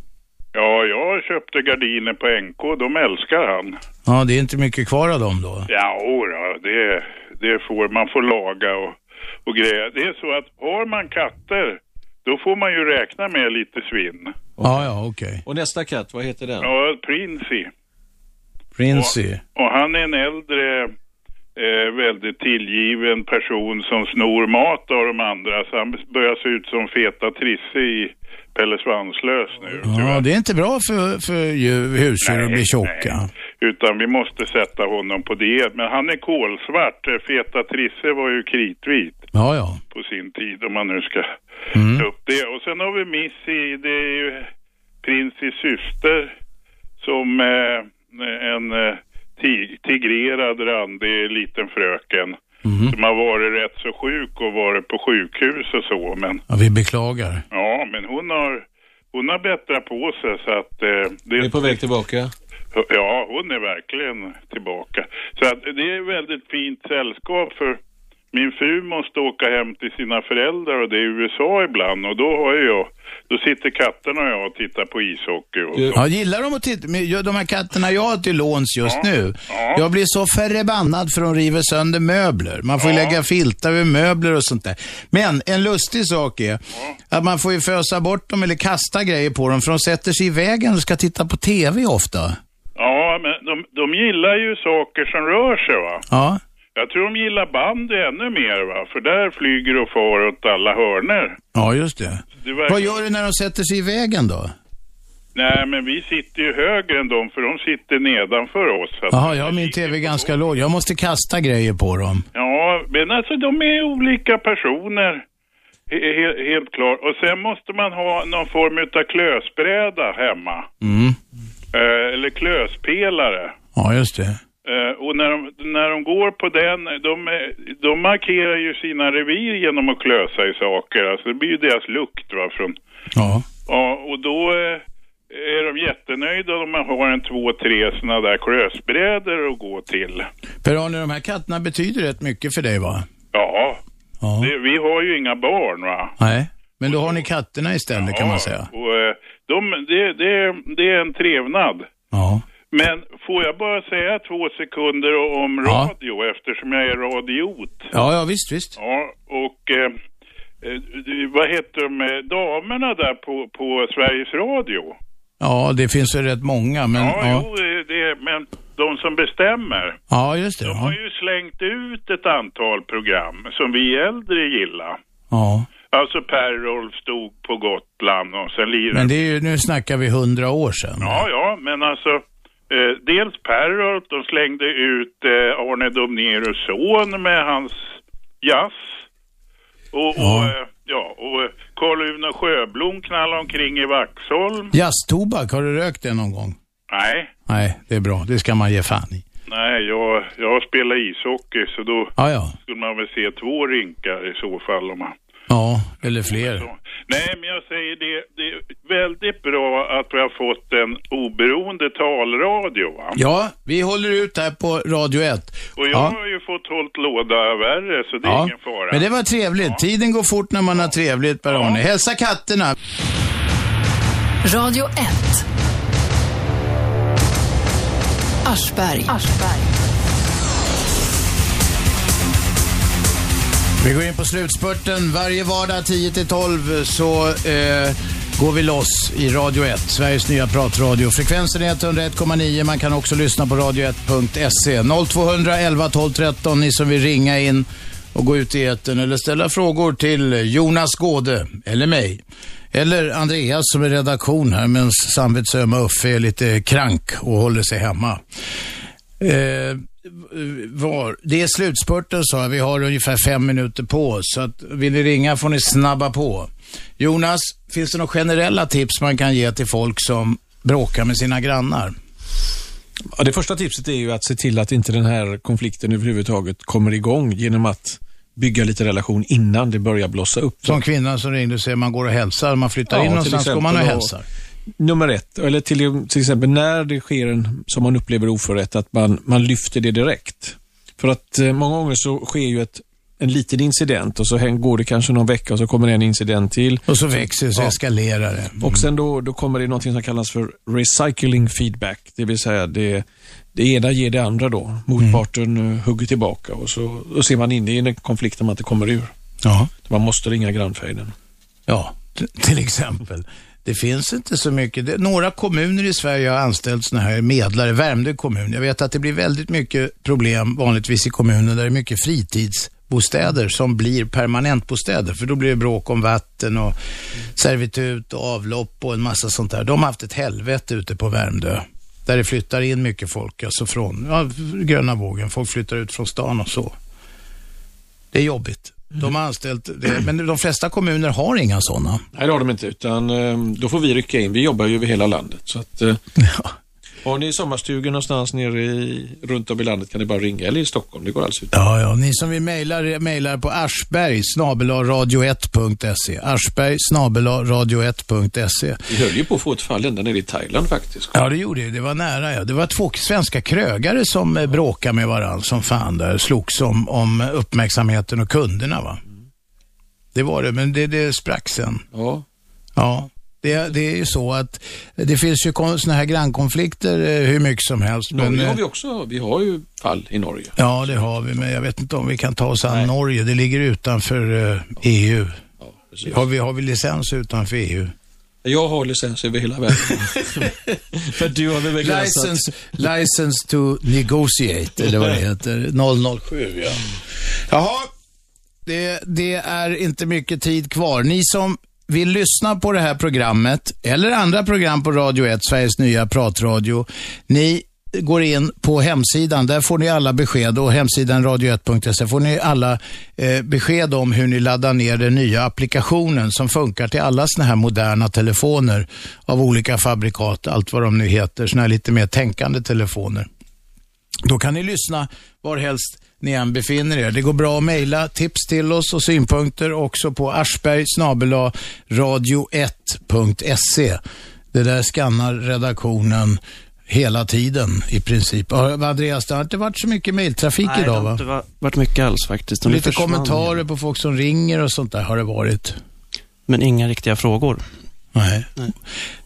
[SPEAKER 27] Ja, jag köpte gardiner på NK, de älskar han.
[SPEAKER 2] Ja, det är inte mycket kvar av dem då.
[SPEAKER 27] Ja, ora, det, det får man får laga och, och grejer. Det är så att har man katter, då får man ju räkna med lite svinn.
[SPEAKER 2] Ja, ja, okej. Okay.
[SPEAKER 3] Och nästa katt, vad heter den?
[SPEAKER 27] Ja, Princey.
[SPEAKER 2] Princey.
[SPEAKER 27] Och han är en äldre, eh, väldigt tillgiven person som snor mat av de andra. Så han börjar se ut som feta Trisse i Pelle Svanslös nu.
[SPEAKER 2] Ja, det är inte bra för, för djur- husdjur att bli tjocka.
[SPEAKER 27] Utan vi måste sätta honom på diet. Men han är kolsvart. Eh, Feta Trisse var ju kritvit
[SPEAKER 2] Ja, ja. Mm.
[SPEAKER 27] på sin tid om man nu ska ta upp det. Och sen har vi Missy, det är ju Prinsys syster som eh, en eh, ti- tigrerad randig liten fröken.
[SPEAKER 2] Mm.
[SPEAKER 27] Som har varit rätt så sjuk och varit på sjukhus och så. Men
[SPEAKER 2] ja vi beklagar.
[SPEAKER 27] ja, men hon har, hon har bättrat på sig så att eh, det,
[SPEAKER 3] Är på väg tillbaka?
[SPEAKER 27] Ja, hon är verkligen tillbaka. Så att det är väldigt fint sällskap för min fru måste åka hem till sina föräldrar och det är i USA ibland och då har ju jag, då sitter katterna och jag och tittar på ishockey och så.
[SPEAKER 2] Ja, gillar de att titta? men ju- De här katterna jag har till låns just nu. Jag blir så förbannad för de river sönder möbler. Man får ju lägga filtar över möbler och sånt där. Men en lustig sak är att man får ju fösa bort dem eller kasta grejer på dem för de sätter sig i vägen och ska titta på TV ofta.
[SPEAKER 27] Ja, men de, de gillar ju saker som rör sig va.
[SPEAKER 2] Ja.
[SPEAKER 27] Jag tror de gillar bandy ännu mer va, för där flyger och far åt alla hörner.
[SPEAKER 2] Ja, just det.
[SPEAKER 27] Det verkar-
[SPEAKER 2] Vad gör du när de sätter sig i vägen då?
[SPEAKER 27] Nej, men vi sitter ju högre än dem för de sitter nedanför oss. Så att-
[SPEAKER 2] Jaha, jag har min TV ganska låg. Jag måste kasta grejer på dem.
[SPEAKER 27] Ja, men alltså de är olika personer. He- he- helt klart. Och sen måste man ha någon form av klösbräda hemma.
[SPEAKER 2] Mm.
[SPEAKER 27] Eh, eller klöspelare.
[SPEAKER 2] Ja, just det.
[SPEAKER 27] Eh, och när de, när de går på den, de, eh, de markerar ju sina revir genom att klösa i saker. Alltså det blir ju deras lukt va, från...
[SPEAKER 2] Ja.
[SPEAKER 27] Ja, och då eh, är de jättenöjda om man har en två, tre sådana där klösbrädor att gå till.
[SPEAKER 2] Per-Arne, de här katterna betyder rätt mycket för dig va?
[SPEAKER 27] Ja,
[SPEAKER 2] Ja.
[SPEAKER 27] Det, vi har ju inga barn va.
[SPEAKER 2] Nej. Men då har ni katterna istället kan man säga.
[SPEAKER 27] Och, eh, de, det, det, det är en trevnad.
[SPEAKER 2] Ja.
[SPEAKER 27] Men får jag bara säga två sekunder om radio eftersom jag är radiot?
[SPEAKER 2] Ja, ja visst, visst.
[SPEAKER 27] Ja, och eh, eh, du- vad heter de eh, damerna där på, på Sveriges Radio?
[SPEAKER 2] Ja, det finns ju rätt många, men
[SPEAKER 27] ja,
[SPEAKER 2] ja. Ja,
[SPEAKER 27] Jo, eh, det, men de som bestämmer.
[SPEAKER 2] just det.
[SPEAKER 27] De
[SPEAKER 2] Ja.
[SPEAKER 27] har ju slängt ut ett antal program som vi äldre gillar.
[SPEAKER 2] ja.
[SPEAKER 27] Alltså Per-Rolf stod på Gotland och sen lirade
[SPEAKER 2] Men det är ju, nu snackar vi hundra år sedan.
[SPEAKER 27] Ja, ja, men alltså eh, dels Perrot, de slängde ut eh, Arne Domnerus son med hans jazz. Och, och,
[SPEAKER 2] Ja.
[SPEAKER 27] eh, ja, och eh, Carl-Uno Sjöblom knallade omkring i Vaxholm.
[SPEAKER 2] Jazztobak, har du rökt det någon gång?
[SPEAKER 27] Nej,
[SPEAKER 2] Nej, det är bra. Det ska man ge fan i.
[SPEAKER 27] nej, jag, jag spelar ishockey så då
[SPEAKER 2] Ja, ja.
[SPEAKER 27] skulle man väl se två rinkar i så fall om man
[SPEAKER 4] Ja, eller fler.
[SPEAKER 27] Nej, men jag säger det, det är väldigt bra att vi har fått en oberoende talradio. Va?
[SPEAKER 2] Ja, vi håller ut här på Radio 1.
[SPEAKER 27] Och jag
[SPEAKER 2] Ja.
[SPEAKER 27] har ju fått hållt låda värre, så det är
[SPEAKER 2] Ja,
[SPEAKER 27] ingen fara.
[SPEAKER 2] men det var trevligt. Tiden går fort när man har trevligt, Per Arne. Hälsa katterna.
[SPEAKER 1] Radio 1. Aschberg. Aschberg.
[SPEAKER 2] Vi går in på slutspurten. Varje vardag 10-12 så eh, går vi loss i Radio 1, Sveriges nya pratradio. Frekvensen är 101,9. Man kan också lyssna på radio1.se. 0200 11 12 13, ni som vill ringa in och gå ut i etern eller ställa frågor till Jonas Gåde, eller mig. Eller Andreas som är redaktion här, men samvets ömma Uffe är lite krank och håller sig hemma. Eh, var. Det är slutspurten sa jag. Vi har ungefär fem minuter på oss. Så att, vill ni ringa får ni snabba på. Jonas, finns det några generella tips man kan ge till folk som bråkar med sina grannar?
[SPEAKER 3] Ja, det första tipset är ju att se till att inte den här konflikten överhuvudtaget kommer igång genom att bygga lite relation innan det börjar blossa upp.
[SPEAKER 2] Som kvinnan som ringde och säger man går och hälsar. Man flyttar in
[SPEAKER 3] till
[SPEAKER 2] någonstans går man och
[SPEAKER 3] exempel
[SPEAKER 2] hälsar.
[SPEAKER 3] Nummer ett, eller till, till exempel när det sker en, som man upplever oförrätt, att man, man lyfter det direkt. För att eh, många gånger så sker ju ett, en liten incident och så häng, går det kanske någon vecka och så kommer det en incident till.
[SPEAKER 2] Och så växer det, så eskalerar det. Mm.
[SPEAKER 3] Och sen då, då kommer det något som kallas för recycling feedback. Det vill säga det, det ena ger det andra då. Motparten eh, hugger tillbaka och så och ser man inne i en konflikt där man inte kommer ur.
[SPEAKER 2] Ja.
[SPEAKER 3] Man måste ringa grannfejden.
[SPEAKER 2] Ja, t- till exempel. Det finns inte så mycket. Det, några kommuner i Sverige har anställt sådana här medlare. Värmdö kommun. Jag vet att det blir väldigt mycket problem vanligtvis i kommunen där det är mycket fritidsbostäder som blir permanentbostäder. För då blir det bråk om vatten och servitut och avlopp och en massa sånt där. De har haft ett helvete ute på Värmdö. Där det flyttar in mycket folk, alltså från ja, gröna vågen. Folk flyttar ut från stan och så. Det är jobbigt. De har anställt, det, men de flesta kommuner har inga sådana.
[SPEAKER 3] Nej, det har de inte, utan eh, då får vi rycka in. Vi jobbar ju över hela landet. Så att, eh, Har ni sommarstugor någonstans nere i, runt om i landet kan ni bara ringa, eller i Stockholm, det går alldeles utmärkt.
[SPEAKER 2] Ja, ja, ni som vill mejla, mejlar på aschberg radio 1se aschberg radio 1se
[SPEAKER 3] Vi höll ju på att få ett fall ända nere i Thailand faktiskt.
[SPEAKER 2] Ja, det gjorde det. Det var nära, ja. Det var två svenska krögare som eh, bråkade med varandra som fan där. Slogs om, om uppmärksamheten och kunderna, va? Det var det, men det, det sprack sen.
[SPEAKER 3] Ja.
[SPEAKER 2] Ja. Det, det är ju så att det finns ju sådana här grannkonflikter eh, hur mycket som helst. men,
[SPEAKER 3] Norge
[SPEAKER 2] eh,
[SPEAKER 3] har vi också, vi har ju fall i Norge.
[SPEAKER 2] Ja, det har vi, men jag vet inte om vi kan ta oss an Norge. Det ligger utanför eh, EU. har, vi, har vi licens utanför E EU?
[SPEAKER 3] Jag har licens över hela världen. För du har väl begränsat?
[SPEAKER 2] License, license to negotiate, eller vad det heter. 007, ja. Jaha, det, det är inte mycket tid kvar. Ni som vill lyssna på det här programmet, eller andra program på Radio 1, Sveriges nya pratradio, ni går in på hemsidan. Där får ni alla besked och hemsidan radio1.se får ni alla eh, besked om hur ni laddar ner den nya applikationen som funkar till alla såna här moderna telefoner av olika fabrikat, allt vad de nu heter, såna här lite mer tänkande telefoner. Då kan ni lyssna varhelst ni än befinner er. Det går bra att mejla tips till oss och synpunkter också på aschberg radio 1se Det där skannar redaktionen hela tiden i princip. Ja, Andreas, det har inte varit så mycket mejltrafik
[SPEAKER 23] Nej, det
[SPEAKER 2] idag
[SPEAKER 23] har
[SPEAKER 2] va?
[SPEAKER 23] inte va- varit mycket alls faktiskt. De
[SPEAKER 2] Lite
[SPEAKER 23] försvann.
[SPEAKER 2] kommentarer på folk som ringer och sånt där har det varit.
[SPEAKER 23] Men inga riktiga frågor.
[SPEAKER 2] Nej.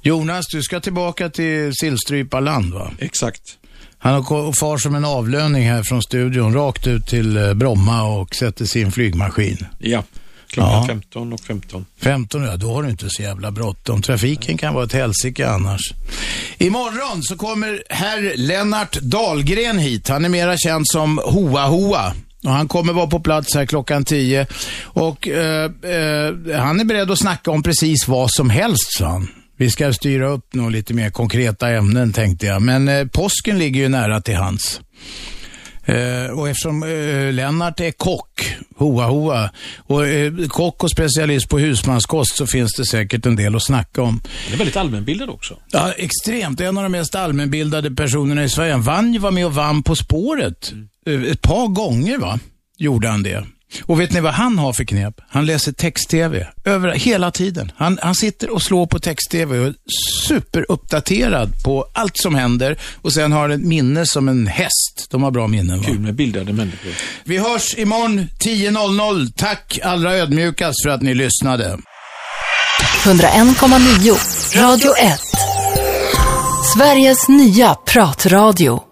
[SPEAKER 2] Jonas, du ska tillbaka till Sillstryparland va?
[SPEAKER 3] Exakt.
[SPEAKER 2] Han har ko- far som en avlöning här från studion, rakt ut till eh, Bromma och sätter sin flygmaskin.
[SPEAKER 3] Ja, klockan
[SPEAKER 2] Ja.
[SPEAKER 3] 15 och 15.
[SPEAKER 2] 15 ja, då har du inte så jävla bråttom. Trafiken kan vara ett helsike annars. Imorgon så kommer herr Lennart Dahlgren hit. Han är mera känd som Hoa Hoa. Och han kommer vara på plats här klockan 10. Och eh, eh, han är beredd att snacka om precis vad som helst, sa han. Vi ska styra upp några lite mer konkreta ämnen tänkte jag. Men eh, påsken ligger ju nära till hans. Eh, och eftersom eh, Lennart är kock, hoa hoa, och eh, kock och specialist på husmanskost så finns det säkert en del att snacka om.
[SPEAKER 3] Den är väldigt allmänbildad också.
[SPEAKER 2] Ja, extremt. En av de mest allmänbildade personerna i Sverige. Han vann ju- var med och vann På spåret. Eh, Ett par gånger va, gjorde han det. Och vet ni vad han har för knep? Han läser text-tv över, hela tiden. Han, han sitter och slår på text-tv och är superuppdaterad på allt som händer. Och sen har han ett minne som en häst. De har bra minnen. Va?
[SPEAKER 3] Kul med bildade människor.
[SPEAKER 2] Vi hörs imorgon 10.00. Tack allra ödmjukast för att ni lyssnade.
[SPEAKER 1] 101,9 Radio 1 Sveriges nya pratradio